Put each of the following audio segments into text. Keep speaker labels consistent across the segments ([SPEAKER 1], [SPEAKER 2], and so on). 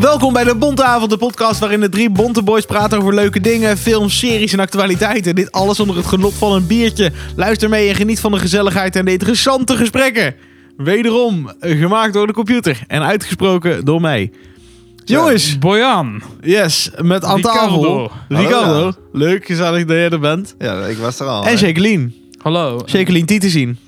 [SPEAKER 1] Welkom bij de Bonte Avond, de podcast waarin de drie Bonte Boys praten over leuke dingen, films, series en actualiteiten. Dit alles onder het genot van een biertje. Luister mee en geniet van de gezelligheid en de interessante gesprekken. Wederom eh, gemaakt door de computer en uitgesproken door mij. Jongens,
[SPEAKER 2] Boyan.
[SPEAKER 1] yes, met aan tafel
[SPEAKER 2] Ricardo.
[SPEAKER 1] Ricardo.
[SPEAKER 3] Hallo.
[SPEAKER 1] Leuk, gezellig dat jij er bent.
[SPEAKER 3] Ja, ik was er al.
[SPEAKER 1] en
[SPEAKER 3] hè.
[SPEAKER 1] Jacqueline.
[SPEAKER 2] Hallo.
[SPEAKER 1] Jacqueline Tietezien.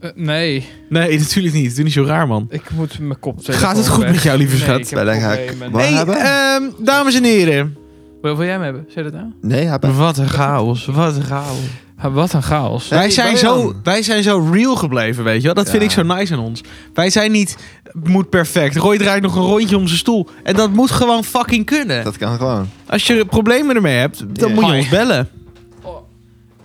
[SPEAKER 2] Eh, nee,
[SPEAKER 1] Nee, natuurlijk niet. Doe niet zo raar, man.
[SPEAKER 2] ik moet mijn kop
[SPEAKER 1] Gaat het goed met jou, lieve schat?
[SPEAKER 3] Bij Den Haag. Wat
[SPEAKER 1] hey,
[SPEAKER 3] hebben?
[SPEAKER 1] ehm, dames en heren.
[SPEAKER 2] Wil, wil jij hem hebben? Zeg dat nou?
[SPEAKER 3] Nee, heb ik.
[SPEAKER 1] Wat een chaos, wat een chaos.
[SPEAKER 2] Ha, wat een chaos.
[SPEAKER 3] Ja.
[SPEAKER 1] Wij
[SPEAKER 3] Hey,
[SPEAKER 1] zijn,
[SPEAKER 3] Brian.
[SPEAKER 1] zo, wij zijn zo real gebleven, weet je wel. Dat vind
[SPEAKER 3] Ja.
[SPEAKER 1] ik zo nice aan ons. Wij zijn niet, het moet perfect. Roy draait nog een rondje om zijn stoel. En dat moet gewoon fucking kunnen.
[SPEAKER 3] Dat kan gewoon.
[SPEAKER 1] Als je problemen ermee hebt, dan
[SPEAKER 3] Ja.
[SPEAKER 1] moet je
[SPEAKER 2] Hi.
[SPEAKER 1] ons bellen.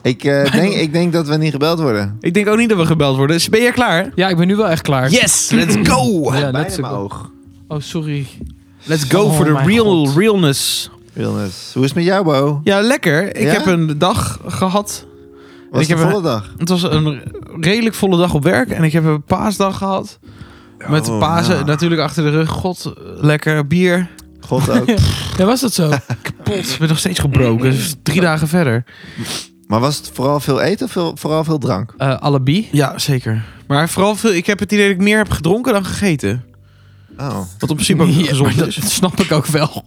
[SPEAKER 3] Ik, eh, denk, ik denk dat we niet gebeld worden.
[SPEAKER 1] Ik denk ook niet dat we gebeld worden. Dus ben je klaar?
[SPEAKER 2] Ja, ik ben nu wel echt klaar.
[SPEAKER 1] Yes, let's go!
[SPEAKER 2] Ja,
[SPEAKER 3] Bijna
[SPEAKER 2] let's
[SPEAKER 3] mijn
[SPEAKER 2] go.
[SPEAKER 3] oog.
[SPEAKER 2] Oh, sorry.
[SPEAKER 1] Let's go
[SPEAKER 2] Oh
[SPEAKER 1] for the
[SPEAKER 2] mijn
[SPEAKER 1] real,
[SPEAKER 2] God.
[SPEAKER 1] realness.
[SPEAKER 3] Wilnes, hoe is het met jou, Bo?
[SPEAKER 1] Ja, lekker. Ik
[SPEAKER 3] Ja?
[SPEAKER 1] heb een dag gehad.
[SPEAKER 3] Was
[SPEAKER 1] Ik
[SPEAKER 3] het
[SPEAKER 1] heb
[SPEAKER 3] een volle dag?
[SPEAKER 1] Het was een redelijk volle dag op werk. En ik heb een paasdag gehad. Met de
[SPEAKER 3] Oh,
[SPEAKER 1] Pasen
[SPEAKER 3] ja.
[SPEAKER 1] natuurlijk achter de rug. God, lekker bier.
[SPEAKER 3] God ook.
[SPEAKER 2] Ja, was dat zo?
[SPEAKER 1] kapot. Ik ben nog steeds gebroken. Dus drie dagen verder.
[SPEAKER 3] maar was het vooral veel eten of veel, vooral veel drank?
[SPEAKER 2] Eh Alibi?
[SPEAKER 1] Ja, zeker. Maar vooral veel, ik heb het idee dat ik meer heb gedronken dan gegeten.
[SPEAKER 3] Oh.
[SPEAKER 1] Wat op principe ook
[SPEAKER 2] Ja, maar
[SPEAKER 1] gezond
[SPEAKER 2] dat
[SPEAKER 1] is.
[SPEAKER 2] snap ik ook wel.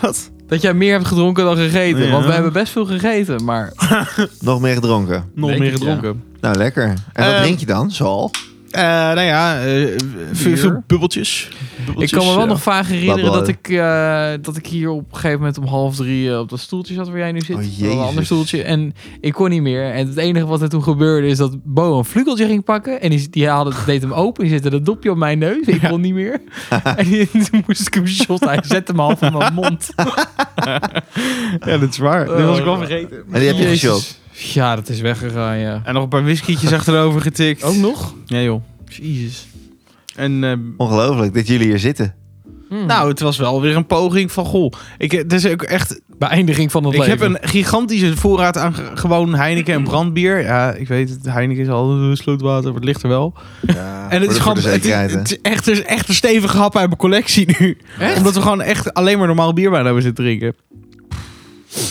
[SPEAKER 1] Wat?
[SPEAKER 2] Dat jij meer hebt gedronken dan gegeten.
[SPEAKER 1] Ja.
[SPEAKER 2] Want we hebben best veel gegeten, maar...
[SPEAKER 3] Nog meer gedronken.
[SPEAKER 1] Nog
[SPEAKER 2] Denk
[SPEAKER 1] meer
[SPEAKER 2] ik,
[SPEAKER 1] gedronken.
[SPEAKER 3] Nou, lekker. En wat
[SPEAKER 1] Ehm,
[SPEAKER 3] drink je dan? Zal?
[SPEAKER 1] Eh, nou ja, eh, veel,
[SPEAKER 2] Bier.
[SPEAKER 1] veel bubbeltjes.
[SPEAKER 2] Ik
[SPEAKER 1] Bubbeltjes,
[SPEAKER 2] kan me wel
[SPEAKER 1] ja.
[SPEAKER 2] nog vaag herinneren
[SPEAKER 3] Blablabla.
[SPEAKER 2] dat ik, eh, dat ik hier op een gegeven moment om half drie eh, op dat stoeltje zat waar jij nu zit.
[SPEAKER 3] Oh,
[SPEAKER 2] Op een
[SPEAKER 3] Jezus.
[SPEAKER 2] ander stoeltje. En ik kon niet meer. En het enige wat er toen gebeurde is dat Bo een vlugeltje ging pakken. En die, die haalde, deed hem open. Die zette dat dopje op mijn neus. Ik kon niet meer. en die- toen moest ik hem shotten. Hij zette hem half in mijn mond.
[SPEAKER 1] Ja, dat is waar. dat was ik wel
[SPEAKER 2] Oh.
[SPEAKER 1] vergeten.
[SPEAKER 3] En die heb je
[SPEAKER 2] Jezus.
[SPEAKER 3] geshot.
[SPEAKER 2] Ja, dat is weggegaan, ja.
[SPEAKER 1] En nog een paar whiskietjes achterover getikt.
[SPEAKER 2] Ook nog?
[SPEAKER 1] Ja, joh.
[SPEAKER 2] Jezus.
[SPEAKER 1] En eh,
[SPEAKER 3] Ongelooflijk dat jullie hier zitten.
[SPEAKER 2] Hmm.
[SPEAKER 1] nou, het was wel weer een poging van, goh. Ik, het is ook echt
[SPEAKER 2] Beëindiging van het
[SPEAKER 1] Ik
[SPEAKER 2] leven.
[SPEAKER 1] heb een gigantische voorraad aan ge- gewoon Heineken en brandbier. Ja, ik weet het. Heineken is al eh, slootwater, maar het ligt er wel.
[SPEAKER 3] Ja,
[SPEAKER 1] en het is gewoon
[SPEAKER 3] de
[SPEAKER 1] het,
[SPEAKER 3] zekerheid,
[SPEAKER 1] is-
[SPEAKER 3] hè?
[SPEAKER 1] het is echt, het is echt een stevige hap uit mijn collectie nu.
[SPEAKER 2] Echt?
[SPEAKER 1] Omdat we gewoon echt alleen maar normaal bier bijna hebben zitten drinken.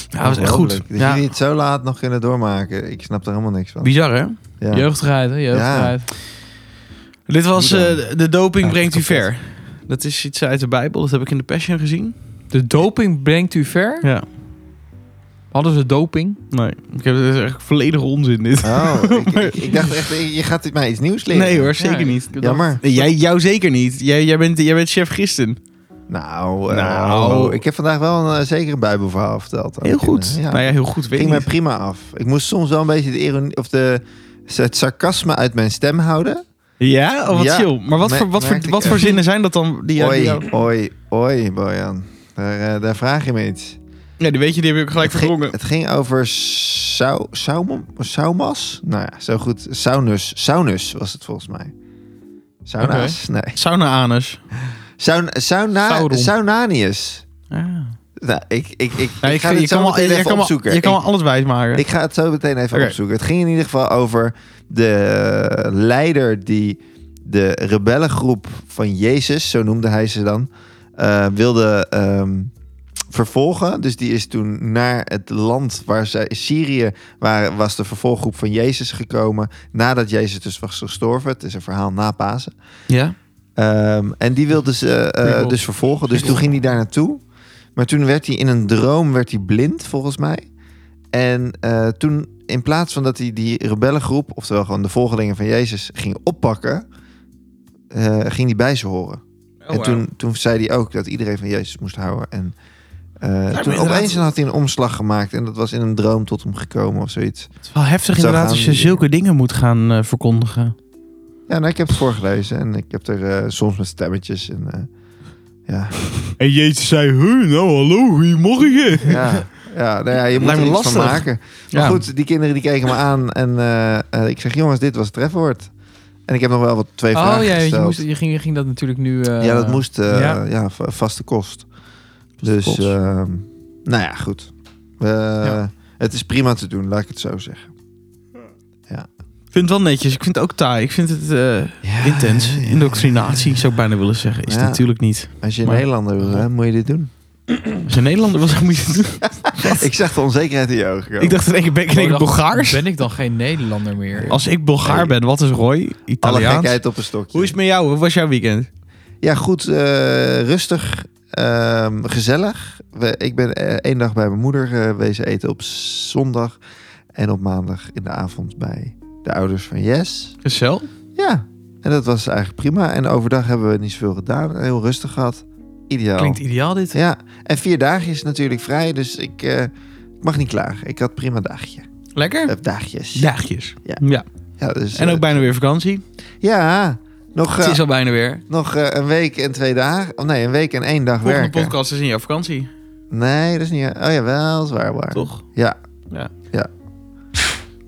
[SPEAKER 1] Ja, dat was echt goed.
[SPEAKER 3] Ongelooflijk. Dat
[SPEAKER 1] Ja,
[SPEAKER 3] jullie het zo laat nog kunnen doormaken. Ik snap er helemaal niks van.
[SPEAKER 1] bizar hè?
[SPEAKER 3] Ja.
[SPEAKER 2] Jeugdigheid, hè? Jeugdigheid.
[SPEAKER 1] Dit was
[SPEAKER 3] Hoe
[SPEAKER 1] eh, De Doping
[SPEAKER 3] Ja,
[SPEAKER 1] Brengt U
[SPEAKER 3] kapot.
[SPEAKER 1] Ver. Dat is iets uit de Bijbel. Dat heb ik in de Passion gezien.
[SPEAKER 2] De doping brengt u ver.
[SPEAKER 1] Ja.
[SPEAKER 2] Hadden ze doping?
[SPEAKER 1] Nee, ik heb, dat is echt volledige onzin dit.
[SPEAKER 3] Oh, ik, ik, ik dacht echt, je gaat mij iets nieuws leren.
[SPEAKER 1] nee hoor, zeker
[SPEAKER 2] Ja,
[SPEAKER 1] niet.
[SPEAKER 2] ik dacht-
[SPEAKER 3] Jammer.
[SPEAKER 1] Nee, Jij, jou zeker niet. Jij, jij, bent, jij bent chef gisteren.
[SPEAKER 3] Nou, eh,
[SPEAKER 1] Nou.
[SPEAKER 3] hallo. ik heb vandaag wel een eh, zeker een bijbelverhaal verteld. aan
[SPEAKER 1] Heel
[SPEAKER 3] de kinderen.
[SPEAKER 1] goed.
[SPEAKER 3] Ja.
[SPEAKER 1] Nou ja, heel goed. Weet
[SPEAKER 3] ging
[SPEAKER 1] ik
[SPEAKER 3] mij
[SPEAKER 1] niet.
[SPEAKER 3] prima af. Ik moest soms wel een beetje de ironie, of de, het sarcasme uit mijn stem houden.
[SPEAKER 1] Ja, oh, wat
[SPEAKER 3] Ja,
[SPEAKER 1] chill. Maar wat,
[SPEAKER 3] me-
[SPEAKER 1] voor, wat, voor,
[SPEAKER 3] merkte ik
[SPEAKER 1] wat voor
[SPEAKER 3] echt.
[SPEAKER 1] zinnen zijn dat dan? Die, jou- die
[SPEAKER 3] Oi,
[SPEAKER 1] jou-
[SPEAKER 3] oi, oi, Bojan. Daar, eh, daar vraag je me iets.
[SPEAKER 1] ja, die weet je, die heb ik gelijk
[SPEAKER 3] het, ging,
[SPEAKER 1] verdrongen.
[SPEAKER 3] het ging over sau, saum- saumas? Nou ja, zo goed. Saunus. Saunus was het volgens mij. Sauna's? Nee.
[SPEAKER 1] Sauna anus.
[SPEAKER 3] Saun, sauna,
[SPEAKER 2] Sauron.
[SPEAKER 3] Saunanius.
[SPEAKER 1] Ja,
[SPEAKER 3] Nou, ik, ik, ik, ik
[SPEAKER 1] ik-
[SPEAKER 3] ga het
[SPEAKER 1] je
[SPEAKER 3] zo
[SPEAKER 1] kan wel-
[SPEAKER 3] meteen
[SPEAKER 1] je
[SPEAKER 3] even
[SPEAKER 1] kan wel-
[SPEAKER 3] opzoeken.
[SPEAKER 1] Je kan
[SPEAKER 3] Ik-
[SPEAKER 1] wel alles wijs maken.
[SPEAKER 3] Ik ga het zo meteen even
[SPEAKER 1] Oké.
[SPEAKER 3] opzoeken. Het ging in ieder geval over de leider die de rebellengroep van Jezus, zo noemde hij ze dan, eh, wilde ehm, vervolgen. Dus die is toen naar het land waar zij, Syrië, waar was de vervolggroep van Jezus gekomen. Nadat Jezus dus was gestorven. Het is een verhaal na Pasen.
[SPEAKER 1] ja?
[SPEAKER 3] Ehm, en die wilde ze eh,
[SPEAKER 2] Prequel.
[SPEAKER 3] dus vervolgen. Dus toen ging hij daar naartoe. Maar toen werd hij in een droom werd hij blind, volgens mij. En eh, toen, in plaats van dat hij die rebellengroep, oftewel gewoon de volgelingen van Jezus, ging oppakken, eh, ging hij bij ze horen.
[SPEAKER 1] Oh,
[SPEAKER 3] en toen, toen zei hij ook dat iedereen van Jezus moest houden. En eh, toen
[SPEAKER 1] inderdaad-
[SPEAKER 3] opeens had hij een omslag gemaakt en dat was in een droom tot hem gekomen of zoiets.
[SPEAKER 1] Het is wel heftig
[SPEAKER 3] Zo
[SPEAKER 1] inderdaad
[SPEAKER 3] gaan
[SPEAKER 1] als je
[SPEAKER 3] die
[SPEAKER 1] zulke dingen moet gaan eh, verkondigen.
[SPEAKER 3] Ja, nou, ik heb het voorgelezen en ik heb er eh, soms met stemmetjes en eh, ja.
[SPEAKER 1] En Jezus zei, huh, nou hallo, goeiemorgen.
[SPEAKER 3] Ja, ja, nou ja je moet
[SPEAKER 1] Lijkt
[SPEAKER 3] er
[SPEAKER 1] me
[SPEAKER 3] iets van
[SPEAKER 1] lastig.
[SPEAKER 3] maken. Maar
[SPEAKER 1] Ja.
[SPEAKER 3] goed, die kinderen die keken me aan en eh, eh, ik zeg, jongens, dit was het trefwoord. En ik heb nog wel wat twee
[SPEAKER 2] Oh
[SPEAKER 3] vragen
[SPEAKER 2] ja, je,
[SPEAKER 3] gesteld.
[SPEAKER 2] moest, je, ging, je ging dat natuurlijk nu... eh,
[SPEAKER 3] ja, dat moest eh,
[SPEAKER 2] ja.
[SPEAKER 3] ja. va- vaste kost. dus,
[SPEAKER 1] kost.
[SPEAKER 3] ehm, nou ja, goed. Eh,
[SPEAKER 2] Ja.
[SPEAKER 3] Het is prima te doen, laat ik het zo zeggen.
[SPEAKER 1] Ik vind het wel netjes. Ik vind het ook taai. Ik vind het eh,
[SPEAKER 3] Ja,
[SPEAKER 1] intens.
[SPEAKER 3] ja, ja.
[SPEAKER 1] Indoctrinatie zou ik bijna willen zeggen. Is het
[SPEAKER 3] Ja.
[SPEAKER 1] natuurlijk niet.
[SPEAKER 3] Als je een
[SPEAKER 1] Maar-
[SPEAKER 3] Nederlander wil zijn, moet je dit doen.
[SPEAKER 1] Als je Nederlander was, dan moet je het doen.
[SPEAKER 3] Ik zag de onzekerheid in je ogen komen.
[SPEAKER 1] Ik dacht in één keer ben ik in één keer
[SPEAKER 2] Oh, dan
[SPEAKER 1] Bulgaars.
[SPEAKER 2] Ben ik dan geen Nederlander meer?
[SPEAKER 1] Als ik Bulgaar ben, wat is Roy?
[SPEAKER 3] Alle
[SPEAKER 1] Italiaans.
[SPEAKER 3] gekheid op een stokje.
[SPEAKER 1] Hoe is het met jou? Hoe was jouw weekend?
[SPEAKER 3] Ja, goed. eh, rustig. ehm, gezellig. We- ik ben eh, één dag bij mijn moeder geweest eten op zondag. En op maandag in de avond bij de ouders van Yes.
[SPEAKER 1] Gezel?
[SPEAKER 3] Ja, en dat was eigenlijk prima. En overdag hebben we niet zoveel gedaan. Heel rustig gehad. Ideaal.
[SPEAKER 2] Klinkt ideaal dit.
[SPEAKER 3] Ja, en vier dagen is natuurlijk vrij. Dus ik eh, ik mag niet klagen. Ik had prima dagje.
[SPEAKER 1] Lekker?
[SPEAKER 3] Eh, daagjes.
[SPEAKER 1] Dagjes.
[SPEAKER 3] Ja.
[SPEAKER 1] Hm. ja.
[SPEAKER 3] Ja, dus,
[SPEAKER 1] En
[SPEAKER 3] eh,
[SPEAKER 1] ook bijna weer vakantie.
[SPEAKER 3] Ja, nog,
[SPEAKER 1] Het
[SPEAKER 3] eh,
[SPEAKER 1] is al bijna weer.
[SPEAKER 3] nog eh, een week en twee dagen. Oh nee, een week en één dag
[SPEAKER 1] Volgende
[SPEAKER 3] werken.
[SPEAKER 1] podcast is in jouw vakantie,
[SPEAKER 3] Nee, dat is niet... Oh ja, wel, dat is waar, waar.
[SPEAKER 1] toch?
[SPEAKER 3] Ja.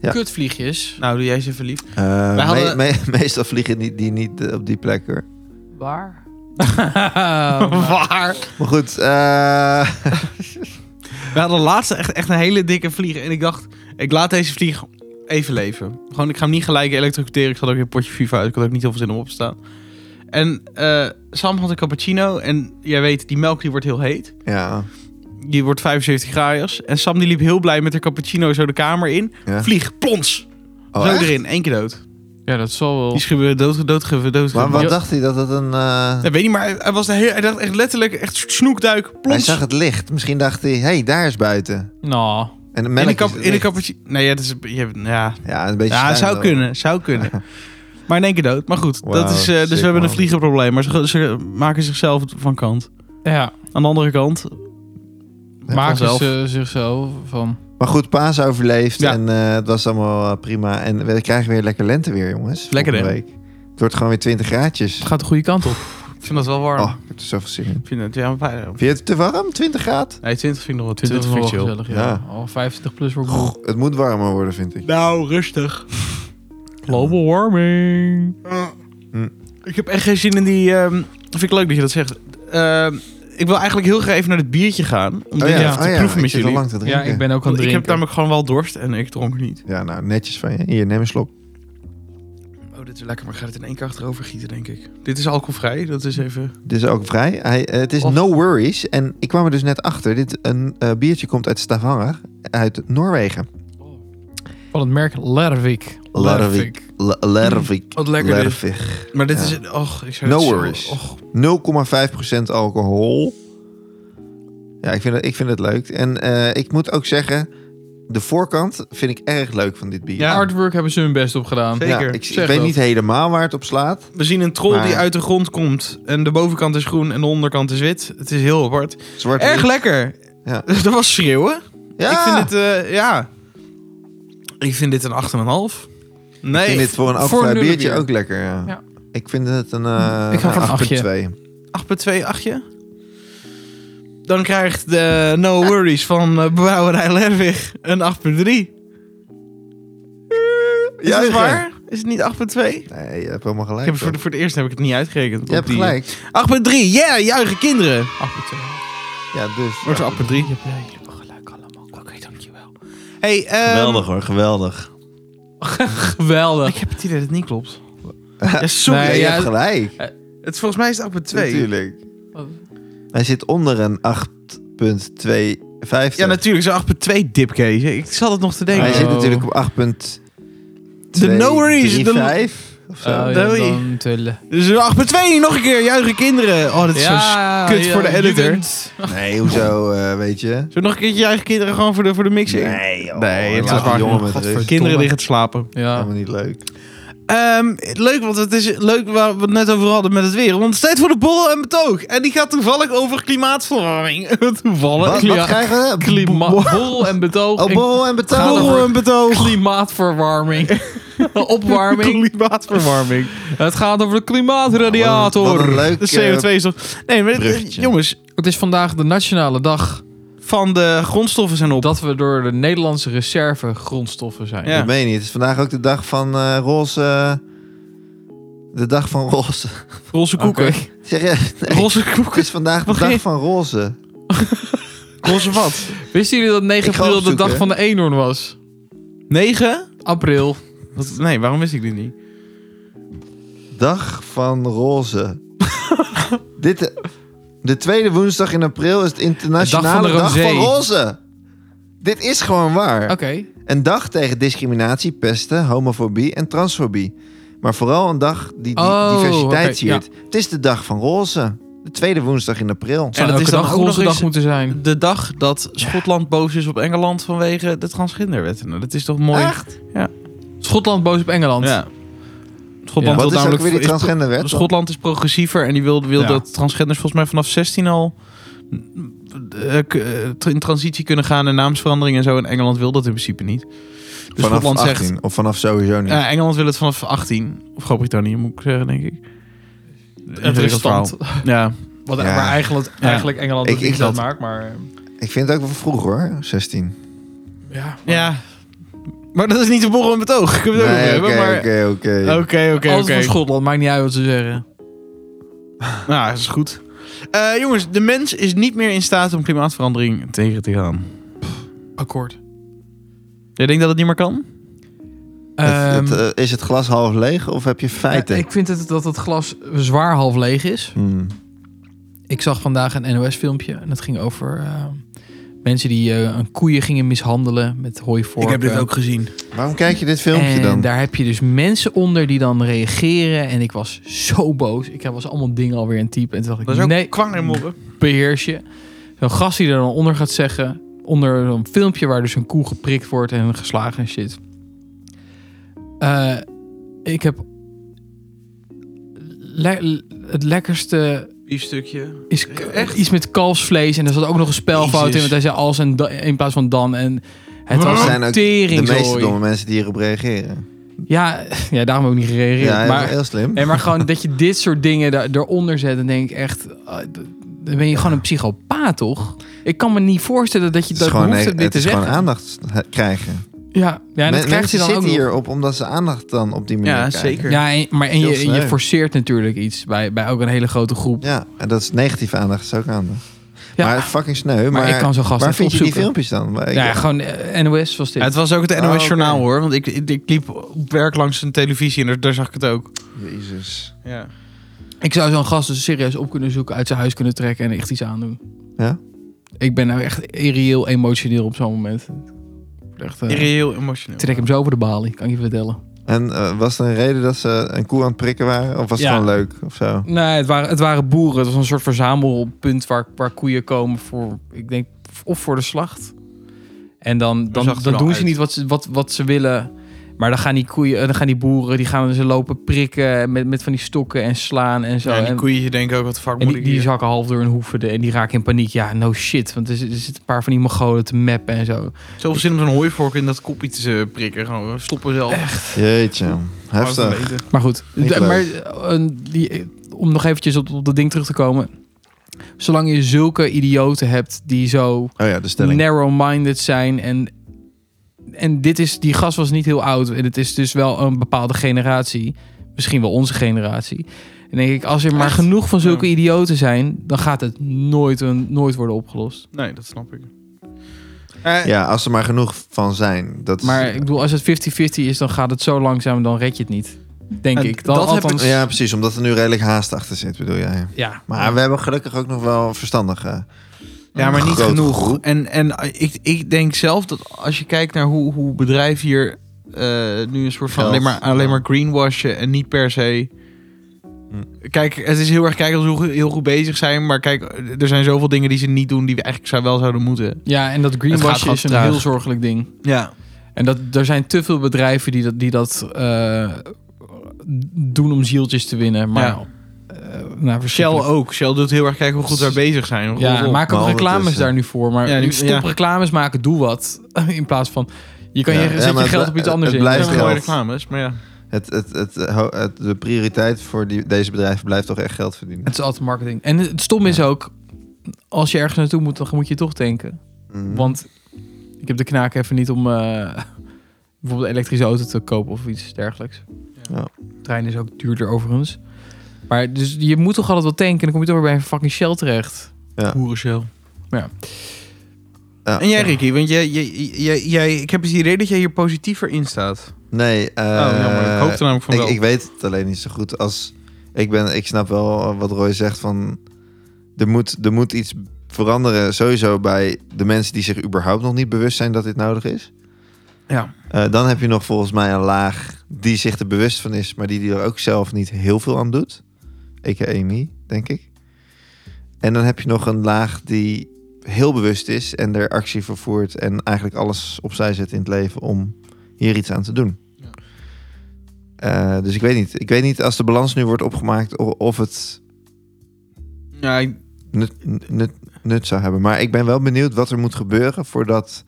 [SPEAKER 3] Ja.
[SPEAKER 2] Kutvliegjes.
[SPEAKER 1] Nou, doe jij eens even lief.
[SPEAKER 3] Eh,
[SPEAKER 1] Wij hadden-
[SPEAKER 3] me- me- meestal vliegen die, die niet eh, op die plek, hoor.
[SPEAKER 2] Waar?
[SPEAKER 1] Waar?
[SPEAKER 3] Maar goed, eh,
[SPEAKER 1] We hadden laatst echt, echt een hele dikke vlieg. En ik dacht, ik laat deze vlieg even leven. Gewoon, ik ga hem niet gelijk elektrocuteren. Ik zat ook in een potje FIFA uit. Ik had ook niet heel veel zin om op te staan. En eh, Sam had een cappuccino. En jij weet, die melk die wordt heel heet.
[SPEAKER 3] ja.
[SPEAKER 1] Die wordt 75 graaiers. En Sam die liep heel blij met haar cappuccino zo de kamer in.
[SPEAKER 3] ja.
[SPEAKER 1] Vlieg, plons!
[SPEAKER 3] Oh,
[SPEAKER 1] zo
[SPEAKER 3] echt?
[SPEAKER 1] erin, één keer dood.
[SPEAKER 2] Ja, dat zal wel.
[SPEAKER 1] Die schreeuwen dood, dood, dood, dood.
[SPEAKER 3] Maar wat
[SPEAKER 2] Ja.
[SPEAKER 3] dacht hij dat het een... eh,
[SPEAKER 1] Dat weet niet, maar hij, hij was de heel, hij dacht echt letterlijk, echt snoekduik,
[SPEAKER 3] Hij
[SPEAKER 1] plons.
[SPEAKER 3] zag het licht. Misschien dacht hij, hé, hey, daar is buiten.
[SPEAKER 2] Nou,
[SPEAKER 3] En een
[SPEAKER 1] in de,
[SPEAKER 3] melk
[SPEAKER 1] kap,
[SPEAKER 3] is het
[SPEAKER 1] in de
[SPEAKER 3] licht.
[SPEAKER 1] cappuccino. Nee, ja, dat is, je, hebt- ja,
[SPEAKER 3] Ja, een beetje
[SPEAKER 1] Ja,
[SPEAKER 3] schuin
[SPEAKER 1] zou
[SPEAKER 3] dan.
[SPEAKER 1] kunnen, zou kunnen. Maar in één keer dood. Maar goed,
[SPEAKER 3] Wauw,
[SPEAKER 1] dat is, eh,
[SPEAKER 3] sick,
[SPEAKER 1] dus we hebben een
[SPEAKER 3] man.
[SPEAKER 1] vliegenprobleem. Maar ze, ze maken zichzelf van kant.
[SPEAKER 2] ja.
[SPEAKER 1] Aan de andere kant,
[SPEAKER 2] Maken
[SPEAKER 1] vanzelf.
[SPEAKER 2] ze zichzelf van...
[SPEAKER 3] Maar goed, Paas overleefd
[SPEAKER 1] Ja.
[SPEAKER 3] en eh, het was allemaal eh, prima. En we krijgen weer lekker lente weer, jongens.
[SPEAKER 1] Lekker,
[SPEAKER 3] volgende week. Het wordt gewoon weer 20 graadjes.
[SPEAKER 2] Het gaat de goede kant op.
[SPEAKER 1] ik vind dat wel warm.
[SPEAKER 3] Oh, ik heb er zoveel zin in.
[SPEAKER 1] Ik vind het, ja, maar-
[SPEAKER 3] Vind je het te warm? 20 graden?
[SPEAKER 1] nee, 20 vind ik nog wel 20,
[SPEAKER 2] 20
[SPEAKER 1] vind ik
[SPEAKER 2] is
[SPEAKER 1] chill.
[SPEAKER 2] wel gezellig, ja.
[SPEAKER 3] Ja.
[SPEAKER 2] Al 25 plus wordt goed.
[SPEAKER 3] Het moet warmer worden, vind ik.
[SPEAKER 1] Nou, rustig.
[SPEAKER 2] Global warming.
[SPEAKER 3] Hm.
[SPEAKER 1] Ik heb echt geen zin in die... ehm, vind ik leuk dat je dat zegt. Ehm, ik wil eigenlijk heel graag even naar het biertje gaan. Om dit
[SPEAKER 3] Oh ja,
[SPEAKER 1] even te proeven
[SPEAKER 3] ik
[SPEAKER 1] met
[SPEAKER 3] zit al
[SPEAKER 1] jullie.
[SPEAKER 3] lang te
[SPEAKER 2] Ja,
[SPEAKER 3] drinken.
[SPEAKER 2] ik ben ook
[SPEAKER 1] Want
[SPEAKER 2] aan het
[SPEAKER 1] ik heb
[SPEAKER 2] drinken.
[SPEAKER 1] namelijk gewoon wel dorst en ik dronk niet.
[SPEAKER 3] Ja, nou, netjes van je. Hier, neem een slok.
[SPEAKER 1] Oh, dit is lekker, maar ik ga het in één keer achterover gieten, denk ik. Dit is alcoholvrij, dat is even...
[SPEAKER 3] Dit is ook vrij. Hij, eh, het is
[SPEAKER 2] Of-
[SPEAKER 3] no worries. En ik kwam er dus net achter. Dit een eh, biertje komt uit Stavanger, uit Noorwegen.
[SPEAKER 2] Van het merk Lervik.
[SPEAKER 3] Lervik. L- Lervik.
[SPEAKER 1] Wat Mm. lekker dus. dit.
[SPEAKER 3] Lervik.
[SPEAKER 1] Maar dit
[SPEAKER 3] Ja.
[SPEAKER 1] is... Och, ik zou
[SPEAKER 3] No
[SPEAKER 1] het zo-
[SPEAKER 3] worries.
[SPEAKER 1] och.
[SPEAKER 3] 0,5% alcohol. Ja, ik vind het, ik vind het leuk. En eh, ik moet ook zeggen, de voorkant vind ik erg leuk van dit bier.
[SPEAKER 1] Ja,
[SPEAKER 2] Artwork hebben ze hun best op gedaan.
[SPEAKER 1] Zeker.
[SPEAKER 3] Ja, ik, ik
[SPEAKER 2] Zeg
[SPEAKER 3] weet
[SPEAKER 2] dat.
[SPEAKER 3] niet helemaal waar het op slaat.
[SPEAKER 1] We zien een troll
[SPEAKER 3] Maar-
[SPEAKER 1] die uit de grond komt. En de bovenkant is groen en de onderkant is wit. Het is heel apart.
[SPEAKER 3] Zwart
[SPEAKER 1] Erg
[SPEAKER 3] bier.
[SPEAKER 1] lekker.
[SPEAKER 3] Ja.
[SPEAKER 1] Dat was schreeuwen.
[SPEAKER 3] Ja,
[SPEAKER 1] Ik vind dit... eh, ja. Ik vind dit een 8,5. Nee.
[SPEAKER 3] Ik vind dit voor een
[SPEAKER 2] voor een
[SPEAKER 3] alcoholvrij biertje
[SPEAKER 2] nullenbier.
[SPEAKER 3] ook lekker. Ja.
[SPEAKER 2] Ja.
[SPEAKER 3] Ik vind het een, eh
[SPEAKER 2] Ik ga voor een achtje.
[SPEAKER 3] 8,2.
[SPEAKER 1] 8,2 achtje. Dan krijgt de No Worries van eh, Brouwerij Lerwig een 8,3. Is het
[SPEAKER 3] Juichen.
[SPEAKER 1] waar? Is het niet 8,2?
[SPEAKER 3] Nee, je hebt helemaal
[SPEAKER 1] Ik heb
[SPEAKER 3] gelijk.
[SPEAKER 1] het voor,
[SPEAKER 3] hoor.
[SPEAKER 1] de- voor het eerst heb ik het niet uitgerekend.
[SPEAKER 3] Je hebt
[SPEAKER 1] Op die-
[SPEAKER 3] gelijk.
[SPEAKER 1] 8,3. Yeah, juichen kinderen.
[SPEAKER 2] Appeltje.
[SPEAKER 3] Ja, dus.
[SPEAKER 1] Wordt
[SPEAKER 3] ja.
[SPEAKER 1] er 8,3.
[SPEAKER 2] Je hebt jullie gelijk allemaal. Oké, dankjewel.
[SPEAKER 1] Hey, ehm,
[SPEAKER 3] hoor, geweldig.
[SPEAKER 2] Geweldig.
[SPEAKER 1] Ik heb het idee dat het niet klopt. Ja, sorry.
[SPEAKER 3] Nee,
[SPEAKER 2] Nee,
[SPEAKER 3] je
[SPEAKER 2] ja,
[SPEAKER 3] hebt gelijk.
[SPEAKER 1] Het, volgens mij is het 8,2.
[SPEAKER 3] Natuurlijk. Hij zit onder een 8,250.
[SPEAKER 1] Ja, natuurlijk. Zo'n 8,2 dipcase. Ik zat het nog te denken.
[SPEAKER 3] Hij
[SPEAKER 2] Oh.
[SPEAKER 3] zit natuurlijk op 8,2.
[SPEAKER 1] De no worries, de-
[SPEAKER 3] 5 of zo.
[SPEAKER 2] Zo, Oh, ja,
[SPEAKER 1] doei.
[SPEAKER 2] dan tullen.
[SPEAKER 1] Dus een 8,2. Nog een keer. Juichen kinderen. Oh, dat is zo... s-
[SPEAKER 2] Ja,
[SPEAKER 1] kut voor de editor.
[SPEAKER 2] jugend.
[SPEAKER 1] Oh.
[SPEAKER 3] Nee, hoezo, eh, weet je?
[SPEAKER 1] Zullen we nog een keertje juichen kinderen gewoon voor de, voor de mixing?
[SPEAKER 3] joh,
[SPEAKER 1] Nee, het
[SPEAKER 3] Oh, laat
[SPEAKER 1] is
[SPEAKER 3] die
[SPEAKER 1] waar.
[SPEAKER 3] jongen met
[SPEAKER 2] Gadver-
[SPEAKER 3] rust.
[SPEAKER 1] Kinderen
[SPEAKER 2] Domme.
[SPEAKER 1] liggen te slapen.
[SPEAKER 2] Ja.
[SPEAKER 3] Helemaal niet leuk.
[SPEAKER 1] Ehm, leuk, want het is leuk waar we het net over hadden met het weer. Want het is tijd voor de borrel en betoog. En die gaat toevallig over klimaatverwarming. toevallig.
[SPEAKER 3] Wat, wat
[SPEAKER 2] klima-
[SPEAKER 3] krijgen we?
[SPEAKER 2] Klima borrel en betoog.
[SPEAKER 3] Oh,
[SPEAKER 2] en
[SPEAKER 3] borrel en betalen.
[SPEAKER 1] Borrel en betoog.
[SPEAKER 2] klimaatverwarming. Opwarming.
[SPEAKER 1] Klimaatverwarming.
[SPEAKER 2] Het gaat over de
[SPEAKER 3] Wat
[SPEAKER 2] klimaatradiator.
[SPEAKER 3] een leuk
[SPEAKER 1] De
[SPEAKER 3] eh,
[SPEAKER 1] CO2 is toch... Nee, maar
[SPEAKER 3] bruggetje.
[SPEAKER 1] jongens,
[SPEAKER 2] Het is vandaag de nationale dag
[SPEAKER 1] van de grondstoffen zijn op.
[SPEAKER 2] dat we door de Nederlandse reserve grondstoffen zijn.
[SPEAKER 1] Ja.
[SPEAKER 3] Dat meen je niet. Het is vandaag ook de dag van eh, roze... de dag van roze.
[SPEAKER 1] Roze
[SPEAKER 2] Oké.
[SPEAKER 1] koeken.
[SPEAKER 3] Zeg je? Nee,
[SPEAKER 1] Roze
[SPEAKER 3] Het
[SPEAKER 1] koeken.
[SPEAKER 3] is vandaag de
[SPEAKER 1] Wat
[SPEAKER 3] dag
[SPEAKER 1] ge-
[SPEAKER 3] van roze.
[SPEAKER 1] Roze wat?
[SPEAKER 2] Wisten jullie dat 9
[SPEAKER 3] Ik ga
[SPEAKER 2] april de
[SPEAKER 3] opzoeken.
[SPEAKER 2] dag van de eenhoorn was?
[SPEAKER 1] 9?
[SPEAKER 2] April.
[SPEAKER 1] Wat- nee, waarom wist ik dit niet?
[SPEAKER 3] Dag van Roze. Dit, eh, de tweede woensdag in april is het internationale
[SPEAKER 2] Dag
[SPEAKER 3] dag
[SPEAKER 2] van
[SPEAKER 3] van,
[SPEAKER 2] de Rosé.
[SPEAKER 3] roze. Dit is gewoon waar.
[SPEAKER 2] Oké.
[SPEAKER 3] Een dag tegen discriminatie, pesten, homofobie en transfobie. Maar vooral een dag die, die
[SPEAKER 2] Oh,
[SPEAKER 3] diversiteit
[SPEAKER 2] oké,
[SPEAKER 3] viert. Het is de dag van roze. De tweede woensdag in april.
[SPEAKER 2] Zou
[SPEAKER 1] dat
[SPEAKER 2] elke
[SPEAKER 1] is dan
[SPEAKER 2] dag
[SPEAKER 1] ook nog
[SPEAKER 2] onze dag
[SPEAKER 1] eens-
[SPEAKER 2] moeten zijn.
[SPEAKER 1] De dag dat Schotland boos is op Engeland vanwege de transgenderwet. Nou, dat is toch mooi?
[SPEAKER 3] Echt?
[SPEAKER 2] Schotland boos op Engeland.
[SPEAKER 1] Ja.
[SPEAKER 2] Ja.
[SPEAKER 1] Schotland wil
[SPEAKER 3] Wat is ook
[SPEAKER 1] namelijk
[SPEAKER 3] weer die
[SPEAKER 1] is-
[SPEAKER 3] transgenderwet?
[SPEAKER 1] Schotland is progressiever en die wil, wil
[SPEAKER 2] Ja.
[SPEAKER 1] dat transgenders volgens mij vanaf 16 al eh, k- eh, tra- in transitie kunnen gaan en naamsverandering en zo. En Engeland wil dat in principe niet. Dus
[SPEAKER 3] vanaf
[SPEAKER 1] Schotland
[SPEAKER 3] 18,
[SPEAKER 1] zegt.
[SPEAKER 3] Of vanaf sowieso niet.
[SPEAKER 1] Ja, Eh, Engeland wil het vanaf 18. Of Groot-Brittannië moet ik zeggen, denk ik.
[SPEAKER 2] Het
[SPEAKER 1] Ingewikkeld
[SPEAKER 2] restant.
[SPEAKER 1] verhaal. Ja.
[SPEAKER 2] Wat,
[SPEAKER 3] Ja.
[SPEAKER 2] Maar eigenlijk,
[SPEAKER 1] Ja.
[SPEAKER 2] eigenlijk Engeland
[SPEAKER 3] Ik-
[SPEAKER 2] dat
[SPEAKER 3] ik
[SPEAKER 2] ik dat
[SPEAKER 3] dat-
[SPEAKER 2] maakt, maar...
[SPEAKER 3] Ik vind het ook wel vroeg hoor, 16.
[SPEAKER 2] Ja.
[SPEAKER 1] ja. Maar dat is niet de borrel en betoog. Ik heb het ook nog
[SPEAKER 3] Nee,
[SPEAKER 1] hebben,
[SPEAKER 3] oké,
[SPEAKER 1] maar-
[SPEAKER 3] oké, oké.
[SPEAKER 1] Oké, oké,
[SPEAKER 2] Alles
[SPEAKER 1] oké.
[SPEAKER 2] voor Schotland, maakt niet uit wat ze zeggen.
[SPEAKER 1] Nou, dat is goed. Eh, jongens, de mens is niet meer in staat om klimaatverandering tegen te gaan.
[SPEAKER 2] Akkoord.
[SPEAKER 1] Jij denkt dat het niet meer kan?
[SPEAKER 3] Het- het, eh, Is het glas half leeg of heb je feiten?
[SPEAKER 2] Ehm, ik vind het, dat het glas zwaar half leeg is.
[SPEAKER 3] Hmm.
[SPEAKER 2] Ik zag vandaag een NOS-filmpje en dat ging over eh, mensen die eh, een koeien gingen mishandelen met hooivorken.
[SPEAKER 1] gezien.
[SPEAKER 3] Waarom kijk je dit filmpje
[SPEAKER 2] en
[SPEAKER 3] dan?
[SPEAKER 2] daar heb je dus mensen onder die dan reageren. En ik was zo boos. Ik was allemaal dingen alweer een type. En toen dacht
[SPEAKER 1] Dat
[SPEAKER 2] ik,
[SPEAKER 1] is ook
[SPEAKER 2] nee,
[SPEAKER 1] kwang in mobben.
[SPEAKER 2] beheers je. Zo'n gast die er dan onder gaat zeggen... onder zo'n filmpje waar dus een koe geprikt wordt en geslagen en shit. Eh, ik heb... le- het lekkerste
[SPEAKER 1] stukje.
[SPEAKER 2] is k-
[SPEAKER 1] Echt?
[SPEAKER 2] iets met kalfsvlees. En er zat ook nog een spelfout in.
[SPEAKER 1] Jezus.
[SPEAKER 2] Want hij zei als en da- in plaats van dan. En
[SPEAKER 1] Wat?
[SPEAKER 2] het was
[SPEAKER 3] Dat
[SPEAKER 2] een
[SPEAKER 3] zijn ook de meeste
[SPEAKER 2] teringzooi.
[SPEAKER 3] domme mensen die hierop reageren.
[SPEAKER 2] Ja, ja, daarom heb ik niet gereageerd.
[SPEAKER 3] Ja, heel,
[SPEAKER 2] maar,
[SPEAKER 3] heel slim.
[SPEAKER 2] nee, maar gewoon dat je dit soort dingen daar- eronder zet. Dan denk ik echt... ah, d- dan ben je gewoon een psychopaat, toch? Ik kan me niet voorstellen dat je
[SPEAKER 3] Het is
[SPEAKER 2] dat
[SPEAKER 3] gewoon,
[SPEAKER 2] hoeft
[SPEAKER 3] nee,
[SPEAKER 2] dit
[SPEAKER 3] het
[SPEAKER 2] te
[SPEAKER 3] is gewoon
[SPEAKER 2] zeggen.
[SPEAKER 3] aandacht he- krijgen.
[SPEAKER 2] Ja, ja en
[SPEAKER 3] Men-
[SPEAKER 2] dat krijgt
[SPEAKER 3] mensen
[SPEAKER 2] hij dan ook
[SPEAKER 3] zitten
[SPEAKER 2] nog.
[SPEAKER 3] hierop omdat ze aandacht dan op die manier
[SPEAKER 1] Ja,
[SPEAKER 3] krijgen.
[SPEAKER 1] zeker.
[SPEAKER 2] Ja, en- maar en
[SPEAKER 3] Heel
[SPEAKER 2] je, je
[SPEAKER 3] sneu.
[SPEAKER 2] forceert natuurlijk iets bij, bij ook een hele grote groep.
[SPEAKER 3] Ja, en dat is negatieve aandacht, is ook aandacht.
[SPEAKER 2] Ja,
[SPEAKER 3] maar fucking sneu. Maar,
[SPEAKER 2] maar, ik kan zo'n gast
[SPEAKER 3] waar
[SPEAKER 2] even
[SPEAKER 3] vind je die
[SPEAKER 2] opzoeken.
[SPEAKER 3] filmpjes dan? Waar ik-
[SPEAKER 2] ja, gewoon eh, NOS was dit.
[SPEAKER 1] het was ook het
[SPEAKER 3] Oh,
[SPEAKER 1] NOS
[SPEAKER 3] oké.
[SPEAKER 1] Journaal hoor, want ik, ik, ik liep op werk langs een televisie en daar, daar zag ik het ook.
[SPEAKER 3] Jezus.
[SPEAKER 1] Ja.
[SPEAKER 2] Ik zou zo'n gast dus serieus op kunnen zoeken, uit zijn huis kunnen trekken en echt iets aandoen.
[SPEAKER 3] Ja?
[SPEAKER 2] Ik ben nou echt irreëel emotioneel op zo'n moment. Echt, eh,
[SPEAKER 1] Irreëel emotioneel.
[SPEAKER 2] trek hem zo over de balie, kan ik je vertellen.
[SPEAKER 3] En eh, was er een reden dat ze een koe aan het prikken waren? Of was
[SPEAKER 2] Ja.
[SPEAKER 3] het gewoon leuk of zo?
[SPEAKER 2] Nee, het waren, het waren boeren. Het was een soort verzamelpunt waar, waar koeien komen voor, ik denk, of voor de slacht. En dan, dan,
[SPEAKER 1] zag het
[SPEAKER 2] dan
[SPEAKER 1] er
[SPEAKER 2] doen
[SPEAKER 1] wel
[SPEAKER 2] ze
[SPEAKER 1] uit.
[SPEAKER 2] niet wat ze, wat, wat ze willen. Maar dan gaan die koeien, eh, dan gaan die boeren, die gaan ze lopen prikken met, met van die stokken en slaan en zo.
[SPEAKER 1] Ja, die
[SPEAKER 2] En-
[SPEAKER 1] koeien denken ook, wat de fuck
[SPEAKER 2] En
[SPEAKER 1] moet
[SPEAKER 2] die,
[SPEAKER 1] ik
[SPEAKER 2] die
[SPEAKER 1] hier?
[SPEAKER 2] zakken half door hun hoeven en die raken in paniek. Ja, no shit. Want er, zit- er zitten een paar van die Mongolen te mappen en zo.
[SPEAKER 1] Zoveel zin om zo'n hooivork in dat kopje te eh, prikken. Gewoon eh, stoppen zelf. Echt.
[SPEAKER 3] Jeetje, heftig.
[SPEAKER 2] Maar goed.
[SPEAKER 3] Niet
[SPEAKER 2] de-
[SPEAKER 3] leuk.
[SPEAKER 2] maar eh, een- die, eh, om nog eventjes op, op dat ding terug te komen. Zolang je zulke idioten hebt die zo
[SPEAKER 3] Oh ja, de stelling.
[SPEAKER 2] narrow-minded zijn en... En dit is, die gast was niet heel oud. En het is dus wel een bepaalde generatie. Misschien wel onze generatie. En denk ik, als er maar
[SPEAKER 1] Echt?
[SPEAKER 2] genoeg van zulke
[SPEAKER 1] Ja.
[SPEAKER 2] idioten zijn... dan gaat het nooit, een, nooit worden opgelost.
[SPEAKER 1] Nee, dat snap ik. Eh,
[SPEAKER 3] Ja, als er maar genoeg van zijn. Dat is,
[SPEAKER 2] Maar ik bedoel, als het 50-50 is, dan gaat het zo langzaam, dan red je het niet. Denk
[SPEAKER 1] En
[SPEAKER 2] ik. Dan,
[SPEAKER 1] dat heb
[SPEAKER 2] althans,
[SPEAKER 3] Ja, precies. Omdat er nu redelijk haast achter zit, bedoel jij.
[SPEAKER 2] ja.
[SPEAKER 3] Maar we hebben gelukkig ook nog wel verstandige.
[SPEAKER 1] Ja, maar niet
[SPEAKER 3] Grote
[SPEAKER 1] genoeg.
[SPEAKER 3] groep.
[SPEAKER 1] En, en eh, ik, ik denk zelf dat als je kijkt naar hoe, hoe bedrijven hier eh, nu een soort van
[SPEAKER 3] Geld.
[SPEAKER 1] alleen maar, alleen
[SPEAKER 3] Ja.
[SPEAKER 1] maar greenwashen en niet per se.
[SPEAKER 3] Hm.
[SPEAKER 1] Kijk, het is heel erg kijken als hoe heel goed bezig zijn. Maar kijk, er zijn zoveel dingen die ze niet doen die we eigenlijk zou wel zouden moeten.
[SPEAKER 2] ja, en dat
[SPEAKER 1] gaat
[SPEAKER 2] greenwash
[SPEAKER 1] gewoon
[SPEAKER 2] is een
[SPEAKER 1] traag.
[SPEAKER 2] heel zorgelijk ding.
[SPEAKER 1] Ja.
[SPEAKER 2] En dat, er zijn te veel bedrijven die dat, die dat eh, doen om zieltjes te winnen. Maar
[SPEAKER 1] Ja.
[SPEAKER 2] eh, nou,
[SPEAKER 1] Shell
[SPEAKER 2] verschrikkelijk.
[SPEAKER 1] ook. Shell doet heel erg kijken hoe goed ze daar bezig zijn.
[SPEAKER 2] Ja,
[SPEAKER 1] Rot op.
[SPEAKER 2] maak
[SPEAKER 3] maar
[SPEAKER 2] ook
[SPEAKER 3] al dat
[SPEAKER 2] reclames
[SPEAKER 3] is, eh,
[SPEAKER 2] daar nu voor. Maar
[SPEAKER 1] ja,
[SPEAKER 2] nu
[SPEAKER 1] die-
[SPEAKER 2] stop
[SPEAKER 1] ja.
[SPEAKER 2] reclames maken, doe wat. In plaats van, je kan
[SPEAKER 3] Ja,
[SPEAKER 2] je,
[SPEAKER 3] ja,
[SPEAKER 2] zet je
[SPEAKER 3] maar het
[SPEAKER 2] geld
[SPEAKER 3] bl-
[SPEAKER 2] op iets
[SPEAKER 3] het
[SPEAKER 2] anders in.
[SPEAKER 1] Dat
[SPEAKER 3] blijft
[SPEAKER 1] zijn wel mooie
[SPEAKER 3] geld.
[SPEAKER 1] reclames, maar ja.
[SPEAKER 3] Het, het, het, eh, ho- het- de prioriteit voor die, deze bedrijven blijft toch echt geld verdienen.
[SPEAKER 2] Het is altijd marketing. En het stom is ook, als je ergens naartoe moet, dan moet je toch denken.
[SPEAKER 1] Hm.
[SPEAKER 3] Mm.
[SPEAKER 2] Want ik heb de knaak even niet om eh, bijvoorbeeld een elektrische auto te kopen of iets dergelijks.
[SPEAKER 3] Ja.
[SPEAKER 2] Trein is ook duurder overigens. Maar dus je moet toch altijd wel tanken en dan kom je toch weer bij een fucking Shell terecht.
[SPEAKER 3] Ja.
[SPEAKER 1] Hoeren Shell.
[SPEAKER 2] Ja.
[SPEAKER 3] Ja.
[SPEAKER 1] En jij, Ricky, want jij, jij, jij, jij- ik heb het idee dat jij hier positiever in staat.
[SPEAKER 3] Nee, eh,
[SPEAKER 1] oh, jammer. Ik hoopte namelijk van
[SPEAKER 3] ik,
[SPEAKER 1] wel.
[SPEAKER 3] ik weet het alleen niet zo goed als... Ik, ben, ik snap wel wat Roy zegt van... Er moet, er moet iets veranderen sowieso bij de mensen die zich überhaupt nog niet bewust zijn dat dit nodig is.
[SPEAKER 1] Ja.
[SPEAKER 3] Eh, dan heb je nog volgens mij een laag die zich er bewust van is, maar die, die er ook zelf niet heel veel aan doet. Ik Amy, denk ik. En dan heb je nog een laag die heel bewust is en er actie vervoert en eigenlijk alles opzij zet in het leven om hier iets aan te doen.
[SPEAKER 2] Ja.
[SPEAKER 3] Eh, dus ik weet niet. Ik weet niet als de balans nu wordt opgemaakt o- of het
[SPEAKER 1] Ja, ik-
[SPEAKER 3] nut, nut, nut zou hebben. Maar ik ben wel benieuwd wat er moet gebeuren voordat,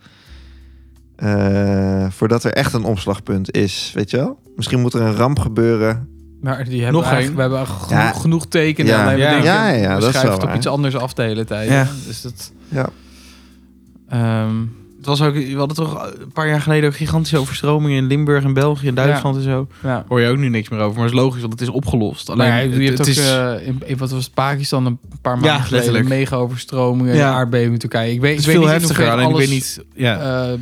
[SPEAKER 3] eh, voordat er echt een omslagpunt is. Weet je wel? Misschien moet er een ramp gebeuren.
[SPEAKER 2] Maar die hebben
[SPEAKER 1] Nog
[SPEAKER 2] Nog eigenlijk,
[SPEAKER 1] één.
[SPEAKER 2] we hebben genoeg,
[SPEAKER 3] Ja.
[SPEAKER 2] genoeg tekenen.
[SPEAKER 3] Ja.
[SPEAKER 2] Alleen we
[SPEAKER 1] Ja.
[SPEAKER 2] denken,
[SPEAKER 3] Ja, ja,
[SPEAKER 2] we
[SPEAKER 3] dat is
[SPEAKER 2] schuiven
[SPEAKER 3] wel
[SPEAKER 2] het op
[SPEAKER 3] waar.
[SPEAKER 2] iets anders af de hele tijd.
[SPEAKER 1] Ja.
[SPEAKER 2] Dus dat...
[SPEAKER 3] Ja.
[SPEAKER 2] Ehm,
[SPEAKER 1] het was ook, we hadden toch een paar jaar geleden ook gigantische overstromingen in Limburg en België en Duitsland en zo.
[SPEAKER 2] ja.
[SPEAKER 1] Hoor je ook nu niks meer over, maar is logisch, want het is opgelost. Alleen,
[SPEAKER 2] Maar ja, je hebt
[SPEAKER 1] het,
[SPEAKER 2] ook
[SPEAKER 1] het is,
[SPEAKER 2] eh, in, in- wat was het, Pakistan een paar maanden geleden
[SPEAKER 1] letterlijk.
[SPEAKER 2] mega overstromingen,
[SPEAKER 1] Ja.
[SPEAKER 2] aardbeving in Turkije. Ik weet,
[SPEAKER 1] het is
[SPEAKER 2] ik weet
[SPEAKER 1] veel
[SPEAKER 2] niet in
[SPEAKER 1] heftiger,
[SPEAKER 2] hoeverre
[SPEAKER 1] alleen ik
[SPEAKER 2] alles,
[SPEAKER 1] weet niet... Ja.
[SPEAKER 2] eh,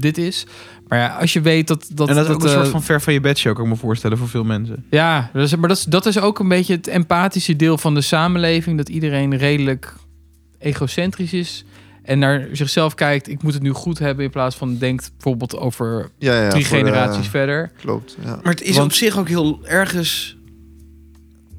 [SPEAKER 2] dit is. Maar ja, als je weet dat dat,
[SPEAKER 1] en dat is ook een
[SPEAKER 2] eh,
[SPEAKER 1] soort van ver van je bedshow, kan ik me voorstellen, voor veel mensen.
[SPEAKER 2] ja, dat is, maar dat is, dat is ook een beetje het empathische deel van de samenleving dat iedereen redelijk egocentrisch is en naar zichzelf kijkt. Ik moet het nu goed hebben in plaats van denkt bijvoorbeeld over
[SPEAKER 3] Ja, ja,
[SPEAKER 2] drie
[SPEAKER 3] voor eh, de-
[SPEAKER 2] generaties verder.
[SPEAKER 3] Klopt. Ja.
[SPEAKER 1] Maar het is
[SPEAKER 2] Want-
[SPEAKER 1] op zich ook heel ergens...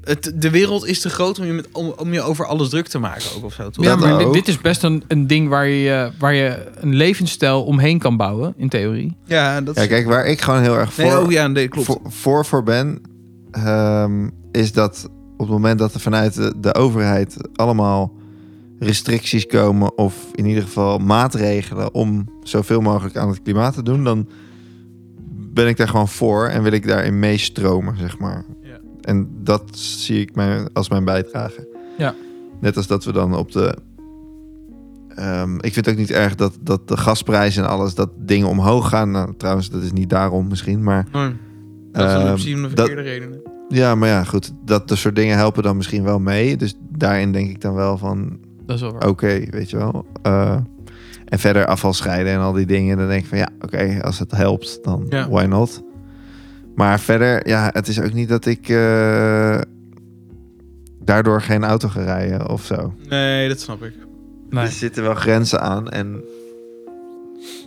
[SPEAKER 1] Het, de wereld is te groot om je, met, om, om je over alles druk te maken ook of zo. toch?
[SPEAKER 2] Ja,
[SPEAKER 3] Dat
[SPEAKER 2] maar dit,
[SPEAKER 3] ook.
[SPEAKER 2] dit is best een, een ding waar je, eh, waar je een levensstijl omheen kan bouwen, in theorie.
[SPEAKER 1] ja, dat is...
[SPEAKER 3] Ja, kijk, waar ik gewoon heel erg voor,
[SPEAKER 1] nee, oh ja, nee, klopt.
[SPEAKER 3] voor, voor, voor ben, ehm, is dat op het moment dat er vanuit de, de overheid allemaal restricties komen, of in ieder geval maatregelen om zoveel mogelijk aan het klimaat te doen, dan ben ik daar gewoon voor en wil ik daarin meestromen, zeg maar.
[SPEAKER 1] Ja.
[SPEAKER 3] En dat zie ik mijn, als mijn bijdrage.
[SPEAKER 2] Ja.
[SPEAKER 3] Net als dat we dan op de. ehm, ik vind het ook niet erg dat, dat de gasprijs en alles, dat dingen omhoog gaan. Nou, trouwens, dat is niet daarom misschien, maar
[SPEAKER 1] Nee, dat is
[SPEAKER 3] Ehm,
[SPEAKER 1] een optie om de
[SPEAKER 3] dat-
[SPEAKER 1] verkeerde redenen.
[SPEAKER 3] ja, maar ja, goed. Dat, dat soort dingen helpen dan misschien wel mee. Dus daarin denk ik dan wel van,
[SPEAKER 2] Dat is wel waar.
[SPEAKER 3] oké, weet je wel. Eh, en verder afval scheiden en al die dingen. Dan denk ik van, ja, oké, als het helpt, dan
[SPEAKER 1] Ja.
[SPEAKER 3] why not? Maar verder, ja, het is ook niet dat ik eh, daardoor geen auto ga rijden of zo.
[SPEAKER 1] Nee, dat snap ik.
[SPEAKER 2] Nee.
[SPEAKER 3] Er zitten wel grenzen aan en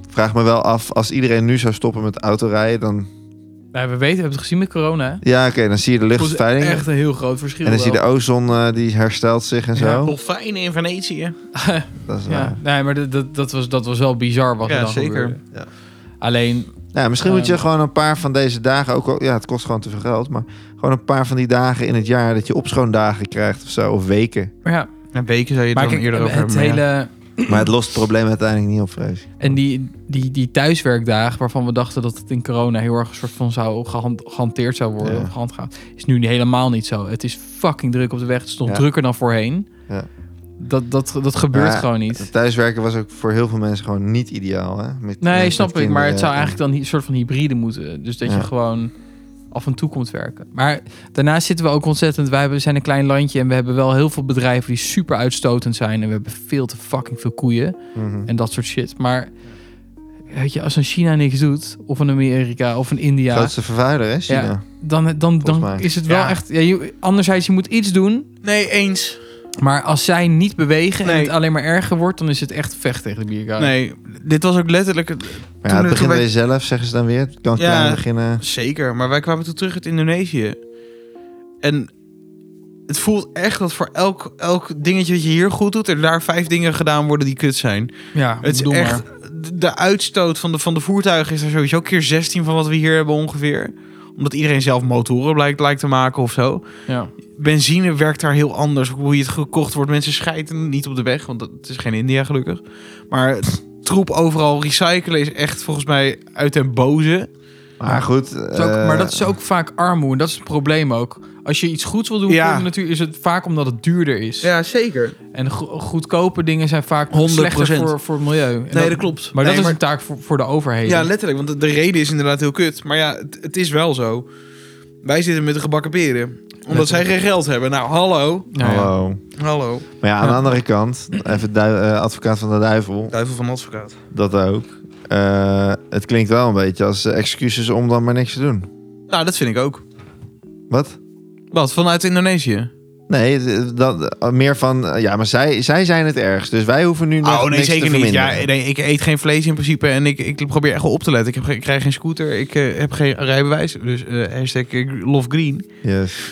[SPEAKER 3] ik vraag me wel af, als iedereen nu zou stoppen met autorijden, dan...
[SPEAKER 2] Nou, we weten, we hebben het gezien met corona. hè?
[SPEAKER 3] Ja, oké, dan zie je de
[SPEAKER 2] Het was
[SPEAKER 3] luchtvervuiling.
[SPEAKER 2] echt een heel groot verschil.
[SPEAKER 3] En dan zie je
[SPEAKER 2] wel.
[SPEAKER 3] de ozon, eh, die herstelt zich en zo.
[SPEAKER 1] Oh.
[SPEAKER 2] Ja,
[SPEAKER 1] Dolfijnen in Venetië.
[SPEAKER 3] Dat is
[SPEAKER 2] ja.
[SPEAKER 3] waar.
[SPEAKER 2] Nee, maar dat, dat, dat, was, dat was wel bizar wat
[SPEAKER 1] Ja,
[SPEAKER 2] er dan
[SPEAKER 1] zeker.
[SPEAKER 2] gebeurde.
[SPEAKER 3] Ja.
[SPEAKER 2] Alleen,
[SPEAKER 3] Ja, misschien moet je
[SPEAKER 2] Ehm.
[SPEAKER 3] gewoon een paar van deze dagen, ook al, ja, het kost gewoon te veel geld, maar gewoon een paar van die dagen in het jaar dat je opschoondagen krijgt of zo, of weken.
[SPEAKER 2] maar ja,
[SPEAKER 1] Na weken zou je het
[SPEAKER 2] maar
[SPEAKER 1] dan
[SPEAKER 2] kijk,
[SPEAKER 1] eerder
[SPEAKER 2] het
[SPEAKER 1] over hebben. maar ja.
[SPEAKER 2] hele...
[SPEAKER 3] Maar het lost het probleem uiteindelijk niet op, vrees ik.
[SPEAKER 2] En die, die, die thuiswerkdagen waarvan we dachten dat het in corona heel erg een soort van zou gehan- gehanteerd zou worden
[SPEAKER 3] Ja.
[SPEAKER 2] of gehandhaafd, is nu helemaal niet zo. Het is fucking druk op de weg. Het is nog
[SPEAKER 3] Ja.
[SPEAKER 2] drukker dan voorheen.
[SPEAKER 3] Ja.
[SPEAKER 2] Dat, dat, dat gebeurt
[SPEAKER 3] Maar Het
[SPEAKER 2] gewoon niet.
[SPEAKER 3] thuiswerken was ook voor heel veel mensen gewoon niet ideaal. Hè? Met-
[SPEAKER 2] Nee,
[SPEAKER 3] met
[SPEAKER 2] snap ik. Maar
[SPEAKER 3] kinderen
[SPEAKER 2] het zou
[SPEAKER 3] en-
[SPEAKER 2] eigenlijk dan een soort van hybride moeten. Dus dat
[SPEAKER 3] Ja.
[SPEAKER 2] je gewoon af en toe komt werken. Maar daarnaast zitten we ook ontzettend... Wij hebben- zijn een klein landje en we hebben wel heel veel bedrijven die super uitstotend zijn. En we hebben veel te fucking veel koeien.
[SPEAKER 3] Mhm.
[SPEAKER 2] en dat soort shit. Maar weet je, als een China niks doet, of een Amerika of een India,
[SPEAKER 3] Grootste vervuiler, hè, China.
[SPEAKER 2] Ja. dan, dan,
[SPEAKER 3] Volgens
[SPEAKER 2] dan
[SPEAKER 3] mij.
[SPEAKER 2] is het wel
[SPEAKER 1] Ja.
[SPEAKER 2] echt. Ja, je, anderzijds, je moet iets doen.
[SPEAKER 1] Nee, eens.
[SPEAKER 2] Maar als zij niet bewegen en
[SPEAKER 1] Nee.
[SPEAKER 2] het alleen maar erger wordt, dan is het echt vecht tegen de bierkaart.
[SPEAKER 1] Nee, dit was ook letterlijk... het-
[SPEAKER 3] Maar ja, het
[SPEAKER 1] toen wij-
[SPEAKER 3] begint bij jezelf, zeggen ze dan weer. Het kan
[SPEAKER 1] Ja.
[SPEAKER 3] klein beginnen.
[SPEAKER 1] Zeker, maar wij kwamen toen terug uit Indonesië. En het voelt echt dat voor elk, elk dingetje wat je hier goed doet... er daar vijf dingen gedaan worden die kut zijn.
[SPEAKER 2] Ja,
[SPEAKER 1] Het is
[SPEAKER 2] bedoel
[SPEAKER 1] echt...
[SPEAKER 2] maar.
[SPEAKER 1] de- De uitstoot van de, van de voertuigen is er sowieso keer 16 van wat we hier hebben ongeveer. Omdat iedereen zelf motoren blijkt, lijkt te maken of zo.
[SPEAKER 2] Ja.
[SPEAKER 1] benzine werkt daar heel anders. Hoe je het gekocht wordt. Mensen schijten niet op de weg, want dat het is geen India gelukkig. Maar het troep overal recyclen is echt volgens mij uit den boze.
[SPEAKER 3] Maar goed.
[SPEAKER 2] Het is ook- maar
[SPEAKER 3] eh,
[SPEAKER 2] dat is ook vaak armoede. En dat is het probleem ook. Als je iets goeds wil doen
[SPEAKER 1] Ja.
[SPEAKER 2] voor de natuur, is het vaak omdat het duurder is.
[SPEAKER 1] zeker.
[SPEAKER 2] En go- goedkope dingen zijn vaak
[SPEAKER 1] 100%.
[SPEAKER 2] slechter voor, voor het milieu. En
[SPEAKER 1] Nee, dat klopt.
[SPEAKER 2] Maar
[SPEAKER 1] Nee,
[SPEAKER 2] dat
[SPEAKER 1] maar-
[SPEAKER 2] is een taak voor, voor de overheden.
[SPEAKER 1] Ja, letterlijk. Want de, de reden is inderdaad heel kut. Maar ja, het, het is wel zo. Wij zitten met de gebakken peren. Omdat
[SPEAKER 2] Letterlijk.
[SPEAKER 1] zij geen geld hebben. Nou, hallo.
[SPEAKER 2] Nou ja.
[SPEAKER 3] Hallo.
[SPEAKER 1] Hallo.
[SPEAKER 3] oh, Maar ja, aan de
[SPEAKER 2] Ja.
[SPEAKER 3] andere kant, even du- eh, advocaat van de duivel,
[SPEAKER 1] Duivel van advocaat.
[SPEAKER 3] dat ook. eh, het klinkt wel een beetje als eh, excuses om dan maar niks te doen.
[SPEAKER 1] Nou, dat vind ik ook.
[SPEAKER 3] Wat?
[SPEAKER 1] Wat, vanuit Indonesië?
[SPEAKER 3] Nee, d- dat, eh, meer van, eh, ja, maar zij, zij zijn het ergst. Dus wij hoeven nu nog
[SPEAKER 1] oh nee,
[SPEAKER 3] niks
[SPEAKER 1] zeker
[SPEAKER 3] te
[SPEAKER 1] niet. Ja,
[SPEAKER 3] verminderen.
[SPEAKER 1] nee, ik eet geen vlees in principe en ik, ik probeer echt wel op te letten. Ik, heb, geen- ik krijg geen scooter, ik eh, heb geen rijbewijs. Dus eh hashtag eh, love green.
[SPEAKER 3] Yes.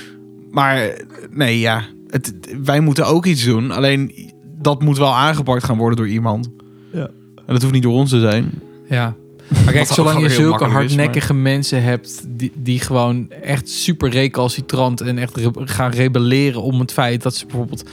[SPEAKER 1] Maar eh, nee, ja. Het, wij moeten ook iets doen. Alleen dat moet wel aangepakt gaan worden door iemand.
[SPEAKER 2] Ja.
[SPEAKER 1] En dat hoeft niet door ons te zijn.
[SPEAKER 2] Ja. Maar kijk,
[SPEAKER 1] ook
[SPEAKER 2] zolang je
[SPEAKER 1] heel
[SPEAKER 2] zulke
[SPEAKER 1] makkelijk is,
[SPEAKER 2] hardnekkige mensen hebt die, die gewoon echt super recalcitrant en echt re- gaan rebelleren om het feit dat ze bijvoorbeeld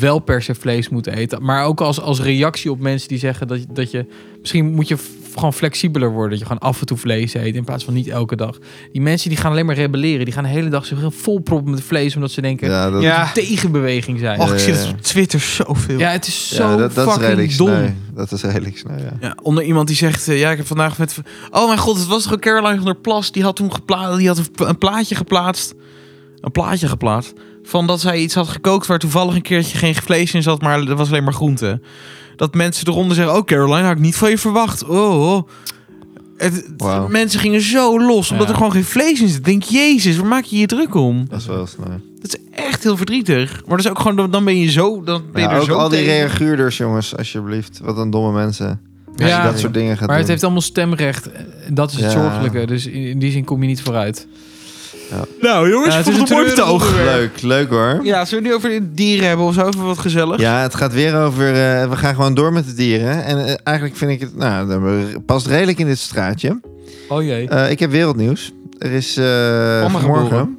[SPEAKER 2] wel per se vlees moeten eten. Maar ook als, als reactie op mensen die zeggen dat, dat je... Misschien moet je f- gewoon flexibeler worden. Dat je gewoon af en toe vlees eet in plaats van niet elke dag. Die mensen die gaan alleen maar rebelleren. Die gaan de hele dag zich heel volproppen met vlees omdat ze denken...
[SPEAKER 3] Ja, dat,
[SPEAKER 1] Ja.
[SPEAKER 2] dat het een tegenbeweging zijn.
[SPEAKER 1] Och, ik zie
[SPEAKER 3] Ja,
[SPEAKER 1] dat
[SPEAKER 3] ja.
[SPEAKER 1] op Twitter zoveel.
[SPEAKER 2] Ja, het is zo
[SPEAKER 3] ja, dat, dat is
[SPEAKER 2] fucking
[SPEAKER 3] redelijk
[SPEAKER 2] dom.
[SPEAKER 3] sneu. Dat is redelijk sneu, ja.
[SPEAKER 1] Ja, onder iemand die zegt, eh, ja, ik heb vandaag met... Oh mijn god, het was toch ook Caroline van der Plas. Die had toen gepla die had een, pla- een plaatje geplaatst. Een plaatje geplaatst. Van dat zij iets had gekookt waar toevallig een keertje geen vlees in zat, maar er was alleen maar groente. Dat mensen eronder zeggen, oh Caroline, had ik niet van je verwacht. Oh, oh. Het, het-
[SPEAKER 3] Wauw.
[SPEAKER 1] Mensen gingen zo los, omdat
[SPEAKER 2] Ja.
[SPEAKER 1] er gewoon geen vlees in zit. Ik Denk, jezus, waar maak je je druk om?
[SPEAKER 3] Dat is wel sneu.
[SPEAKER 1] Dat is echt heel verdrietig. Maar dat is ook gewoon, dan- dan ben je zo... Dan ben je
[SPEAKER 3] Ja,
[SPEAKER 1] er
[SPEAKER 3] Nou, ook
[SPEAKER 1] zo
[SPEAKER 3] al die
[SPEAKER 1] tegen.
[SPEAKER 3] reageerders, jongens, alsjeblieft. Wat een domme mensen. Als
[SPEAKER 2] Ja.
[SPEAKER 3] je dat soort dingen gaat
[SPEAKER 2] Maar het
[SPEAKER 3] doen.
[SPEAKER 2] heeft allemaal stemrecht. Eh, Dat is het
[SPEAKER 3] Ja.
[SPEAKER 2] zorgelijke. Dus in, in die zin kom je niet vooruit.
[SPEAKER 1] Nou jongens,
[SPEAKER 2] Ja, het
[SPEAKER 1] ik
[SPEAKER 2] is
[SPEAKER 1] vond het een
[SPEAKER 2] een
[SPEAKER 1] mooi
[SPEAKER 2] treurig
[SPEAKER 1] betoog.
[SPEAKER 3] Leuk,
[SPEAKER 2] onderwerp.
[SPEAKER 3] leuk hoor.
[SPEAKER 1] Ja, zullen we nu over dieren hebben of zo? Even wat gezellig.
[SPEAKER 3] Ja, het gaat weer over. eh, we gaan gewoon door met de dieren. En eh, eigenlijk vind ik het. Nou, dat past redelijk in dit straatje.
[SPEAKER 2] Oh jee.
[SPEAKER 3] Eh, ik heb wereldnieuws. Er is. eh vanmorgen.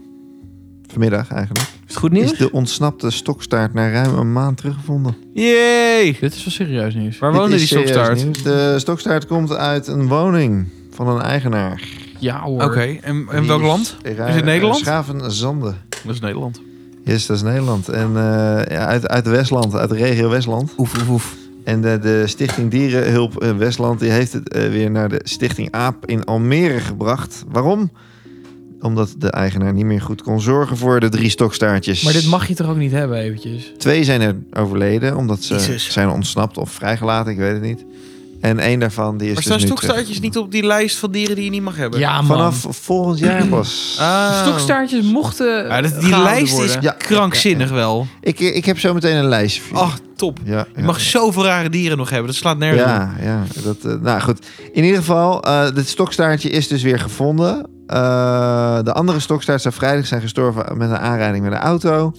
[SPEAKER 3] Vanmiddag eigenlijk.
[SPEAKER 2] is het goed
[SPEAKER 3] Is de ontsnapte stokstaart na ruim een maand teruggevonden.
[SPEAKER 1] Yay!
[SPEAKER 2] Dit is wel serieus nieuws.
[SPEAKER 1] Waar
[SPEAKER 3] Dit
[SPEAKER 1] woonde
[SPEAKER 3] is
[SPEAKER 1] die
[SPEAKER 3] serieus
[SPEAKER 1] stokstaart?
[SPEAKER 3] nieuws. De stokstaart komt uit een woning van een eigenaar.
[SPEAKER 2] Ja hoor.
[SPEAKER 1] Oké, en, en welk land?
[SPEAKER 3] Is
[SPEAKER 1] het Nederland?
[SPEAKER 3] Schavenzande.
[SPEAKER 1] Dat is Nederland.
[SPEAKER 3] Yes, dat is Nederland. En eh, ja, uit, uit Westland, uit de regio Westland.
[SPEAKER 1] Oef, oef, oef.
[SPEAKER 3] En de, de Stichting Dierenhulp eh, Westland die heeft het eh, weer naar de Stichting AAP in Almere gebracht. Waarom? Omdat de eigenaar niet meer goed kon zorgen voor de drie stokstaartjes.
[SPEAKER 2] Maar dit mag je toch ook niet hebben eventjes?
[SPEAKER 3] Twee zijn er overleden, omdat ze
[SPEAKER 1] Jezus.
[SPEAKER 3] zijn ontsnapt of vrijgelaten, ik weet het niet. En één daarvan die is
[SPEAKER 1] Maar
[SPEAKER 3] dus
[SPEAKER 1] staan
[SPEAKER 3] nu
[SPEAKER 1] stokstaartjes
[SPEAKER 3] terug.
[SPEAKER 1] niet op die lijst van dieren die je niet mag hebben?
[SPEAKER 2] Ja man.
[SPEAKER 3] Vanaf eh, volgend jaar pas.
[SPEAKER 1] Ah.
[SPEAKER 2] Stokstaartjes mochten
[SPEAKER 1] Ja, dat, die
[SPEAKER 2] gehouden
[SPEAKER 1] lijst is
[SPEAKER 2] worden.
[SPEAKER 3] Ja.
[SPEAKER 1] krankzinnig wel.
[SPEAKER 3] Ik, ik heb zo meteen een lijstje voor je.
[SPEAKER 1] Ach, top.
[SPEAKER 3] ja,
[SPEAKER 1] Je
[SPEAKER 3] ja.
[SPEAKER 1] mag zoveel rare dieren nog hebben. Dat slaat nergens op.
[SPEAKER 3] Ja, ja. Dat, eh, nou goed. In ieder geval, eh dit stokstaartje is dus weer gevonden. Eh, de andere stokstaart zou vrijdag zijn gestorven met een aanrijding met een auto.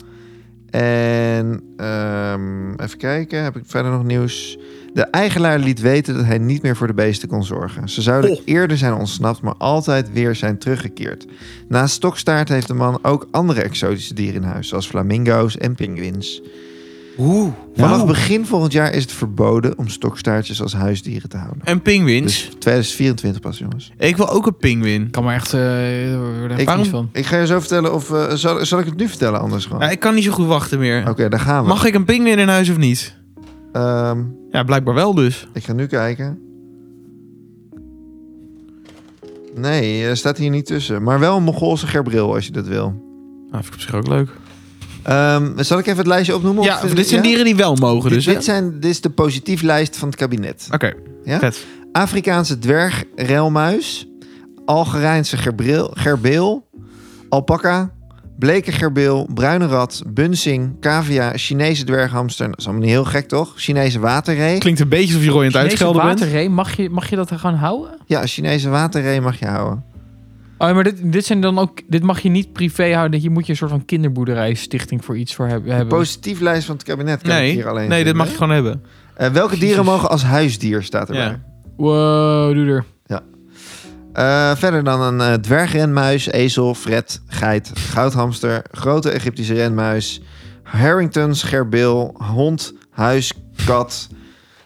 [SPEAKER 3] En ehm, even kijken, heb ik verder nog nieuws? De eigenaar liet weten dat hij niet meer voor de beesten kon zorgen. Ze zouden
[SPEAKER 1] Oh.
[SPEAKER 3] eerder zijn ontsnapt, maar altijd weer zijn teruggekeerd. Naast stokstaart heeft de man ook andere exotische dieren in huis, zoals flamingo's en pinguïns.
[SPEAKER 1] Oeh.
[SPEAKER 3] Vanaf
[SPEAKER 1] Nou.
[SPEAKER 3] begin volgend jaar is het verboden om stokstaartjes als huisdieren te houden.
[SPEAKER 1] En pinguïns.
[SPEAKER 3] Dus 2024 pas, jongens.
[SPEAKER 1] Ik wil ook een pinguïn.
[SPEAKER 2] Ik kan me echt... eh er wordt echt
[SPEAKER 3] Ik-
[SPEAKER 2] vies van.
[SPEAKER 3] Ik ga je zo vertellen of... eh, zal, zal ik het nu vertellen anders gewoon?
[SPEAKER 1] Nou, ik kan niet zo goed wachten meer.
[SPEAKER 3] Oké, daar gaan we.
[SPEAKER 1] Mag ik een pinguïn in huis of niet?
[SPEAKER 3] Ehm,
[SPEAKER 1] Ja, blijkbaar wel dus.
[SPEAKER 3] ik ga nu kijken. Nee, er staat hier niet tussen. Maar wel een Mongoolse gerbril als je dat wil.
[SPEAKER 1] Nou, vind ik op zich ook leuk.
[SPEAKER 3] Ehm, zal ik even het lijstje opnoemen?
[SPEAKER 1] Ja,
[SPEAKER 3] Of vind-
[SPEAKER 1] dit zijn
[SPEAKER 3] ja?
[SPEAKER 1] dieren die wel mogen
[SPEAKER 3] Dit,
[SPEAKER 1] dus. hè?
[SPEAKER 3] dit, zijn, dit is de positief lijst van het kabinet.
[SPEAKER 1] Oké,
[SPEAKER 3] Ja?
[SPEAKER 1] vet.
[SPEAKER 3] Afrikaanse dwergrelmuis, Algerijnse gerbril, gerbeel, alpaca, bleke gerbeel, bruine rat, bunsing, cavia, Chinese dwerghamster. Dat is allemaal niet heel gek, toch? Chinese waterree.
[SPEAKER 1] Klinkt een beetje alsof je rooi aan het
[SPEAKER 2] Chinese
[SPEAKER 1] uitschelden bent.
[SPEAKER 2] waterree, mag je, mag je dat er gewoon houden?
[SPEAKER 3] Ja, Chinese waterree mag je houden.
[SPEAKER 2] Oh, ja, maar dit, dit zijn dan ook... Dit mag je niet privé houden. Hier moet je een soort van kinderboerderijstichting voor iets voor heb-
[SPEAKER 3] De
[SPEAKER 2] hebben.
[SPEAKER 3] positief lijst van het kabinet kan ik hier alleen
[SPEAKER 1] nee dit
[SPEAKER 3] vinden.
[SPEAKER 1] mag je gewoon hebben.
[SPEAKER 3] Eh, welke dieren
[SPEAKER 2] Jezus.
[SPEAKER 3] mogen als huisdier, staat erbij.
[SPEAKER 1] Ja.
[SPEAKER 2] Wow, doe er.
[SPEAKER 3] Eh, verder dan een eh, dwergrenmuis, ezel, fret, geit, goudhamster, grote Egyptische renmuis, herringtons, gerbeel, hond, huis, kat,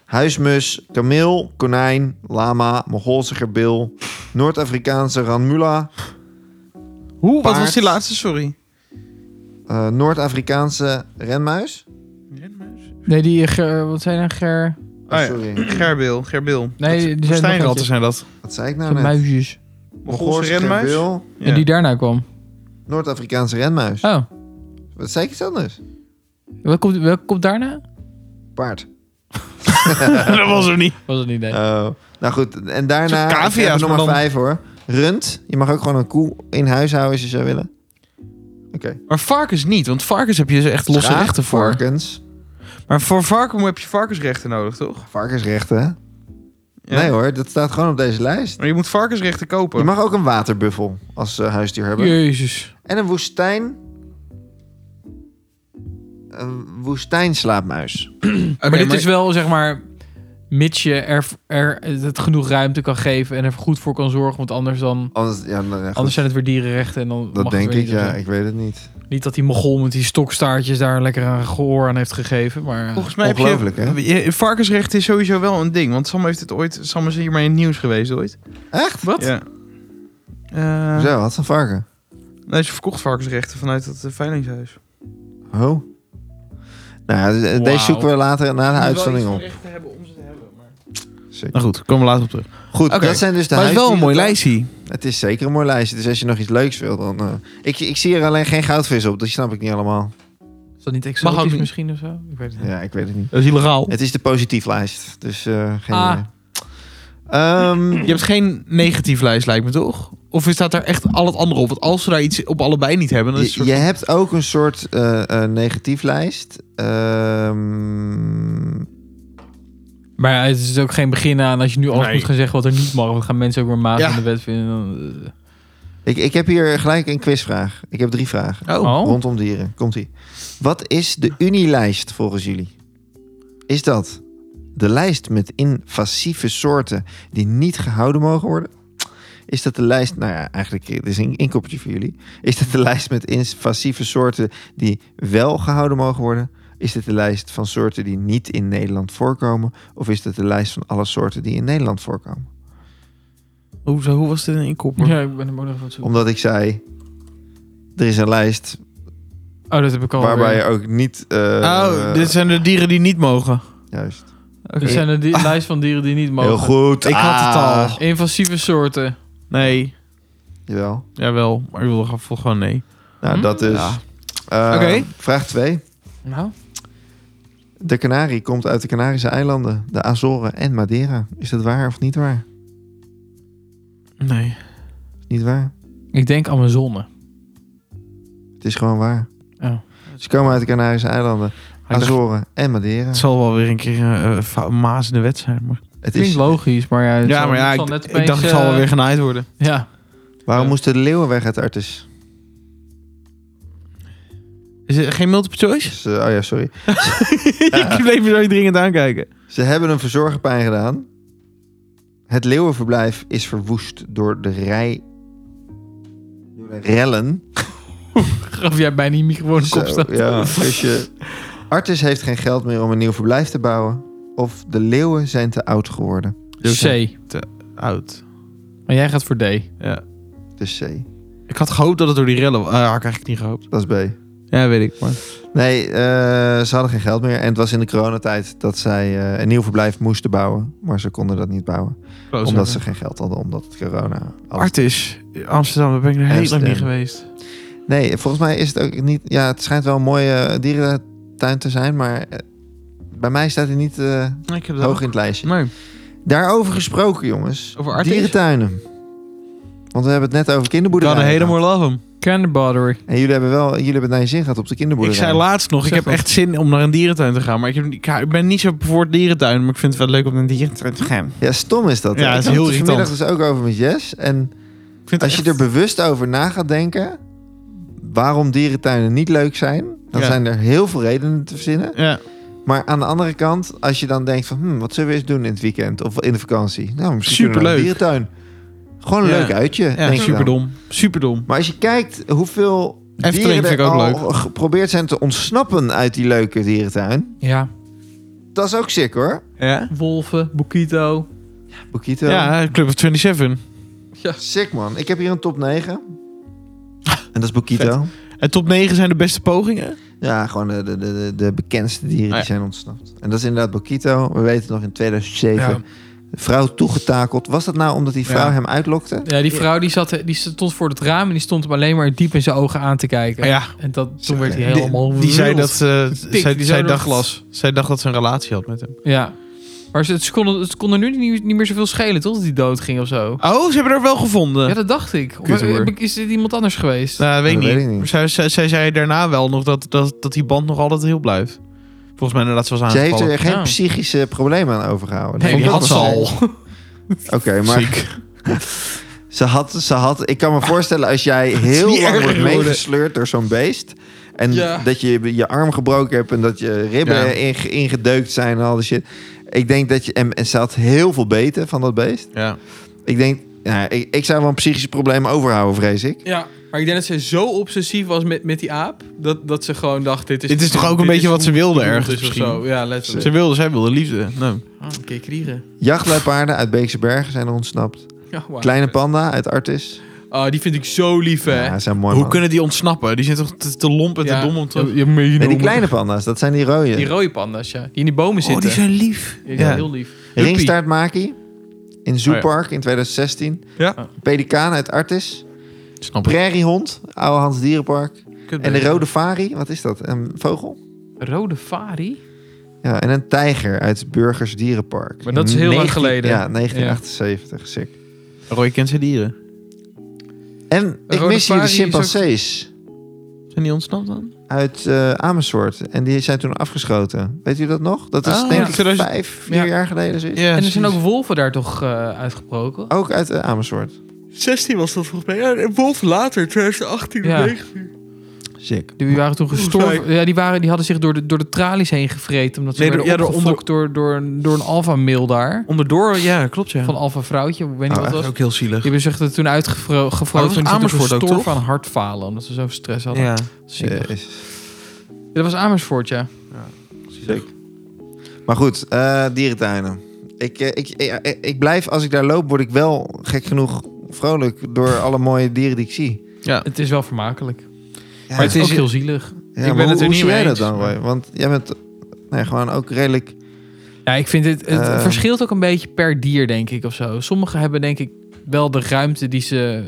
[SPEAKER 3] huismus, kameel, konijn, lama, Mongoolse gerbeel, Noord-Afrikaanse ranmula,
[SPEAKER 1] Hoe? Wat
[SPEAKER 3] Paard.
[SPEAKER 1] was die laatste? Sorry.
[SPEAKER 3] eh, Noord-Afrikaanse renmuis.
[SPEAKER 2] Nee, die... eh, Ger, wat zijn dan? Ger...
[SPEAKER 3] Oh,
[SPEAKER 1] Ah, ja.
[SPEAKER 3] sorry,
[SPEAKER 1] Gerbil, gerbil.
[SPEAKER 2] Nee, die zijn nog
[SPEAKER 1] Woestijnratten
[SPEAKER 2] eentje.
[SPEAKER 1] zijn dat.
[SPEAKER 3] wat zei ik
[SPEAKER 2] Zo'n
[SPEAKER 3] nou net?
[SPEAKER 2] muisjes.
[SPEAKER 1] Mongoolse renmuis.
[SPEAKER 3] gerbeel,
[SPEAKER 1] Ja.
[SPEAKER 2] En die daarna kwam.
[SPEAKER 3] Noord-Afrikaanse renmuis.
[SPEAKER 2] Oh.
[SPEAKER 3] Wat zei ik iets anders?
[SPEAKER 2] Welk komt, welk komt daarna?
[SPEAKER 3] Paard.
[SPEAKER 1] dat was hem niet.
[SPEAKER 2] Was het niet, nee.
[SPEAKER 3] Oh. nou goed, en daarna...
[SPEAKER 1] Zo'n cavia's,
[SPEAKER 3] ik heb er nog maar
[SPEAKER 1] maar dan-
[SPEAKER 3] vijf hoor. Rund. Je mag ook gewoon een koe in huis houden als je zou willen. Oké.
[SPEAKER 1] Maar varkens niet, want varkens heb je dus echt losse
[SPEAKER 3] Schaap,
[SPEAKER 1] rechten voor.
[SPEAKER 3] Varkens.
[SPEAKER 1] Maar voor varken heb je varkensrechten nodig, toch?
[SPEAKER 3] Varkensrechten.
[SPEAKER 1] Ja.
[SPEAKER 3] Nee hoor, dat staat gewoon op deze lijst.
[SPEAKER 1] Maar je moet varkensrechten kopen.
[SPEAKER 3] Je mag ook een waterbuffel als eh, huisdier hebben.
[SPEAKER 2] Jezus.
[SPEAKER 3] En een woestijn. Een woestijnslaapmuis.
[SPEAKER 1] Oké,
[SPEAKER 2] maar dit is wel, zeg maar, mits je er, er het genoeg ruimte kan geven en er goed voor kan zorgen. Want anders, dan,
[SPEAKER 3] Anders, ja, nou ja, goed.
[SPEAKER 2] anders zijn het weer dierenrechten. En dan
[SPEAKER 3] dat
[SPEAKER 2] mag het
[SPEAKER 3] denk
[SPEAKER 2] weer
[SPEAKER 3] ik,
[SPEAKER 2] niet of
[SPEAKER 3] ja.
[SPEAKER 2] zo.
[SPEAKER 3] Ik weet het niet.
[SPEAKER 2] Niet dat die mogol met die stokstaartjes daar lekker aan gehoor aan heeft gegeven. Maar eh,
[SPEAKER 1] Volgens mij heb je,
[SPEAKER 3] Ongelooflijk, hè?
[SPEAKER 1] je- Varkensrecht is sowieso wel een ding. Want Sam heeft het ooit... Sam is hiermee in het nieuws geweest ooit.
[SPEAKER 3] Echt?
[SPEAKER 1] Wat? Ja. Eh,
[SPEAKER 3] Zo, wat een varken.
[SPEAKER 1] nee, ze verkocht varkensrechten vanuit het eh, veilingshuis.
[SPEAKER 3] Oh. Nou, ja, d- deze
[SPEAKER 2] Wauw.
[SPEAKER 3] zoeken we later na de uitzending op.
[SPEAKER 1] rechten hebben om ze te hebben. Maar...
[SPEAKER 3] Zeker.
[SPEAKER 1] Nou goed, komen we later op terug.
[SPEAKER 3] Goed,
[SPEAKER 1] Oké.
[SPEAKER 3] dat zijn dus de
[SPEAKER 1] maar het is wel een mooi
[SPEAKER 3] huisdieren.
[SPEAKER 1] lijstje.
[SPEAKER 3] Het is zeker een mooi lijstje. Dus als je nog iets leuks wil, dan... eh, ik, ik zie er alleen geen goudvis op. Dat snap ik niet allemaal.
[SPEAKER 2] is dat niet
[SPEAKER 1] Mag ook
[SPEAKER 2] exotisch
[SPEAKER 1] niet.
[SPEAKER 2] misschien of zo? Ik weet het niet.
[SPEAKER 3] Ja, ik weet het niet.
[SPEAKER 1] Dat is illegaal.
[SPEAKER 3] Het is de positief lijst. Dus eh, geen...
[SPEAKER 2] Ah.
[SPEAKER 3] idee. Ehm,
[SPEAKER 1] Je hebt geen negatief lijst, lijkt me toch? Of staat daar echt al het andere op? Want als ze daar iets op allebei niet hebben, dan is
[SPEAKER 3] Je,
[SPEAKER 1] het soort...
[SPEAKER 3] je hebt ook een soort eh, eh, negatief lijst. Ehm,
[SPEAKER 2] Maar het is ook geen begin aan als je nu alles
[SPEAKER 1] Nee.
[SPEAKER 2] moet gaan zeggen wat er niet mag. Dan gaan mensen ook weer maat
[SPEAKER 1] Ja.
[SPEAKER 2] in de wet vinden. Dan, eh,
[SPEAKER 3] ik, ik heb hier gelijk een quizvraag. Ik heb drie vragen
[SPEAKER 1] Oh,
[SPEAKER 2] oh.
[SPEAKER 3] rondom dieren. Komt-ie. Wat is de Unilijst volgens jullie? Is dat de lijst met invasieve soorten die niet gehouden mogen worden? Is dat de lijst, nou ja, eigenlijk dit is een inkoppertje voor jullie. Is dat de lijst met invasieve soorten die wel gehouden mogen worden? Is dit de lijst van soorten die niet in Nederland voorkomen? Of is dit de lijst van alle soorten die in Nederland voorkomen?
[SPEAKER 1] Hoezo, hoe was dit een inkopper?
[SPEAKER 2] Ja, ik ben er ook nog even wat zoeken.
[SPEAKER 3] Omdat ik zei, er is een lijst
[SPEAKER 2] Oh, dat heb ik al.
[SPEAKER 3] waarbij
[SPEAKER 2] weer.
[SPEAKER 3] je ook niet... eh,
[SPEAKER 1] Oh, dit zijn de dieren die niet mogen.
[SPEAKER 3] Juist.
[SPEAKER 2] Er zijn een di- lijst van dieren die niet mogen.
[SPEAKER 3] Ah. Heel goed.
[SPEAKER 1] Ik had het
[SPEAKER 3] Ah.
[SPEAKER 1] al.
[SPEAKER 2] Invasieve soorten.
[SPEAKER 1] Nee,
[SPEAKER 3] Jawel.
[SPEAKER 1] jawel. Maar ik wilde gewoon- vond gewoon nee.
[SPEAKER 3] Nou,
[SPEAKER 2] Hm?
[SPEAKER 3] dat is...
[SPEAKER 1] Ja.
[SPEAKER 3] Eh,
[SPEAKER 1] Oké.
[SPEAKER 3] Vraag 2.
[SPEAKER 2] Nou,
[SPEAKER 3] De Canarie komt uit de Canarische eilanden, de Azoren en Madeira. Is dat waar of niet waar?
[SPEAKER 1] Nee.
[SPEAKER 3] Niet waar.
[SPEAKER 2] ik denk Amazone.
[SPEAKER 3] Het is gewoon waar.
[SPEAKER 2] Oh.
[SPEAKER 3] Ze komen uit de Canarische eilanden,
[SPEAKER 1] dacht-
[SPEAKER 3] Azoren en Madeira.
[SPEAKER 1] Het zal wel weer een keer eh, eh, fa- maas in de wet zijn. Maar...
[SPEAKER 3] Het
[SPEAKER 2] Klinkt
[SPEAKER 3] is,
[SPEAKER 2] logisch, maar ja, het
[SPEAKER 1] Ja,
[SPEAKER 2] zal-
[SPEAKER 1] maar ja,
[SPEAKER 2] het
[SPEAKER 1] ik,
[SPEAKER 2] zal net
[SPEAKER 1] ik
[SPEAKER 2] opeens,
[SPEAKER 1] dacht het zal wel
[SPEAKER 2] eh,
[SPEAKER 1] weer genaaid worden.
[SPEAKER 2] Ja.
[SPEAKER 3] waarom
[SPEAKER 2] Ja.
[SPEAKER 3] moesten de leeuwen weg uit Artis?
[SPEAKER 1] Is het geen multiple choice?
[SPEAKER 3] Dus, eh, oh ja, sorry.
[SPEAKER 1] ik bleef me zo dringend aankijken.
[SPEAKER 3] Ze hebben een verzorgerpijn gedaan. Het leeuwenverblijf is verwoest door de rij... door de rellen
[SPEAKER 2] Gaf jij bijna die microfoon in de kop
[SPEAKER 3] Zo,
[SPEAKER 2] staan.
[SPEAKER 3] Ja, dus je... Artis heeft geen geld meer om een nieuw verblijf te bouwen. Of de leeuwen zijn te oud geworden.
[SPEAKER 2] C.
[SPEAKER 1] Oud.
[SPEAKER 2] Maar jij gaat voor D. Oké.
[SPEAKER 1] Ja.
[SPEAKER 3] Dus C.
[SPEAKER 1] Ik had gehoopt dat het door die rellen... wa- Ah, had ik eigenlijk niet gehoopt.
[SPEAKER 3] Dat is B.
[SPEAKER 1] Ja, weet ik. Maar...
[SPEAKER 3] Nee, eh, ze hadden geen geld meer. En het was in de coronatijd dat zij eh, een nieuw verblijf moesten bouwen. Maar ze konden dat niet bouwen.
[SPEAKER 1] Oh,
[SPEAKER 3] omdat ze geen geld hadden, omdat het corona... alles-
[SPEAKER 1] Artis, Amsterdam, daar ben ik nog heel lang
[SPEAKER 3] Amsterdam.
[SPEAKER 1] niet geweest.
[SPEAKER 3] Nee, volgens mij is het ook niet... Ja, het schijnt wel een mooie dierentuin te zijn. Maar eh, bij mij staat hij niet eh,
[SPEAKER 1] Ik heb
[SPEAKER 3] hoog in het lijstje.
[SPEAKER 1] Nee.
[SPEAKER 3] Daarover gesproken, jongens.
[SPEAKER 1] Over Artis?
[SPEAKER 3] Dierentuinen. Want we hebben het net over
[SPEAKER 1] Kan
[SPEAKER 3] kinderboerderijen.
[SPEAKER 1] een
[SPEAKER 3] gehad.
[SPEAKER 1] helemaal love hem.
[SPEAKER 2] Candy battery.
[SPEAKER 3] En jullie hebben wel, jullie hebben naar je zin gehad op de
[SPEAKER 1] Ik
[SPEAKER 3] kinderboerderij.
[SPEAKER 1] zei laatst nog, ik
[SPEAKER 2] Zeg
[SPEAKER 1] heb
[SPEAKER 2] wat.
[SPEAKER 1] echt zin om naar een dierentuin te gaan. Maar ik, heb, ik hou- ik ben niet zo voor het dierentuin, maar ik vind het wel leuk om naar een dierentuin te gaan.
[SPEAKER 3] Ja, stom is dat.
[SPEAKER 1] Ja,
[SPEAKER 3] hè?
[SPEAKER 1] het is
[SPEAKER 3] Ik had
[SPEAKER 1] heel
[SPEAKER 3] het vanmiddag dus ook over met Jess. En
[SPEAKER 1] Ik vind
[SPEAKER 3] als je
[SPEAKER 1] echt-
[SPEAKER 3] er bewust over na gaat denken waarom dierentuinen niet leuk zijn, dan
[SPEAKER 1] Ja.
[SPEAKER 3] zijn er heel veel redenen te verzinnen.
[SPEAKER 1] Ja,
[SPEAKER 3] Maar aan de andere kant, als je dan denkt van, hm, wat zullen we eens doen in het weekend of in de vakantie? Nou, misschien kunnen we naar een dierentuin. Gewoon een
[SPEAKER 1] Ja.
[SPEAKER 3] leuk uitje,
[SPEAKER 1] ja
[SPEAKER 3] denk ik dan.
[SPEAKER 1] superdom. Superdom.
[SPEAKER 3] Maar als je kijkt hoeveel
[SPEAKER 1] Efteling
[SPEAKER 3] dieren
[SPEAKER 1] vind ik
[SPEAKER 3] er
[SPEAKER 1] ook
[SPEAKER 3] al geprobeerd zijn te ontsnappen uit die leuke dierentuin,
[SPEAKER 2] Ja.
[SPEAKER 3] dat is ook sick hoor.
[SPEAKER 1] Ja?
[SPEAKER 2] Wolven, Bukito.
[SPEAKER 3] Bokito.
[SPEAKER 1] Ja, Club of 27.
[SPEAKER 3] Sick man. Ik heb hier een top 9. En dat is Bokito.
[SPEAKER 1] En top 9 zijn de beste pogingen.
[SPEAKER 3] Ja, gewoon de, de, de, de bekendste dieren
[SPEAKER 1] Ah,
[SPEAKER 3] die
[SPEAKER 1] ja.
[SPEAKER 3] zijn ontsnapt. En dat is inderdaad Bokito. We weten nog in 2007.
[SPEAKER 2] Ja.
[SPEAKER 3] De vrouw toegetakeld. Was dat nou omdat die vrouw
[SPEAKER 1] Ja.
[SPEAKER 3] hem uitlokte?
[SPEAKER 2] Ja, die vrouw die, zat, die stond voor het raam en die stond hem alleen maar diep in zijn ogen aan te kijken.
[SPEAKER 1] Maar ja,
[SPEAKER 2] En dat, toen werd hij
[SPEAKER 1] die,
[SPEAKER 2] helemaal
[SPEAKER 1] die zei
[SPEAKER 2] wild.
[SPEAKER 1] dat eh,
[SPEAKER 2] Tik,
[SPEAKER 1] zij,
[SPEAKER 2] die
[SPEAKER 1] zij,
[SPEAKER 2] zei dat-
[SPEAKER 1] dacht, zij dacht dat ze een relatie had met hem.
[SPEAKER 2] Ja. Maar ze, het, kon, het kon er nu niet, niet meer zoveel schelen, toch? Dat hij dood ging of zo.
[SPEAKER 1] Oh, ze hebben er wel gevonden.
[SPEAKER 2] Ja, dat dacht ik. Of
[SPEAKER 1] Kuthoer.
[SPEAKER 2] heb ik- is dit iemand anders geweest?
[SPEAKER 1] Nou, dat weet ik
[SPEAKER 3] Dat
[SPEAKER 1] niet.
[SPEAKER 3] weet ik niet.
[SPEAKER 1] Maar Zij, zij, zij zei daarna wel nog dat, dat, dat die band nog altijd heel blijft. Volgens mij inderdaad, ze was
[SPEAKER 3] Ze heeft
[SPEAKER 1] aangevallen.
[SPEAKER 3] er geen
[SPEAKER 2] Ja.
[SPEAKER 3] psychische problemen aan overgehouden.
[SPEAKER 2] Nee,
[SPEAKER 3] Vond
[SPEAKER 2] die
[SPEAKER 3] ik
[SPEAKER 2] had
[SPEAKER 3] ook
[SPEAKER 2] ze
[SPEAKER 3] wel-
[SPEAKER 2] al.
[SPEAKER 3] Oké, maar
[SPEAKER 1] Ziek.
[SPEAKER 3] ze had, ze had... Ik kan me voorstellen als jij
[SPEAKER 1] Ah, niet
[SPEAKER 3] heel lang
[SPEAKER 1] erger
[SPEAKER 3] wordt
[SPEAKER 1] geworden.
[SPEAKER 3] meegesleurd door zo'n beest... en
[SPEAKER 2] Ja.
[SPEAKER 3] dat je je arm gebroken hebt en dat je ribben
[SPEAKER 1] Ja.
[SPEAKER 3] inge- ingedeukt zijn en al die shit. Ik denk dat je... En, en ze had heel veel beten van dat beest.
[SPEAKER 1] Ja.
[SPEAKER 3] Ik denk... Nou, ik, ik zou wel een psychisch probleem overhouden, vrees ik.
[SPEAKER 2] Ja, maar ik denk dat ze zo obsessief was met, met die aap... Dat, dat ze gewoon dacht, dit is...
[SPEAKER 1] Dit is toch ook een
[SPEAKER 2] dit
[SPEAKER 1] beetje
[SPEAKER 2] is
[SPEAKER 1] wat ze
[SPEAKER 2] hoe-
[SPEAKER 1] wilde
[SPEAKER 2] hoe het
[SPEAKER 1] ergens
[SPEAKER 2] is of
[SPEAKER 1] misschien.
[SPEAKER 2] zo. Ja, letterlijk.
[SPEAKER 1] Ze wilde, zij wilde liefde. Nou.
[SPEAKER 2] Ah, een keer kriegen.
[SPEAKER 3] Jachtluipaarden uit Beekse Bergen zijn er ontsnapt.
[SPEAKER 2] Ja, wauw.
[SPEAKER 3] Kleine panda uit Artis.
[SPEAKER 2] Ah, die vind ik zo lief, hè.
[SPEAKER 3] Ja, ze zijn mooi
[SPEAKER 1] Hoe
[SPEAKER 3] man.
[SPEAKER 1] kunnen die ontsnappen? Die zijn toch te, te lomp en te
[SPEAKER 2] Ja.
[SPEAKER 1] dom om te...
[SPEAKER 2] Ja, meen-
[SPEAKER 3] Nee, die kleine panda's, dat zijn die rode.
[SPEAKER 2] Die rode pandas, ja. Die in die bomen
[SPEAKER 1] oh,
[SPEAKER 2] zitten.
[SPEAKER 1] die zijn lief.
[SPEAKER 2] Ja, die zijn
[SPEAKER 1] Ja.
[SPEAKER 2] heel lief. Huppie.
[SPEAKER 3] Ringstaartmaki in
[SPEAKER 1] Oh ja.
[SPEAKER 3] Zoopark in 2016.
[SPEAKER 1] Ja.
[SPEAKER 3] Pelikaan uit Artis.
[SPEAKER 1] Snap ik.
[SPEAKER 3] Prairiehond, Oude Hans Dierenpark. En de
[SPEAKER 2] rode...
[SPEAKER 3] rode fari, wat is dat? Een vogel?
[SPEAKER 2] Rode Fari?
[SPEAKER 3] Ja, en een tijger uit Burgers Dierenpark.
[SPEAKER 2] Maar dat is heel lang geleden.
[SPEAKER 3] Ja, 1978, sick.
[SPEAKER 1] Roy kent zijn dieren.
[SPEAKER 3] En ik
[SPEAKER 2] rode
[SPEAKER 3] mis hier de
[SPEAKER 2] fari is ook-
[SPEAKER 3] chimpansees
[SPEAKER 1] Zijn die ontsnapt dan?
[SPEAKER 3] uit eh Amersfoort. En die zijn toen afgeschoten. Weet u dat nog? Dat is
[SPEAKER 1] Oh,
[SPEAKER 3] denk
[SPEAKER 1] ja.
[SPEAKER 3] ik
[SPEAKER 1] 2000
[SPEAKER 3] vijf, vier
[SPEAKER 2] Ah, Ja.
[SPEAKER 3] jaar geleden zoiets.
[SPEAKER 1] Ja,
[SPEAKER 2] en er zijn ook wolven daar toch eh, uitgebroken?
[SPEAKER 3] Ook uit eh, Amersfoort.
[SPEAKER 1] 16 was dat volgens mij. Ja, Wolf later, 2018
[SPEAKER 2] Ja.
[SPEAKER 1] 19.
[SPEAKER 3] Sick.
[SPEAKER 2] Die waren toen
[SPEAKER 1] Volgens
[SPEAKER 2] gestorven. Ja, die, waren, die hadden zich door de, door de tralies heen gevreten. Omdat ze
[SPEAKER 1] Nee,
[SPEAKER 2] werden
[SPEAKER 1] door- ja, door
[SPEAKER 2] opgefokt door, door, een- door een alfa-mail daar.
[SPEAKER 1] Onderdoor, ja, klopt ja.
[SPEAKER 2] Van alfa-vrouwtje, ik weet niet
[SPEAKER 3] Oh,
[SPEAKER 2] wat
[SPEAKER 3] echt?
[SPEAKER 2] het was.
[SPEAKER 1] ook heel zielig.
[SPEAKER 2] Die hebben zich er toen
[SPEAKER 1] was
[SPEAKER 2] uitgevroten. Toen
[SPEAKER 1] in
[SPEAKER 2] ze
[SPEAKER 1] Amersfoort ook,
[SPEAKER 2] gestorven
[SPEAKER 1] toch?
[SPEAKER 2] aan hartfalen. Omdat ze zoveel stress hadden.
[SPEAKER 1] Ja.
[SPEAKER 2] Zielig.
[SPEAKER 3] Jezus.
[SPEAKER 2] Ja, dat was Amersfoort, ja.
[SPEAKER 3] Maar goed, eh, dierentuinen. Ik, eh, ik, eh, eh, ik blijf, als ik daar loop, word ik wel gek genoeg vrolijk door alle mooie dieren die ik zie.
[SPEAKER 2] Het is wel vermakelijk.
[SPEAKER 3] Ja,
[SPEAKER 2] maar het is ook
[SPEAKER 1] is-
[SPEAKER 2] heel zielig.
[SPEAKER 3] ja,
[SPEAKER 1] ben
[SPEAKER 3] maar
[SPEAKER 1] het
[SPEAKER 3] hoe,
[SPEAKER 1] er
[SPEAKER 3] hoe
[SPEAKER 1] niet
[SPEAKER 3] zie
[SPEAKER 1] mee
[SPEAKER 3] jij dat
[SPEAKER 1] eens,
[SPEAKER 3] dan, Roy? Want jij bent nee, gewoon ook redelijk...
[SPEAKER 2] Ja, ik vind het... Het
[SPEAKER 1] Eh.
[SPEAKER 3] Ehm.
[SPEAKER 2] verschilt ook een beetje per dier, denk ik, of zo. Sommigen hebben, denk ik, wel de ruimte die ze...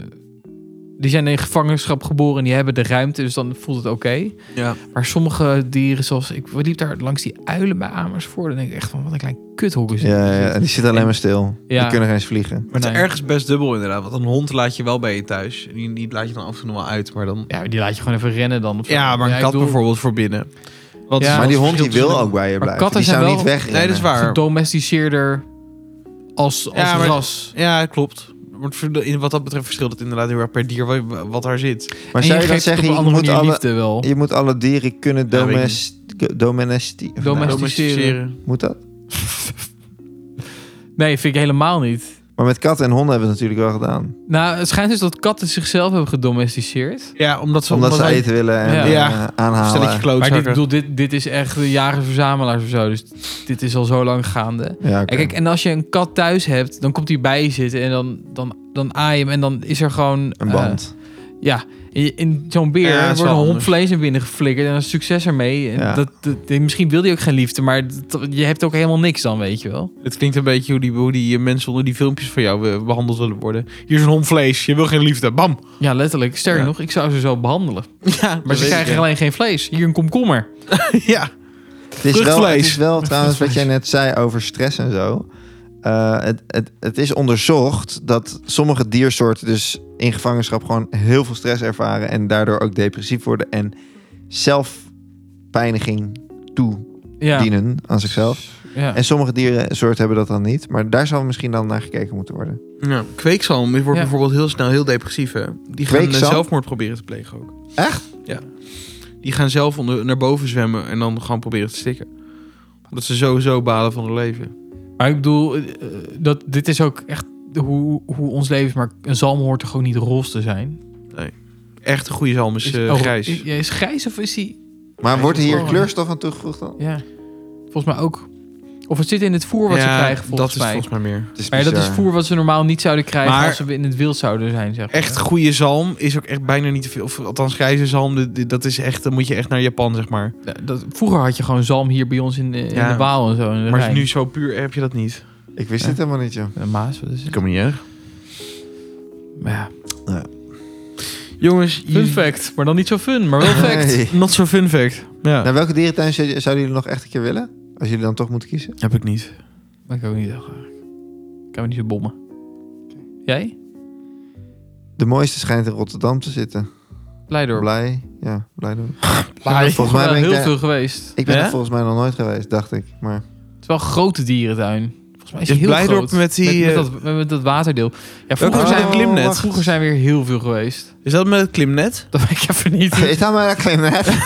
[SPEAKER 2] Die zijn in gevangenschap geboren en die hebben de ruimte. Dus dan voelt het oké.
[SPEAKER 1] ja.
[SPEAKER 2] Maar sommige dieren, zoals ik liep daar langs die uilen bij Amersfoort. Dan denk ik echt van wat een klein kuthok is. dit. nou,
[SPEAKER 3] Ja, ja, en die zitten alleen maar stil.
[SPEAKER 2] Ja.
[SPEAKER 3] Die kunnen geen eens vliegen.
[SPEAKER 1] Maar het is
[SPEAKER 2] Nee.
[SPEAKER 1] ergens best dubbel inderdaad. Want een hond laat je wel bij je thuis. En Die, die laat je dan af en toe nog wel uit. Maar dan...
[SPEAKER 2] Ja, die laat je gewoon even rennen dan. of zo.
[SPEAKER 1] Ja, maar een
[SPEAKER 2] ik
[SPEAKER 1] kat
[SPEAKER 2] bedoel,
[SPEAKER 1] bijvoorbeeld voor binnen. Want
[SPEAKER 2] Ja,
[SPEAKER 3] maar die hond die
[SPEAKER 1] verschil
[SPEAKER 3] wil
[SPEAKER 1] tussen-
[SPEAKER 3] ook bij je
[SPEAKER 2] Maar
[SPEAKER 3] blijven.
[SPEAKER 2] katten
[SPEAKER 3] die
[SPEAKER 2] zijn
[SPEAKER 3] zou
[SPEAKER 2] wel-
[SPEAKER 3] niet weg.
[SPEAKER 1] Nee, dat is waar.
[SPEAKER 2] Gedomesticeerder als, als
[SPEAKER 1] Ja, maar-
[SPEAKER 2] ras.
[SPEAKER 1] Ja, klopt. Maar het verd- in- wat dat betreft verschilt het inderdaad heel erg per dier wa- wa- wat daar zit.
[SPEAKER 3] Maar
[SPEAKER 2] En
[SPEAKER 3] zou je,
[SPEAKER 2] geeft
[SPEAKER 3] dan
[SPEAKER 2] het
[SPEAKER 3] zeggen,
[SPEAKER 2] op een
[SPEAKER 3] je
[SPEAKER 2] andere
[SPEAKER 3] moet,
[SPEAKER 2] manier
[SPEAKER 3] alle,
[SPEAKER 2] liefde wel.
[SPEAKER 3] je moet alle dieren kunnen
[SPEAKER 1] Ja, weet ik
[SPEAKER 3] domest... domestie- of
[SPEAKER 2] Domest-
[SPEAKER 3] nou,
[SPEAKER 2] Domesticeren.
[SPEAKER 3] moet dat?
[SPEAKER 2] Nee, vind ik helemaal niet.
[SPEAKER 3] Maar met katten en honden hebben we het natuurlijk wel gedaan.
[SPEAKER 2] Nou, het schijnt dus dat katten zichzelf hebben gedomesticeerd.
[SPEAKER 1] Ja, omdat ze...
[SPEAKER 3] Omdat ze
[SPEAKER 1] wij-
[SPEAKER 3] eten willen en
[SPEAKER 2] Ja.
[SPEAKER 3] eh,
[SPEAKER 1] Ja.
[SPEAKER 3] aanhalen.
[SPEAKER 1] Stelletje
[SPEAKER 2] Maar dit,
[SPEAKER 1] klootzakken.
[SPEAKER 2] bedoel, dit, dit is echt de jagers-verzamelaars of zo. Dus dit is al zo lang gaande.
[SPEAKER 3] Ja, oké.
[SPEAKER 2] En kijk, en als je een kat thuis hebt, dan komt hij bij je zitten en dan, dan, dan aai je hem. En dan is er gewoon...
[SPEAKER 3] Een
[SPEAKER 2] eh,
[SPEAKER 3] band.
[SPEAKER 2] Ja, in- in zo'n beer
[SPEAKER 1] Ja, dat is
[SPEAKER 2] wordt een
[SPEAKER 1] wel
[SPEAKER 2] hond
[SPEAKER 1] anders.
[SPEAKER 2] vlees naar binnen geflikkerd en dan is succes ermee. En
[SPEAKER 3] Ja.
[SPEAKER 2] dat, dat- die- misschien wil hij ook geen liefde, maar dat- je hebt ook helemaal niks dan, weet je wel.
[SPEAKER 1] Het klinkt een beetje hoe die, hoe die eh, mensen onder die filmpjes van jou eh, behandeld willen worden. Hier is een hond vlees, je wil geen liefde. Bam!
[SPEAKER 2] Ja, letterlijk. Sterker
[SPEAKER 1] Ja.
[SPEAKER 2] nog, ik zou ze zo behandelen.
[SPEAKER 1] Ja,
[SPEAKER 2] Maar ze krijgen alleen geen vlees. Hier een komkommer.
[SPEAKER 1] Ja.
[SPEAKER 3] Het is, wel, het
[SPEAKER 1] Vruchtvlees.
[SPEAKER 3] is wel trouwens wat jij net zei over stress en zo. Eh, het, het, het is onderzocht dat sommige diersoorten dus in gevangenschap gewoon heel veel stress ervaren en daardoor ook depressief worden en zelfpijniging toedienen
[SPEAKER 2] Ja.
[SPEAKER 3] aan zichzelf.
[SPEAKER 2] ja.
[SPEAKER 3] En sommige dierensoorten hebben dat dan niet, maar daar zal misschien dan naar gekeken moeten worden.
[SPEAKER 1] ja. Kweekzalm wordt
[SPEAKER 2] Ja.
[SPEAKER 1] bijvoorbeeld heel snel heel depressief. Hè? Die gaan eh,
[SPEAKER 3] Kweekzalm?
[SPEAKER 1] zelfmoord proberen te plegen ook.
[SPEAKER 3] Echt?
[SPEAKER 1] Ja. Die gaan zelf onder, naar boven zwemmen en dan gewoon proberen te stikken. Omdat ze sowieso balen van hun leven.
[SPEAKER 2] Maar ik bedoel, eh, dat, dit is ook echt hoe, hoe ons leven is. Maar een zalm hoort er gewoon niet roze te zijn.
[SPEAKER 1] Echt een goede zalm is, eh,
[SPEAKER 2] oh,
[SPEAKER 1] grijs.
[SPEAKER 2] Is, ja, is grijs of is die...
[SPEAKER 3] Maar wordt hier
[SPEAKER 2] Oh.
[SPEAKER 3] kleurstof aan toegevoegd dan?
[SPEAKER 2] Ja, volgens mij ook. Of het zit in het voer wat ze
[SPEAKER 1] Ja,
[SPEAKER 2] krijgen, volgens
[SPEAKER 1] dat
[SPEAKER 2] mij.
[SPEAKER 1] is volgens mij meer.
[SPEAKER 3] Het is
[SPEAKER 2] Maar ja, dat is
[SPEAKER 3] bizar.
[SPEAKER 2] voer wat ze normaal niet zouden krijgen
[SPEAKER 1] Maar-
[SPEAKER 2] als ze in het wild zouden zijn, zeg maar.
[SPEAKER 1] Echt goede zalm is ook echt bijna niet te veel. Of althans, grijze zalm, dit- dit- dat is echt, dan moet je echt naar Japan, zeg maar.
[SPEAKER 2] Ja, Dat, vroeger had je gewoon zalm hier bij ons in, eh, in
[SPEAKER 1] Ja.
[SPEAKER 2] de Waal en zo. in de
[SPEAKER 1] Maar
[SPEAKER 2] Rijn.
[SPEAKER 1] nu zo puur heb je dat niet.
[SPEAKER 3] Ik wist dit helemaal niet, joh.
[SPEAKER 2] Eh, Maas, wat is het?
[SPEAKER 1] kan me niet erg.
[SPEAKER 2] Maar ja.
[SPEAKER 1] Jongens,
[SPEAKER 2] Fun
[SPEAKER 1] je-
[SPEAKER 2] fact, maar dan niet zo fun, maar wel fact.
[SPEAKER 3] Hey.
[SPEAKER 1] Not so fun fact. Ja.
[SPEAKER 3] Naar welke dierentuin zou- zouden jullie nog echt een keer willen? Als jullie dan toch moeten kiezen?
[SPEAKER 1] Heb ik niet.
[SPEAKER 2] Maar ik ook niet heel graag. Ik kan me niet zo bommen. Jij?
[SPEAKER 3] De mooiste schijnt in Rotterdam te zitten.
[SPEAKER 2] Leidorp.
[SPEAKER 3] Blij. Ja, blij doen.
[SPEAKER 2] Leidorp.
[SPEAKER 3] Volgens mij
[SPEAKER 2] wel
[SPEAKER 3] ben ik
[SPEAKER 2] heel
[SPEAKER 3] daar-
[SPEAKER 2] veel geweest.
[SPEAKER 3] Ik ben
[SPEAKER 2] Ja?
[SPEAKER 3] er volgens mij nog nooit geweest, dacht ik. Maar
[SPEAKER 2] Het is wel een grote dierentuin. Volgens mij is
[SPEAKER 1] Is
[SPEAKER 2] het heel
[SPEAKER 1] Blijdorp
[SPEAKER 2] groot.
[SPEAKER 1] met die,
[SPEAKER 2] met,
[SPEAKER 1] eh,
[SPEAKER 2] dat, met dat waterdeel. Ja, vroeger,
[SPEAKER 1] Vroeger
[SPEAKER 3] was
[SPEAKER 2] zijn,
[SPEAKER 1] zijn
[SPEAKER 3] Oh,
[SPEAKER 1] klimnet.
[SPEAKER 3] wacht.
[SPEAKER 2] vroeger zijn we weer heel veel geweest.
[SPEAKER 1] Is dat met het klimnet?
[SPEAKER 2] Dat weet ik even niet.
[SPEAKER 3] is dat maar net?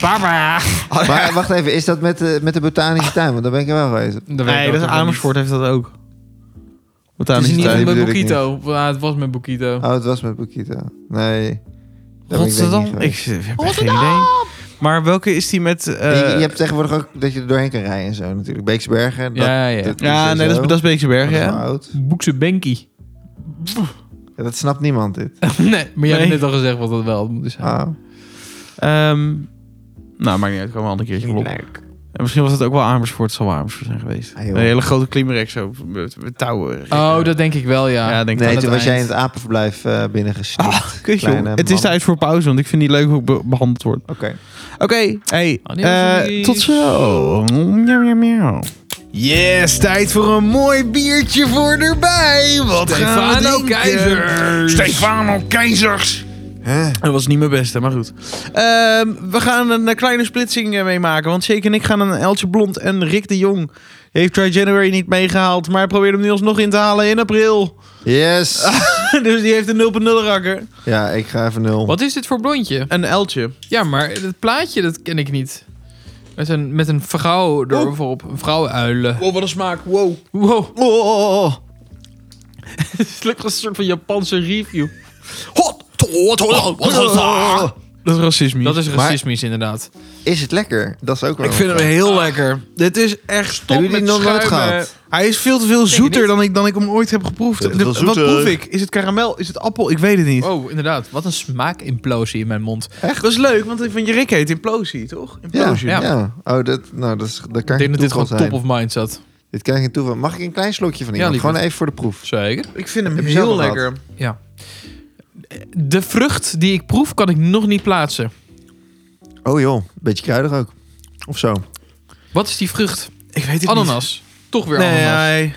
[SPEAKER 2] Barbara!
[SPEAKER 1] Oh,
[SPEAKER 3] Maar wacht even, is dat met de, met de botanische tuin? Want daar ben ik er wel geweest.
[SPEAKER 2] Dat weet ik
[SPEAKER 1] Nee,
[SPEAKER 2] ook
[SPEAKER 1] dat is
[SPEAKER 2] nog niet.
[SPEAKER 1] Amersfoort heeft dat ook.
[SPEAKER 2] Het is
[SPEAKER 1] Botanische
[SPEAKER 2] niet
[SPEAKER 3] tuin.
[SPEAKER 1] tuin.
[SPEAKER 2] met
[SPEAKER 3] Die bedoel ik
[SPEAKER 2] Bukito. Ja, het was met Bukito.
[SPEAKER 3] Oh, het was met Bukito. Nee. daar ben ik denk ik niet
[SPEAKER 1] Rotterdam? Ik
[SPEAKER 3] geweest.
[SPEAKER 1] heb echt geen idee. Maar welke is die met... eh,
[SPEAKER 3] je, je hebt tegenwoordig ook dat je er doorheen kan rijden en zo natuurlijk. Beeksbergen. dat-
[SPEAKER 2] ja, ja.
[SPEAKER 3] dat
[SPEAKER 1] Ja,
[SPEAKER 3] en
[SPEAKER 1] nee, dat
[SPEAKER 3] zo.
[SPEAKER 1] is, dat is Beekseberg,
[SPEAKER 3] Dat is wel
[SPEAKER 1] ja.
[SPEAKER 3] oud.
[SPEAKER 2] Boekse Benki.
[SPEAKER 3] Ja, dat snapt niemand dit.
[SPEAKER 2] nee, maar jij hebt
[SPEAKER 1] Nee.
[SPEAKER 2] net al gezegd wat dat wel moet zijn.
[SPEAKER 3] Ah.
[SPEAKER 1] Ehm, nou, maakt niet uit. Komen we een ander keertje op. En misschien was het ook wel Amersfoort. Het zal wel Amersfoort zijn geweest.
[SPEAKER 3] Ah, joh.
[SPEAKER 1] een hele grote Climarex zo met, met touwen.
[SPEAKER 2] Oh, dat denk ik wel, ja.
[SPEAKER 1] Ja, denk ik
[SPEAKER 3] Nee,
[SPEAKER 1] wel.
[SPEAKER 3] toen
[SPEAKER 2] het
[SPEAKER 3] was jij in
[SPEAKER 2] eind.
[SPEAKER 3] het apenverblijf eh binnengesloten.
[SPEAKER 1] Kusje,
[SPEAKER 3] kleine
[SPEAKER 1] joh. Het is
[SPEAKER 3] man.
[SPEAKER 1] tijd voor pauze, want ik vind niet leuk hoe ik be- behandeld word.
[SPEAKER 3] Oké.
[SPEAKER 1] Oké, hey,
[SPEAKER 2] Adios,
[SPEAKER 1] eh,
[SPEAKER 2] amigos.
[SPEAKER 1] tot zo. Miauw, miauw, miauw. Yes, tijd voor een mooi biertje voor erbij. Wat gaan we
[SPEAKER 2] Stefano
[SPEAKER 1] drinken?
[SPEAKER 2] Keizers.
[SPEAKER 1] Stefano Keizers. Dat was niet mijn beste, maar goed. Ehm, we gaan een eh, kleine splitsing eh, meemaken. Want Shake en ik gaan een Eltje Blond en Rick de Jong heeft Try January niet meegehaald. Maar hij probeert hem nu alsnog in te halen in april.
[SPEAKER 3] Yes!
[SPEAKER 2] Ah.
[SPEAKER 1] dus die heeft een 0.0 rakker.
[SPEAKER 3] ja, ik ga even nul.
[SPEAKER 2] Wat is dit voor blondje?
[SPEAKER 1] Een Eltje.
[SPEAKER 2] Ja, maar het plaatje, dat ken ik niet. Met een, met een vrouw erop. Een vrouwenuilen.
[SPEAKER 1] Wow, Oh, wat een smaak. Wow.
[SPEAKER 2] Wow.
[SPEAKER 1] Oh, oh, oh.
[SPEAKER 2] Het lukt als een soort van Japanse review.
[SPEAKER 1] Hot. Dat is racisme.
[SPEAKER 2] Dat is
[SPEAKER 3] Maar-
[SPEAKER 2] racismisch, inderdaad.
[SPEAKER 3] Is het lekker? Dat is ook wel.
[SPEAKER 1] ik vind hem heel lekker. Oh, Dit is echt stop
[SPEAKER 3] Hebben jullie
[SPEAKER 1] met
[SPEAKER 3] nog nooit
[SPEAKER 1] schuimen.
[SPEAKER 3] gehad?
[SPEAKER 1] Hij is veel te veel zoeter dan ik, dan ik hem ooit heb geproefd.
[SPEAKER 3] Veel te veel
[SPEAKER 1] De- Wat
[SPEAKER 3] zoeter.
[SPEAKER 1] proef ik? Is het karamel? Is het appel? Ik weet het niet.
[SPEAKER 2] Oh, inderdaad. Wat een smaakimplosie in mijn mond.
[SPEAKER 1] Echt? Dat is leuk, want ik vind je Rick heet Implosie, toch?
[SPEAKER 3] Ja,
[SPEAKER 1] Implosie.
[SPEAKER 3] ja. Oh, dat, nou, dat, is, dat kan
[SPEAKER 2] Ik
[SPEAKER 3] geen
[SPEAKER 2] denk dat dit
[SPEAKER 3] toeval
[SPEAKER 2] gewoon
[SPEAKER 3] zijn.
[SPEAKER 2] top of mind zat.
[SPEAKER 3] Dit kan geen toeval. Mag ik een klein slokje van
[SPEAKER 2] Ja,
[SPEAKER 3] iemand?
[SPEAKER 2] liever.
[SPEAKER 3] gewoon even voor de proef.
[SPEAKER 2] Zeker.
[SPEAKER 1] Ik vind hem
[SPEAKER 3] Heb je
[SPEAKER 1] heel
[SPEAKER 3] zelf al
[SPEAKER 1] lekker.
[SPEAKER 2] De vrucht die ik proef, kan ik nog niet plaatsen.
[SPEAKER 3] Oh joh, beetje kruidig ook. Of zo.
[SPEAKER 2] Wat is die vrucht?
[SPEAKER 1] Ik weet het
[SPEAKER 2] Ananas. Toch weer
[SPEAKER 1] niet. Nee,
[SPEAKER 2] ananas.
[SPEAKER 1] hij-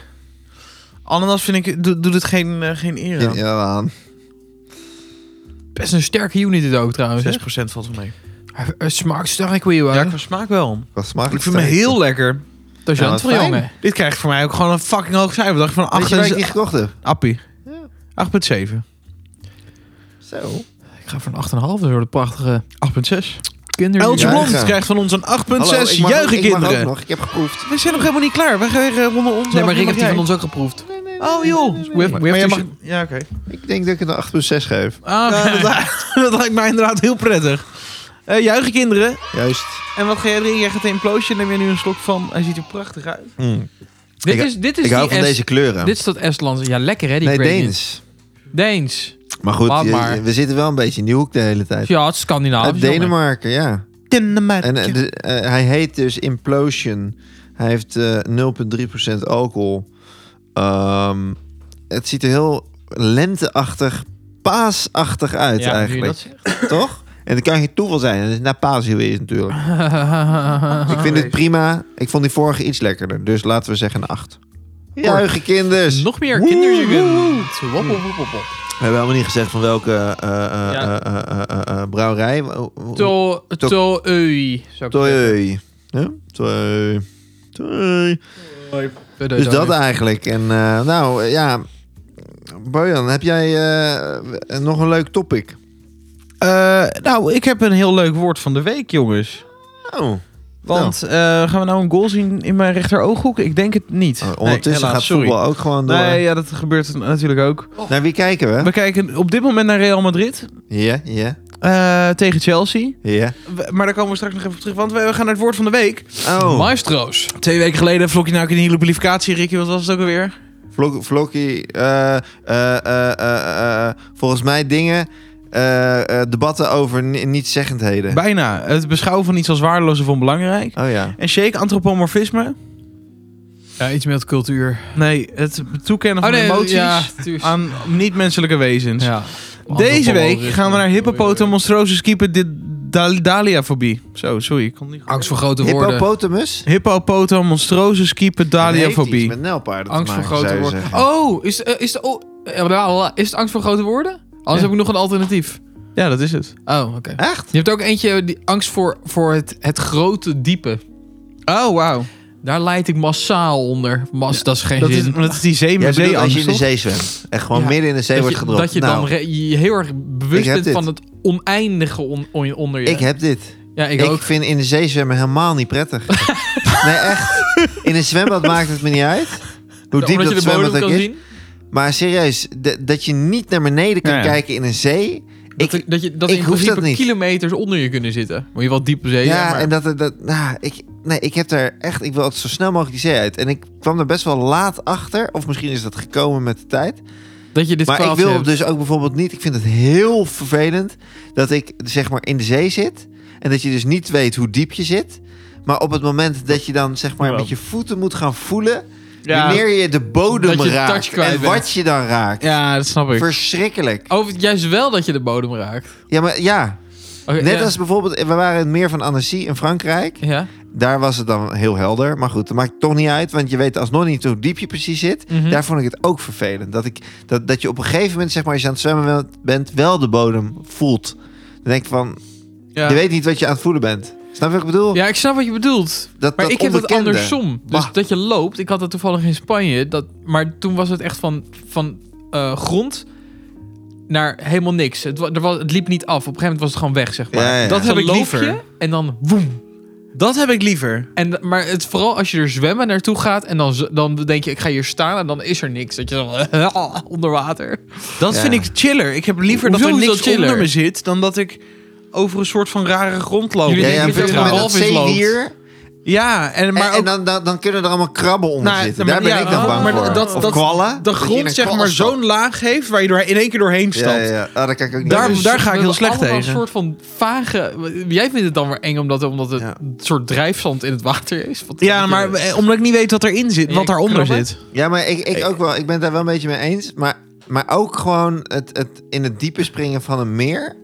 [SPEAKER 1] Ananas vind ik, doe- doet het geen, eh, geen eer
[SPEAKER 3] Ja.
[SPEAKER 1] aan.
[SPEAKER 3] Ja, aan.
[SPEAKER 2] Best een sterke unit dit ook trouwens. hè?
[SPEAKER 1] 6% valt wel mee.
[SPEAKER 2] Hij- Hij smaakt sterk weer, hoor.
[SPEAKER 1] Ja, qua smaak wel.
[SPEAKER 3] Wat smaakt
[SPEAKER 1] Ik vind hem
[SPEAKER 3] sterk.
[SPEAKER 1] heel lekker.
[SPEAKER 2] Dat is
[SPEAKER 3] Ja,
[SPEAKER 2] ja,
[SPEAKER 3] wat
[SPEAKER 2] voor
[SPEAKER 3] fijn.
[SPEAKER 2] jongen.
[SPEAKER 1] Dit krijgt voor mij ook gewoon een fucking hoog cijfer. Dacht ik van
[SPEAKER 3] Weet je waar ik
[SPEAKER 1] 8
[SPEAKER 3] die
[SPEAKER 1] en
[SPEAKER 3] gekocht heb?
[SPEAKER 1] Appie.
[SPEAKER 3] Ja.
[SPEAKER 1] 8,7.
[SPEAKER 3] Zo.
[SPEAKER 2] Ik ga voor een 8,5 door de prachtige
[SPEAKER 1] 8,6.
[SPEAKER 2] kinder.
[SPEAKER 1] Eltje
[SPEAKER 3] Ja,
[SPEAKER 1] Blond
[SPEAKER 3] ja.
[SPEAKER 1] krijgt van ons een 8,6.
[SPEAKER 3] ik mag ook-
[SPEAKER 1] Juichen
[SPEAKER 3] ik mag ook
[SPEAKER 1] kinderen.
[SPEAKER 3] nog. Ik heb geproefd.
[SPEAKER 1] We zijn nog helemaal niet klaar. Wij gaan weer eh, onder ons.
[SPEAKER 2] Nee,
[SPEAKER 1] af.
[SPEAKER 2] maar Rick
[SPEAKER 1] Mag
[SPEAKER 2] heeft die
[SPEAKER 1] jij?
[SPEAKER 2] van ons ook geproefd.
[SPEAKER 1] Oh joh.
[SPEAKER 2] We have, we
[SPEAKER 1] Maar jij
[SPEAKER 2] have
[SPEAKER 1] mag...
[SPEAKER 2] to-
[SPEAKER 1] Ja, oké.
[SPEAKER 3] Ik denk dat ik een 8.6 geef.
[SPEAKER 2] Ah, oké.
[SPEAKER 1] Ja, dat, li- dat lijkt mij inderdaad heel prettig. Eh juichen kinderen.
[SPEAKER 3] Juist.
[SPEAKER 1] En wat ga jij drinken? Jij gaat een implosie. Neem je nu een slok van. Hij ziet er prachtig uit.
[SPEAKER 3] Mm.
[SPEAKER 2] dit
[SPEAKER 3] Ik-
[SPEAKER 2] is, Hmm. dit is
[SPEAKER 3] Ik hou
[SPEAKER 2] die
[SPEAKER 3] van
[SPEAKER 2] Est-
[SPEAKER 3] deze kleuren.
[SPEAKER 2] Dit is dat Estlandse. Ja, lekker hè, die
[SPEAKER 3] nee,
[SPEAKER 2] gradient.
[SPEAKER 3] Deens.
[SPEAKER 2] Deens.
[SPEAKER 3] Maar goed,
[SPEAKER 2] Laat
[SPEAKER 3] je-
[SPEAKER 2] maar.
[SPEAKER 3] we zitten wel een beetje in Nieuwhoek de hele tijd.
[SPEAKER 2] Ja, het is Scandinavisch.
[SPEAKER 3] Uit
[SPEAKER 2] jongen.
[SPEAKER 3] Denemarken, ja. En eh, de- eh, hij heet dus Implosion. Hij heeft eh, 0,3% alcohol. Ehm, het ziet er heel lenteachtig, paasachtig uit
[SPEAKER 2] Ja, nu je
[SPEAKER 3] eigenlijk,
[SPEAKER 2] dat zegt.
[SPEAKER 3] toch? En dat kan geen toeval zijn. Het is na paas heel is natuurlijk. ik vind het prima. Ik vond die vorige iets lekkerder. Dus laten we zeggen een 8. Juichen kinders.
[SPEAKER 2] Nog meer
[SPEAKER 3] Woe,
[SPEAKER 2] kinderjongen. Woep, woep, woep, woep, woep.
[SPEAKER 3] We hebben helemaal niet gezegd van welke eh, eh,
[SPEAKER 2] Ja.
[SPEAKER 3] eh, eh, eh, eh, eh, brouwerij. Hoe- hoe-
[SPEAKER 2] To,
[SPEAKER 3] to-
[SPEAKER 2] to, ui. zou ik zeggen.
[SPEAKER 3] Toi. Huh? Toi. Toi.
[SPEAKER 2] Toi, toi,
[SPEAKER 3] Dus dat
[SPEAKER 2] toi.
[SPEAKER 3] eigenlijk. En eh, nou eh, ja, Bojan, heb jij eh, nog een leuk topic?
[SPEAKER 1] nou, ik heb een heel leuk woord van de week, jongens.
[SPEAKER 3] Oh,
[SPEAKER 1] Want eh, gaan we nou een goal zien in mijn rechterooghoek? Ik denk het niet.
[SPEAKER 3] eh, ondertussen
[SPEAKER 1] Nee, helaas,
[SPEAKER 3] gaat
[SPEAKER 1] sorry.
[SPEAKER 3] voetbal ook gewoon door.
[SPEAKER 1] Nee, ja, dat gebeurt natuurlijk ook.
[SPEAKER 3] Naar wie kijken we?
[SPEAKER 1] We kijken op dit moment naar Real Madrid
[SPEAKER 3] Ja, ja,
[SPEAKER 1] eh, tegen Chelsea.
[SPEAKER 3] ja.
[SPEAKER 1] We- maar daar komen we straks nog even op terug, want we we gaan naar het woord van de week.
[SPEAKER 3] Oh,
[SPEAKER 2] Maestro's.
[SPEAKER 1] Twee weken geleden vlog je nou ook in die lubrificatie, Ricky. Wat was het ook alweer?
[SPEAKER 3] Vlok, Vlokkie. eh, eh, eh, eh, eh, volgens mij dingen, eh, eh, debatten over ni- nietszeggendheden.
[SPEAKER 1] Bijna. Het beschouwen van iets als waardeloos of onbelangrijk.
[SPEAKER 3] Oh ja.
[SPEAKER 1] En shake antropomorfisme.
[SPEAKER 2] Ja, iets met cultuur.
[SPEAKER 1] Nee, het toekennen
[SPEAKER 3] Oh,
[SPEAKER 1] van emoties
[SPEAKER 2] Oh, ja, tuurlijk.
[SPEAKER 1] aan niet-menselijke wezens.
[SPEAKER 2] Ja.
[SPEAKER 1] Deze week gaan we naar Hippopotamonstrosis keeper dit Dal- daliafobie. Zo, sorry, ik kon niet goed-
[SPEAKER 2] Angst voor grote woorden.
[SPEAKER 3] Hippopotamus?
[SPEAKER 1] Hippopotam, monstrose keeper,
[SPEAKER 3] Heeft iets
[SPEAKER 1] daliafobie.
[SPEAKER 3] met nijlpaarden te
[SPEAKER 2] Angst voor
[SPEAKER 3] maken,
[SPEAKER 2] grote
[SPEAKER 3] zou je
[SPEAKER 2] woorden.
[SPEAKER 3] zeggen.
[SPEAKER 2] Oh, is, eh, is, de, oh, eh, blablabla. is het angst voor grote woorden? Anders
[SPEAKER 1] Ja.
[SPEAKER 2] heb ik nog een alternatief.
[SPEAKER 1] Ja, dat is het.
[SPEAKER 2] Oh, oké.
[SPEAKER 3] Echt?
[SPEAKER 2] Je hebt ook eentje, die angst voor, voor het, het grote diepe.
[SPEAKER 1] Oh, wauw.
[SPEAKER 2] Daar leid ik massaal onder. Mas, dat is geen
[SPEAKER 1] Dat
[SPEAKER 2] zin.
[SPEAKER 1] is, dat is die zee,
[SPEAKER 3] Jij bedoelt als
[SPEAKER 1] zeeangst,
[SPEAKER 3] je in de
[SPEAKER 1] toch?
[SPEAKER 3] zee zwemt. En gewoon
[SPEAKER 2] Ja.
[SPEAKER 3] midden in de zee
[SPEAKER 2] dat
[SPEAKER 3] wordt
[SPEAKER 2] je,
[SPEAKER 3] gedropt.
[SPEAKER 2] dat je
[SPEAKER 3] nou,
[SPEAKER 2] dan re- je heel erg bewust
[SPEAKER 3] ik heb
[SPEAKER 2] bent van
[SPEAKER 3] dit.
[SPEAKER 2] het oneindige on- on- onder je.
[SPEAKER 3] Ik heb dit.
[SPEAKER 2] ja, ik,
[SPEAKER 3] Ik,
[SPEAKER 2] ook.
[SPEAKER 3] vind in de zee zwemmen helemaal niet prettig. nee, echt. In een zwembad maakt het me niet uit. Hoe diep
[SPEAKER 2] Omdat
[SPEAKER 3] dat
[SPEAKER 2] je de bodem
[SPEAKER 3] zwembad ook
[SPEAKER 2] kan
[SPEAKER 3] is.
[SPEAKER 2] zien.
[SPEAKER 3] Maar serieus, d- dat je niet naar beneden kan
[SPEAKER 1] Ja, ja.
[SPEAKER 3] kijken in een zee.
[SPEAKER 2] Dat,
[SPEAKER 3] Ik-
[SPEAKER 2] er- dat je dat
[SPEAKER 3] ik
[SPEAKER 2] in
[SPEAKER 3] hoef dat
[SPEAKER 2] principe
[SPEAKER 3] niet.
[SPEAKER 2] kilometers onder je kunnen zitten. Moet je wel diep op zee.
[SPEAKER 3] ja,
[SPEAKER 2] zijn, maar-
[SPEAKER 3] en dat, dat- dat nou, ik, nee, ik heb daar echt, ik wil altijd zo snel mogelijk die zee uit. En ik kwam er best wel laat achter, of misschien is dat gekomen met de tijd.
[SPEAKER 2] dat je dit
[SPEAKER 3] Maar ik
[SPEAKER 2] kwaaltje
[SPEAKER 3] wil
[SPEAKER 2] hebt.
[SPEAKER 3] dus ook bijvoorbeeld niet, ik vind het heel vervelend dat ik zeg maar in de zee zit en dat je dus niet weet hoe diep je zit. Maar op het moment dat je dan zeg maar
[SPEAKER 1] Wel.
[SPEAKER 3] met je voeten moet gaan voelen,
[SPEAKER 1] Ja.
[SPEAKER 3] wanneer je de bodem
[SPEAKER 2] Dat je
[SPEAKER 3] raakt
[SPEAKER 2] touch kwijt
[SPEAKER 3] en
[SPEAKER 2] bent.
[SPEAKER 3] wat je dan raakt.
[SPEAKER 1] ja, dat snap ik.
[SPEAKER 3] Verschrikkelijk.
[SPEAKER 2] Oh, juist wel dat je de bodem raakt.
[SPEAKER 3] Ja, maar ja,
[SPEAKER 2] Oké,
[SPEAKER 3] net
[SPEAKER 2] ja.
[SPEAKER 3] als bijvoorbeeld, we waren in het meer van Annecy in Frankrijk.
[SPEAKER 2] Ja.
[SPEAKER 3] Daar was het dan heel helder. Maar goed, dat maakt toch niet uit. Want je weet alsnog niet hoe diep je precies zit.
[SPEAKER 2] Mhm.
[SPEAKER 3] Daar vond ik het ook vervelend. Dat, ik, dat, dat je op een gegeven moment, zeg maar, als je aan het zwemmen wel- bent, wel de bodem voelt. Dan denk ik van,
[SPEAKER 2] Ja.
[SPEAKER 3] je weet niet wat je aan het voelen bent. Snap je wat ik bedoel?
[SPEAKER 2] ja, ik snap wat je bedoelt.
[SPEAKER 3] dat,
[SPEAKER 2] Maar
[SPEAKER 3] dat
[SPEAKER 2] ik heb het
[SPEAKER 3] onbekende.
[SPEAKER 2] andersom. Dus
[SPEAKER 3] Bah.
[SPEAKER 2] dat je loopt. Ik had dat toevallig in Spanje. Dat, maar toen was het echt van, van eh, grond naar helemaal niks. Het, wa- er was, het liep niet af. Op een gegeven moment was het gewoon weg, zeg maar.
[SPEAKER 3] Ja, ja.
[SPEAKER 2] Dat
[SPEAKER 1] Dan
[SPEAKER 2] heb ik
[SPEAKER 1] loop
[SPEAKER 2] liever.
[SPEAKER 1] je.
[SPEAKER 2] En dan woem.
[SPEAKER 1] Dat heb ik liever.
[SPEAKER 2] En, maar het, vooral als je er zwemmen naartoe gaat en dan, z- dan denk je, ik ga hier staan en dan is er niks. Dat je zo onder water.
[SPEAKER 1] Dat
[SPEAKER 3] Ja.
[SPEAKER 1] vind ik chiller. Ik heb liever dat er
[SPEAKER 2] Hoezo is
[SPEAKER 1] niks
[SPEAKER 2] dat chiller?
[SPEAKER 1] onder me zit dan dat ik over een soort van rare grond loop.
[SPEAKER 2] Jullie
[SPEAKER 3] Ja,
[SPEAKER 1] Ja,
[SPEAKER 2] denken-
[SPEAKER 3] ja, op het
[SPEAKER 2] dat je er
[SPEAKER 3] moment
[SPEAKER 2] een
[SPEAKER 3] dat
[SPEAKER 2] walvis loopt.
[SPEAKER 3] zeewier...
[SPEAKER 1] en,
[SPEAKER 3] Maar
[SPEAKER 1] maar
[SPEAKER 3] en,
[SPEAKER 1] ook
[SPEAKER 3] dan, dan, dan kunnen er allemaal krabben onder
[SPEAKER 1] Nou,
[SPEAKER 3] zitten.
[SPEAKER 1] maar-
[SPEAKER 3] Daar ben
[SPEAKER 1] ja,
[SPEAKER 3] ik dan
[SPEAKER 1] oh,
[SPEAKER 3] bang
[SPEAKER 1] maar
[SPEAKER 3] voor.
[SPEAKER 1] dat-
[SPEAKER 3] of
[SPEAKER 1] dat-
[SPEAKER 3] kwallen.
[SPEAKER 1] de
[SPEAKER 3] Dat je in
[SPEAKER 1] grond
[SPEAKER 3] een
[SPEAKER 1] zeg
[SPEAKER 3] kwal
[SPEAKER 1] maar
[SPEAKER 3] stapt.
[SPEAKER 1] zo'n laag heeft waar je door in één keer doorheen
[SPEAKER 3] Ja,
[SPEAKER 1] stapt.
[SPEAKER 3] ja, ja. Ah, daar kan ik ook niet
[SPEAKER 1] Daar-
[SPEAKER 3] aan.
[SPEAKER 1] daar ga ik heel
[SPEAKER 2] we hebben
[SPEAKER 1] slecht
[SPEAKER 2] allemaal
[SPEAKER 1] tegen.
[SPEAKER 2] een soort van vage... Jij vindt het dan weer eng omdat, omdat het
[SPEAKER 3] Ja.
[SPEAKER 2] een soort drijfzand in het water is. Wat-
[SPEAKER 1] Ja, maar eh, omdat ik niet weet wat erin zit,
[SPEAKER 2] En
[SPEAKER 1] wat
[SPEAKER 2] jij
[SPEAKER 1] daaronder
[SPEAKER 2] krabben?
[SPEAKER 1] zit.
[SPEAKER 3] Ja, maar ik, ik ook wel. Ik ben het daar wel een beetje mee eens. Maar, maar ook gewoon het, het in het diepe springen van een meer.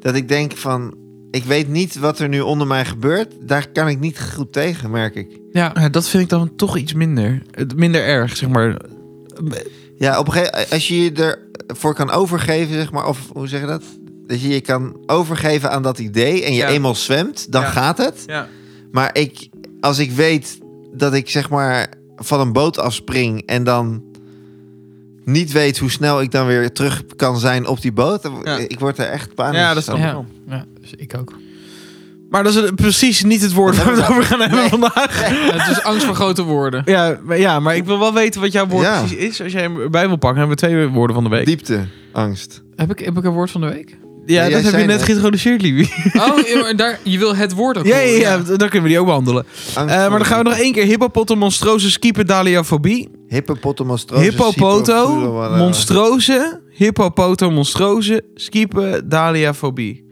[SPEAKER 3] Dat ik denk van, ik weet niet wat er nu onder mij gebeurt. Daar kan ik niet goed tegen, merk ik.
[SPEAKER 2] Ja,
[SPEAKER 1] Ja, dat vind ik dan toch iets minder. Het- Minder erg, zeg maar.
[SPEAKER 3] Ja, op een gegeven moment, als je je ervoor kan overgeven, zeg maar. Of hoe zeg je dat? Dat je je kan overgeven aan dat idee. En je
[SPEAKER 1] Ja.
[SPEAKER 3] eenmaal zwemt, dan
[SPEAKER 1] Ja.
[SPEAKER 3] gaat het. Maar ik, als ik weet dat ik zeg maar van een boot afspring en dan niet weet hoe snel ik dan weer terug kan zijn op die boot, dan-
[SPEAKER 1] Ja.
[SPEAKER 3] ik word er echt panisch.
[SPEAKER 1] Ja, dat
[SPEAKER 3] van.
[SPEAKER 1] snap ik.
[SPEAKER 2] ja, ja, dus ik ook.
[SPEAKER 1] Maar dat is eh, precies niet het woord
[SPEAKER 3] Wat
[SPEAKER 1] waar we het
[SPEAKER 3] hebben
[SPEAKER 1] over
[SPEAKER 3] we
[SPEAKER 1] gaan hebben
[SPEAKER 3] Nee.
[SPEAKER 1] vandaag.
[SPEAKER 2] Ja, het is angst voor grote woorden.
[SPEAKER 1] Ja maar, ja, maar ik wil wel weten wat jouw woord
[SPEAKER 3] Ja.
[SPEAKER 1] precies is. Als jij hem erbij wil pakken, hebben we twee woorden van de week.
[SPEAKER 3] Diepte, angst.
[SPEAKER 2] Heb ik, heb ik een woord van de week?
[SPEAKER 1] ja,
[SPEAKER 3] Ja,
[SPEAKER 1] dat
[SPEAKER 3] jij
[SPEAKER 1] heb je
[SPEAKER 3] zei
[SPEAKER 1] net
[SPEAKER 3] net.
[SPEAKER 1] geïntroduceerd, Libby.
[SPEAKER 2] Oh, ja, maar daar, je wil het woord ook
[SPEAKER 1] Ja, ja,
[SPEAKER 2] horen,
[SPEAKER 1] ja, dan kunnen we die ook behandelen.
[SPEAKER 3] angst
[SPEAKER 1] Eh, maar dan gaan we nog één keer hippopotam, monstrose, skieper, daliafobie.
[SPEAKER 3] Hippopotamostroos.
[SPEAKER 1] Hippopoto,
[SPEAKER 3] eh,
[SPEAKER 1] monstrose, hippopoto, monstrose, skieper, daliafobie.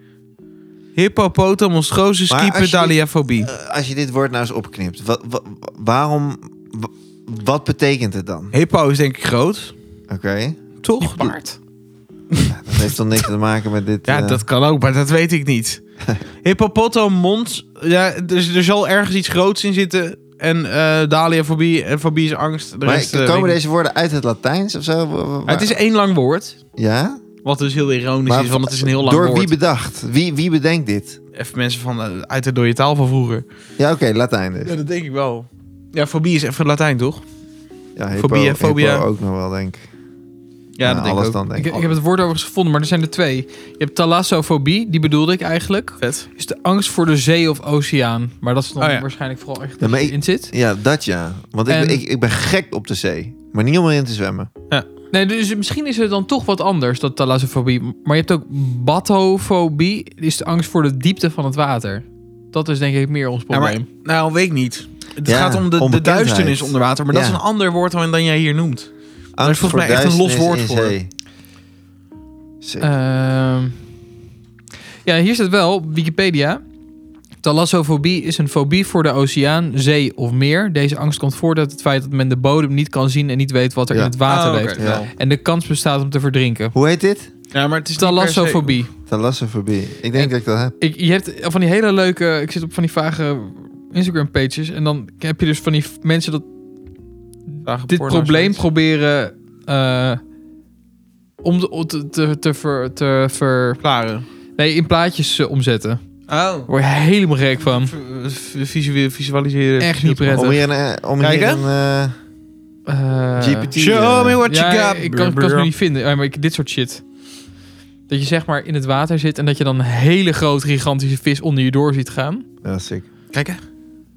[SPEAKER 1] Hippopoto, monstrose,
[SPEAKER 3] Maar
[SPEAKER 1] skieper,
[SPEAKER 3] als je- Eh.
[SPEAKER 1] daliafobie.
[SPEAKER 3] Als je dit woord nou eens opknipt, wa- wa- waarom... wa- wat betekent het dan?
[SPEAKER 1] Hippo is denk ik groot,
[SPEAKER 3] Oké,
[SPEAKER 1] toch?
[SPEAKER 2] Paard.
[SPEAKER 3] dat heeft dan niks te maken met dit...
[SPEAKER 1] Ja,
[SPEAKER 3] eh,
[SPEAKER 1] dat kan ook, maar dat weet ik niet. Hippopoto, mond... Ja, dus er zal ergens iets groots in zitten. En eh daliafobie, en fobie is angst. De
[SPEAKER 3] Maar
[SPEAKER 1] rest, eh, weet
[SPEAKER 3] komen
[SPEAKER 1] ik
[SPEAKER 3] deze woorden uit het Latijns of zo? Wa- wa-
[SPEAKER 1] niet. Het is één lang woord.
[SPEAKER 3] Ja?
[SPEAKER 1] Wat dus heel ironisch
[SPEAKER 3] Maar
[SPEAKER 1] is, want het is een heel lang
[SPEAKER 3] Door
[SPEAKER 1] woord.
[SPEAKER 3] wie bedacht? Wie, wie bedenkt dit?
[SPEAKER 1] Even mensen van, eh, uit de dode taal van vroeger.
[SPEAKER 3] Ja, oké, Latijn dus.
[SPEAKER 1] Ja, dat denk ik wel. Ja, fobie is even Latijn, toch?
[SPEAKER 3] Ja, hippo,
[SPEAKER 1] Fobie,
[SPEAKER 3] hippo
[SPEAKER 1] fobia.
[SPEAKER 3] ook nog wel, denk ik. Nou,
[SPEAKER 1] Ja, dat denk ik
[SPEAKER 3] alles
[SPEAKER 1] ook.
[SPEAKER 3] dan, denk
[SPEAKER 2] Ik,
[SPEAKER 3] ik.
[SPEAKER 2] ik heb het woord overigens gevonden, maar er zijn er twee. Je hebt thalassofobie, die bedoelde ik eigenlijk.
[SPEAKER 1] Vet.
[SPEAKER 2] Is de angst voor de zee of oceaan. Maar dat is dan
[SPEAKER 1] Oh ja.
[SPEAKER 2] waarschijnlijk vooral echt
[SPEAKER 3] Ja, maar
[SPEAKER 2] dat
[SPEAKER 3] ik-
[SPEAKER 2] in zit.
[SPEAKER 3] Ja, dat ja. Want ik,
[SPEAKER 1] Ehm,
[SPEAKER 2] En-
[SPEAKER 3] ik, ik ben gek op de zee. Maar niet om erin te zwemmen.
[SPEAKER 2] Nee, dus misschien is het dan toch wat anders, dat thalassofobie. Maar je hebt ook batofobie, is de angst voor de diepte van het water. Dat is denk ik meer ons
[SPEAKER 1] Ja, maar-
[SPEAKER 2] probleem.
[SPEAKER 1] Nou, weet ik niet. Het
[SPEAKER 3] Ja,
[SPEAKER 1] gaat om de- de,
[SPEAKER 3] onbekendheid.
[SPEAKER 1] duisternis onder water. Maar dat
[SPEAKER 3] Ja.
[SPEAKER 1] is een ander woord dan, dan jij hier noemt.
[SPEAKER 3] Angst
[SPEAKER 1] volgens
[SPEAKER 3] voor
[SPEAKER 1] mij echt een los
[SPEAKER 3] duisternis
[SPEAKER 1] woord voor.
[SPEAKER 3] in zee. Zee.
[SPEAKER 2] Ehm, ja, hier staat wel op Wikipedia. Thalassofobie is een fobie voor de oceaan, zee of meer. Deze angst komt voort uit het feit dat men de bodem niet kan zien en niet weet wat er
[SPEAKER 3] Ja.
[SPEAKER 2] in het water
[SPEAKER 1] Oh, oké.
[SPEAKER 2] leeft.
[SPEAKER 3] Ja.
[SPEAKER 2] En de kans bestaat om te verdrinken.
[SPEAKER 3] Hoe heet dit?
[SPEAKER 1] Ja, maar het is niet per se-
[SPEAKER 2] Thalassofobie.
[SPEAKER 3] Thalassofobie. Ik denk dat ik dat heb.
[SPEAKER 2] Ik, je hebt van die hele leuke... Ik zit op van die vage Instagram-pages. En dan heb je dus van die f- mensen dat
[SPEAKER 1] Vage
[SPEAKER 2] dit
[SPEAKER 1] porno's
[SPEAKER 2] probleem
[SPEAKER 1] mensen.
[SPEAKER 2] proberen... eh, om de- om te, te, te, ver, te ver...
[SPEAKER 1] Klaren.
[SPEAKER 2] Nee, in plaatjes eh, omzetten.
[SPEAKER 1] Oh.
[SPEAKER 2] Daar word je helemaal gek
[SPEAKER 1] Ehm,
[SPEAKER 2] van.
[SPEAKER 1] Visualiseren. Oh,
[SPEAKER 2] Echt niet prettig.
[SPEAKER 3] Om hier een, eh, om
[SPEAKER 1] Kijk,
[SPEAKER 3] hier
[SPEAKER 1] hè?
[SPEAKER 3] een eh,
[SPEAKER 2] Eh,
[SPEAKER 3] GPT...
[SPEAKER 1] Show
[SPEAKER 3] eh,
[SPEAKER 1] me what you
[SPEAKER 2] ja,
[SPEAKER 1] got.
[SPEAKER 2] ik kan, ik kan het nu niet vinden. Ja, maar ik, dit soort shit. Dat je zeg maar in het water zit en dat je dan een hele grote gigantische vis onder je door ziet gaan.
[SPEAKER 3] Dat is sick.
[SPEAKER 1] Kijk, hè?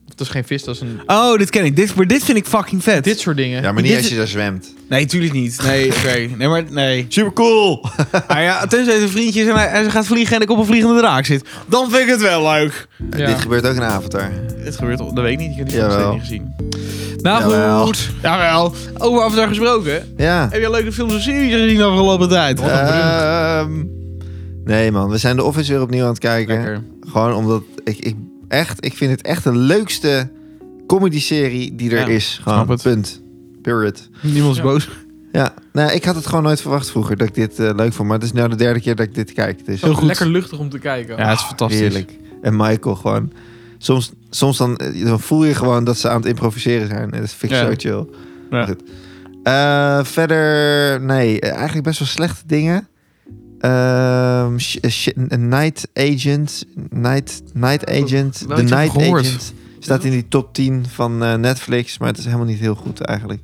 [SPEAKER 2] Of dat is geen vis, dat is een...
[SPEAKER 1] Oh, dit ken ik. Dit, maar dit vind ik fucking vet.
[SPEAKER 2] Dit soort dingen.
[SPEAKER 3] Ja, maar niet
[SPEAKER 1] Dit
[SPEAKER 3] als
[SPEAKER 1] is-
[SPEAKER 3] je daar zwemt.
[SPEAKER 1] Nee, tuurlijk niet. Nee, oké. Nee, maar nee.
[SPEAKER 3] Super cool!
[SPEAKER 1] Nou ja, tenzij het een vriendje is en, hij, en ze gaat vliegen en ik op een vliegende draak zit. Dan vind ik het wel leuk.
[SPEAKER 2] Ja.
[SPEAKER 3] Dit gebeurt ook in Avatar.
[SPEAKER 1] Het gebeurt al, dat weet ik niet. Ik heb die
[SPEAKER 3] Jawel.
[SPEAKER 1] film steeds niet gezien.
[SPEAKER 2] Nou
[SPEAKER 3] Jawel.
[SPEAKER 2] goed.
[SPEAKER 1] Jawel. Over Avatar gesproken.
[SPEAKER 3] Ja.
[SPEAKER 1] Heb je leuke films en series gezien de afgelopen tijd?
[SPEAKER 3] Eh, Ehm, nee man, we zijn de Office weer opnieuw aan het kijken.
[SPEAKER 1] Lekker.
[SPEAKER 3] Gewoon omdat ik, ik, echt, ik vind het echt de leukste comedy-serie die er
[SPEAKER 1] Ja,
[SPEAKER 3] is. Gewoon,
[SPEAKER 1] snap het.
[SPEAKER 3] punt. Period.
[SPEAKER 1] Niemand is
[SPEAKER 2] Ja.
[SPEAKER 1] boos.
[SPEAKER 3] Ja, nou, ik had het gewoon nooit verwacht vroeger dat ik dit eh, leuk vond. Maar het is nou de derde keer dat ik dit kijk. Dus
[SPEAKER 1] Heel goed.
[SPEAKER 2] Lekker luchtig om te kijken.
[SPEAKER 1] Ja, het is fantastisch.
[SPEAKER 3] heerlijk. En Michael gewoon. Soms, soms dan, eh, dan voel je gewoon dat ze aan het improviseren zijn. En Dat vind ik
[SPEAKER 1] Ja.
[SPEAKER 3] zo chill.
[SPEAKER 1] Ja.
[SPEAKER 3] Goed. Eh, verder, nee, eh, eigenlijk best wel slechte dingen. Ehm, sh- eh, sh- eh, night Agent, Night, night Agent,
[SPEAKER 2] nooit
[SPEAKER 3] The
[SPEAKER 2] van
[SPEAKER 3] Night
[SPEAKER 2] gehoord.
[SPEAKER 3] Agent staat in die top 10 van eh, Netflix, maar het is helemaal niet heel goed eigenlijk.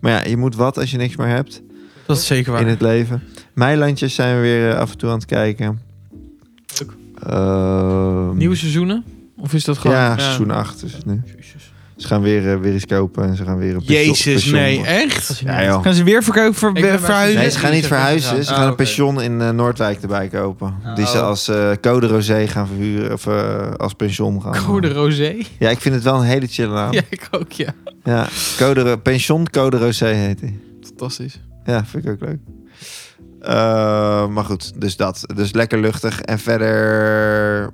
[SPEAKER 3] Maar ja, je moet wat als je niks meer hebt
[SPEAKER 1] Dat is zeker
[SPEAKER 3] in het leven. Meilandjes zijn we weer eh, af en toe aan het kijken.
[SPEAKER 2] Leuk.
[SPEAKER 3] Ehm,
[SPEAKER 2] Nieuwe seizoenen? Of is dat gewoon...
[SPEAKER 3] ja, seizoen 8 is het nu.
[SPEAKER 2] Jezus.
[SPEAKER 3] Ze gaan weer, eh, weer eens kopen en ze gaan weer op
[SPEAKER 1] Jezus, nee.
[SPEAKER 2] Dat
[SPEAKER 1] Echt?
[SPEAKER 2] is
[SPEAKER 3] Ja, joh.
[SPEAKER 1] Gaan ze weer verkopen voor
[SPEAKER 2] Ik ben bij-
[SPEAKER 1] verhuizen?
[SPEAKER 3] Nee, ze gaan
[SPEAKER 2] Die
[SPEAKER 3] niet
[SPEAKER 2] zijn
[SPEAKER 3] verhuizen. Ze
[SPEAKER 2] weggegaan.
[SPEAKER 3] gaan
[SPEAKER 2] Ah,
[SPEAKER 3] een
[SPEAKER 2] oké.
[SPEAKER 3] pension in eh, Noordwijk erbij kopen. Die ze
[SPEAKER 1] Oh.
[SPEAKER 3] als eh, Code Rosé gaan verhuren. Of eh, als pension gaan.
[SPEAKER 2] Code Rosé.
[SPEAKER 3] Ja, ik vind het wel een hele chille naam. Ja.
[SPEAKER 2] Ja, ik ook, ja.
[SPEAKER 3] Code, Ro- pension Code Rosé heet hij.
[SPEAKER 2] Fantastisch.
[SPEAKER 3] Ja, vind ik ook leuk. Eh, maar goed, dus dat. Dus lekker luchtig. En verder...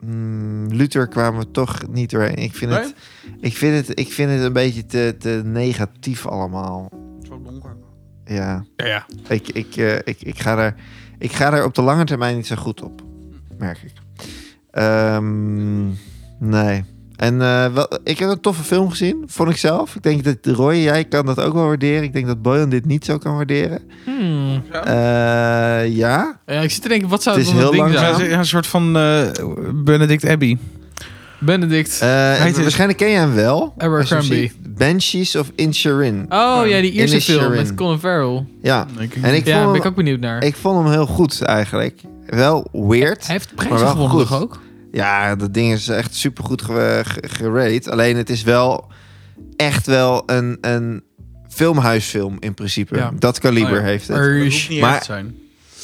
[SPEAKER 3] mm, Luther kwamen we toch niet doorheen. Ik vind, het, ik vind, het, ik vind het een beetje te, te negatief allemaal.
[SPEAKER 1] Zo donker.
[SPEAKER 3] Ja.
[SPEAKER 2] Ja, ja.
[SPEAKER 3] Ik, ik, eh, ik, ik, ga daar, ik ga daar op de lange termijn niet zo goed op, merk ik. Ehm, nee. En eh, wel, ik heb een toffe film gezien, vond ik zelf. Ik denk dat Roy, jij kan dat ook wel waarderen. Ik denk dat Boyan dit niet zo kan waarderen.
[SPEAKER 2] Hmm.
[SPEAKER 3] Eh, ja?
[SPEAKER 2] Ja, ik zit te denken, wat zou
[SPEAKER 3] Het
[SPEAKER 2] het,
[SPEAKER 3] is
[SPEAKER 2] dan een
[SPEAKER 3] heel
[SPEAKER 2] ding
[SPEAKER 3] langzaam.
[SPEAKER 2] zijn?
[SPEAKER 1] een soort van eh, Benedict Abbey.
[SPEAKER 2] Benedict
[SPEAKER 3] Eh,
[SPEAKER 1] heet-
[SPEAKER 3] waarschijnlijk ken je hem wel.
[SPEAKER 2] Abercrombie.
[SPEAKER 3] Als je hem ziet. Banshees of Inchirin.
[SPEAKER 2] Oh ja, die Ierse
[SPEAKER 3] Inisherin.
[SPEAKER 2] film met Colin Farrell.
[SPEAKER 3] Ja, En ik-
[SPEAKER 2] ja,
[SPEAKER 3] vond
[SPEAKER 2] daar
[SPEAKER 3] hem-
[SPEAKER 2] ben ik ook benieuwd naar.
[SPEAKER 3] ik vond hem heel goed eigenlijk. Wel weird.
[SPEAKER 2] Hij heeft
[SPEAKER 3] Maar
[SPEAKER 2] prijzen
[SPEAKER 3] wel
[SPEAKER 2] gewonnen
[SPEAKER 3] goed.
[SPEAKER 2] toch ook?
[SPEAKER 3] Ja, dat ding is echt supergoed ge- ge- gerate. Alleen het is wel echt wel een, een filmhuisfilm in principe.
[SPEAKER 2] Ja.
[SPEAKER 3] Dat kaliber
[SPEAKER 1] Oh ja.
[SPEAKER 3] heeft het.
[SPEAKER 2] Ursh.
[SPEAKER 3] Maar-
[SPEAKER 1] te zijn.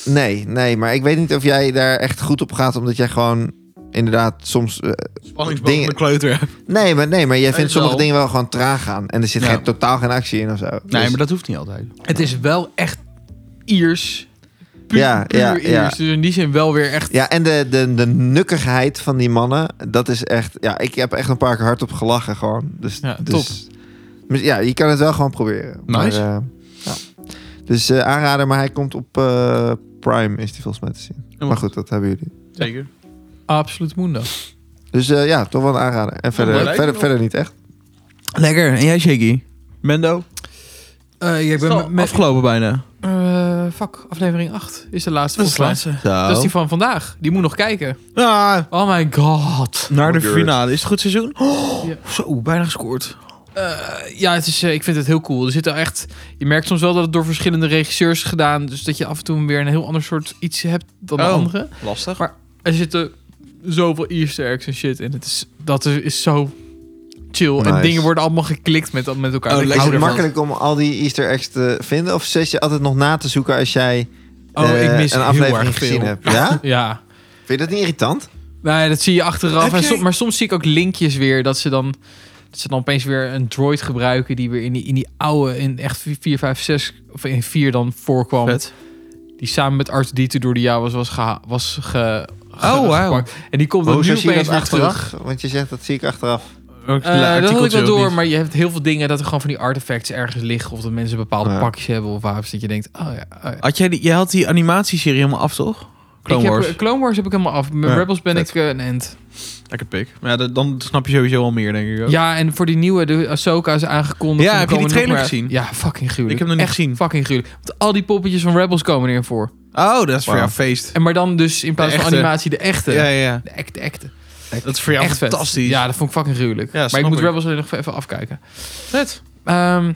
[SPEAKER 3] Nee, nee, maar ik weet niet of jij daar echt goed op gaat, omdat jij gewoon inderdaad soms... eh,
[SPEAKER 1] Spanningsboog
[SPEAKER 3] Dingen-
[SPEAKER 1] de kleuter.
[SPEAKER 3] nee, maar, nee, maar jij vindt
[SPEAKER 2] wel.
[SPEAKER 3] sommige dingen wel gewoon traag gaan. En er zit
[SPEAKER 1] Ja.
[SPEAKER 3] geen, totaal geen actie in of zo. Dus-
[SPEAKER 1] Nee, maar dat hoeft niet altijd.
[SPEAKER 2] Het is wel echt Iers. Puur,
[SPEAKER 3] Ja,
[SPEAKER 2] puur
[SPEAKER 3] ja,
[SPEAKER 2] Iers.
[SPEAKER 3] ja.
[SPEAKER 2] Dus in die zin wel weer echt...
[SPEAKER 3] Ja, en de, de, de nukkigheid van die mannen, dat is echt... Ja, ik heb echt een paar keer hardop gelachen gewoon. Dus,
[SPEAKER 2] Ja,
[SPEAKER 3] dus, maar Ja, je kan het wel gewoon proberen.
[SPEAKER 1] Nice.
[SPEAKER 3] Maar, eh, ja. Dus eh, aanrader, maar hij komt op eh, Prime, is die volgens mij te zien. Maar goed, dat hebben jullie.
[SPEAKER 1] Zeker.
[SPEAKER 2] Absoluut Mundo.
[SPEAKER 3] Dus eh, ja, toch wel een aanrader. En verder,
[SPEAKER 1] maar lijkt
[SPEAKER 3] verder,
[SPEAKER 1] me
[SPEAKER 3] verder niet echt.
[SPEAKER 1] Lekker. En jij, Shaky? Mendo?
[SPEAKER 2] Eh, ik ben met...
[SPEAKER 1] afgelopen bijna.
[SPEAKER 2] Eh, fuck, aflevering 8 is de laatste volgens mij.
[SPEAKER 3] Zo.
[SPEAKER 2] Dat is die van vandaag. Die moet nog kijken.
[SPEAKER 1] Ah,
[SPEAKER 2] Oh my god.
[SPEAKER 1] naar de
[SPEAKER 3] Good.
[SPEAKER 1] finale. Is het goed seizoen? Oh,
[SPEAKER 2] Ja.
[SPEAKER 1] Zo, bijna gescoord.
[SPEAKER 2] Eh, ja, het is, eh, ik vind het heel cool. Er zitten echt, je merkt soms wel dat het door verschillende regisseurs is gedaan. Dus dat je af en toe weer een heel ander soort iets hebt dan de
[SPEAKER 1] Oh.
[SPEAKER 2] andere.
[SPEAKER 1] Lastig.
[SPEAKER 2] Maar er zitten zoveel Easter eggs en shit in. Het is, dat is, is zo chill.
[SPEAKER 3] Nice.
[SPEAKER 2] En dingen worden allemaal geklikt met, met elkaar.
[SPEAKER 1] Oh, lekker.
[SPEAKER 2] Ik
[SPEAKER 3] Is
[SPEAKER 2] hou
[SPEAKER 3] het
[SPEAKER 2] ervan.
[SPEAKER 3] makkelijk om al die easter eggs te vinden? Of zet je altijd nog na te zoeken als jij
[SPEAKER 2] Oh,
[SPEAKER 3] eh,
[SPEAKER 2] ik mis
[SPEAKER 3] een
[SPEAKER 2] heel
[SPEAKER 3] aflevering
[SPEAKER 2] erg
[SPEAKER 3] gezien
[SPEAKER 2] veel.
[SPEAKER 3] hebt? Ja?
[SPEAKER 2] Ja.
[SPEAKER 3] Vind je dat niet irritant?
[SPEAKER 2] Nee, dat zie je achteraf.
[SPEAKER 1] Heb
[SPEAKER 2] En
[SPEAKER 1] jij-
[SPEAKER 2] som- maar soms zie ik ook linkjes weer dat ze dan, dat ze dan opeens weer een droid gebruiken die weer in die, in die oude, in echt 4, 5, 6 of in 4 dan voorkwam.
[SPEAKER 1] Vet.
[SPEAKER 2] Die samen met Art Dieter door de Jawas was, geha- was ge, ge-
[SPEAKER 1] Oh, wauw.
[SPEAKER 2] gepakt. En die komt
[SPEAKER 3] Maar
[SPEAKER 2] dan nu
[SPEAKER 3] Hoezo zie je
[SPEAKER 2] opeens
[SPEAKER 3] dat
[SPEAKER 2] weer terug.
[SPEAKER 3] achteraf? Want je zegt dat zie ik achteraf.
[SPEAKER 1] ook
[SPEAKER 2] Eh, dat had ik
[SPEAKER 1] artikeltje
[SPEAKER 2] wel
[SPEAKER 1] of
[SPEAKER 2] door,
[SPEAKER 1] niet?
[SPEAKER 2] maar je hebt heel veel dingen dat er gewoon van die artifacts ergens liggen. Of dat mensen bepaalde
[SPEAKER 3] Ja.
[SPEAKER 2] pakjes hebben of wapens. Dat je denkt, oh ja. oh ja.
[SPEAKER 1] Had jij, die, jij had die animatieserie helemaal af, toch? Clone
[SPEAKER 2] ik heb,
[SPEAKER 1] Wars.
[SPEAKER 2] eh, Clone Wars heb ik helemaal af. Met
[SPEAKER 1] Ja,
[SPEAKER 2] Rebels ben
[SPEAKER 3] vet.
[SPEAKER 2] ik eh, een end.
[SPEAKER 1] Lekker pik. Maar ja, dat- dan snap je sowieso al meer, denk ik ook.
[SPEAKER 2] Ja, en voor die nieuwe, de Ahsoka is aangekondigd.
[SPEAKER 1] Ja,
[SPEAKER 2] En er
[SPEAKER 1] heb je die
[SPEAKER 2] komen
[SPEAKER 1] trailer
[SPEAKER 2] nog maar-
[SPEAKER 1] gezien?
[SPEAKER 2] Ja, fucking gruwelijk.
[SPEAKER 1] Ik heb hem nog niet
[SPEAKER 2] Echt
[SPEAKER 1] gezien.
[SPEAKER 2] fucking gruwelijk. Want al die poppetjes van Rebels komen erin voor.
[SPEAKER 1] Oh, dat is voor
[SPEAKER 3] Wauw.
[SPEAKER 1] jou feest.
[SPEAKER 2] En maar dan dus in plaats
[SPEAKER 1] De
[SPEAKER 2] van
[SPEAKER 1] echte.
[SPEAKER 2] animatie de echte.
[SPEAKER 1] Ja, ja, ja.
[SPEAKER 2] De echte, echte.
[SPEAKER 1] Dat is voor jou
[SPEAKER 2] Echt vet.
[SPEAKER 1] fantastisch.
[SPEAKER 2] Ja, dat vond ik fucking gruwelijk.
[SPEAKER 1] Ja,
[SPEAKER 2] maar
[SPEAKER 1] snap
[SPEAKER 2] ik moet
[SPEAKER 1] ik.
[SPEAKER 2] Rebels er nog even afkijken.
[SPEAKER 1] vet.
[SPEAKER 2] Ehm,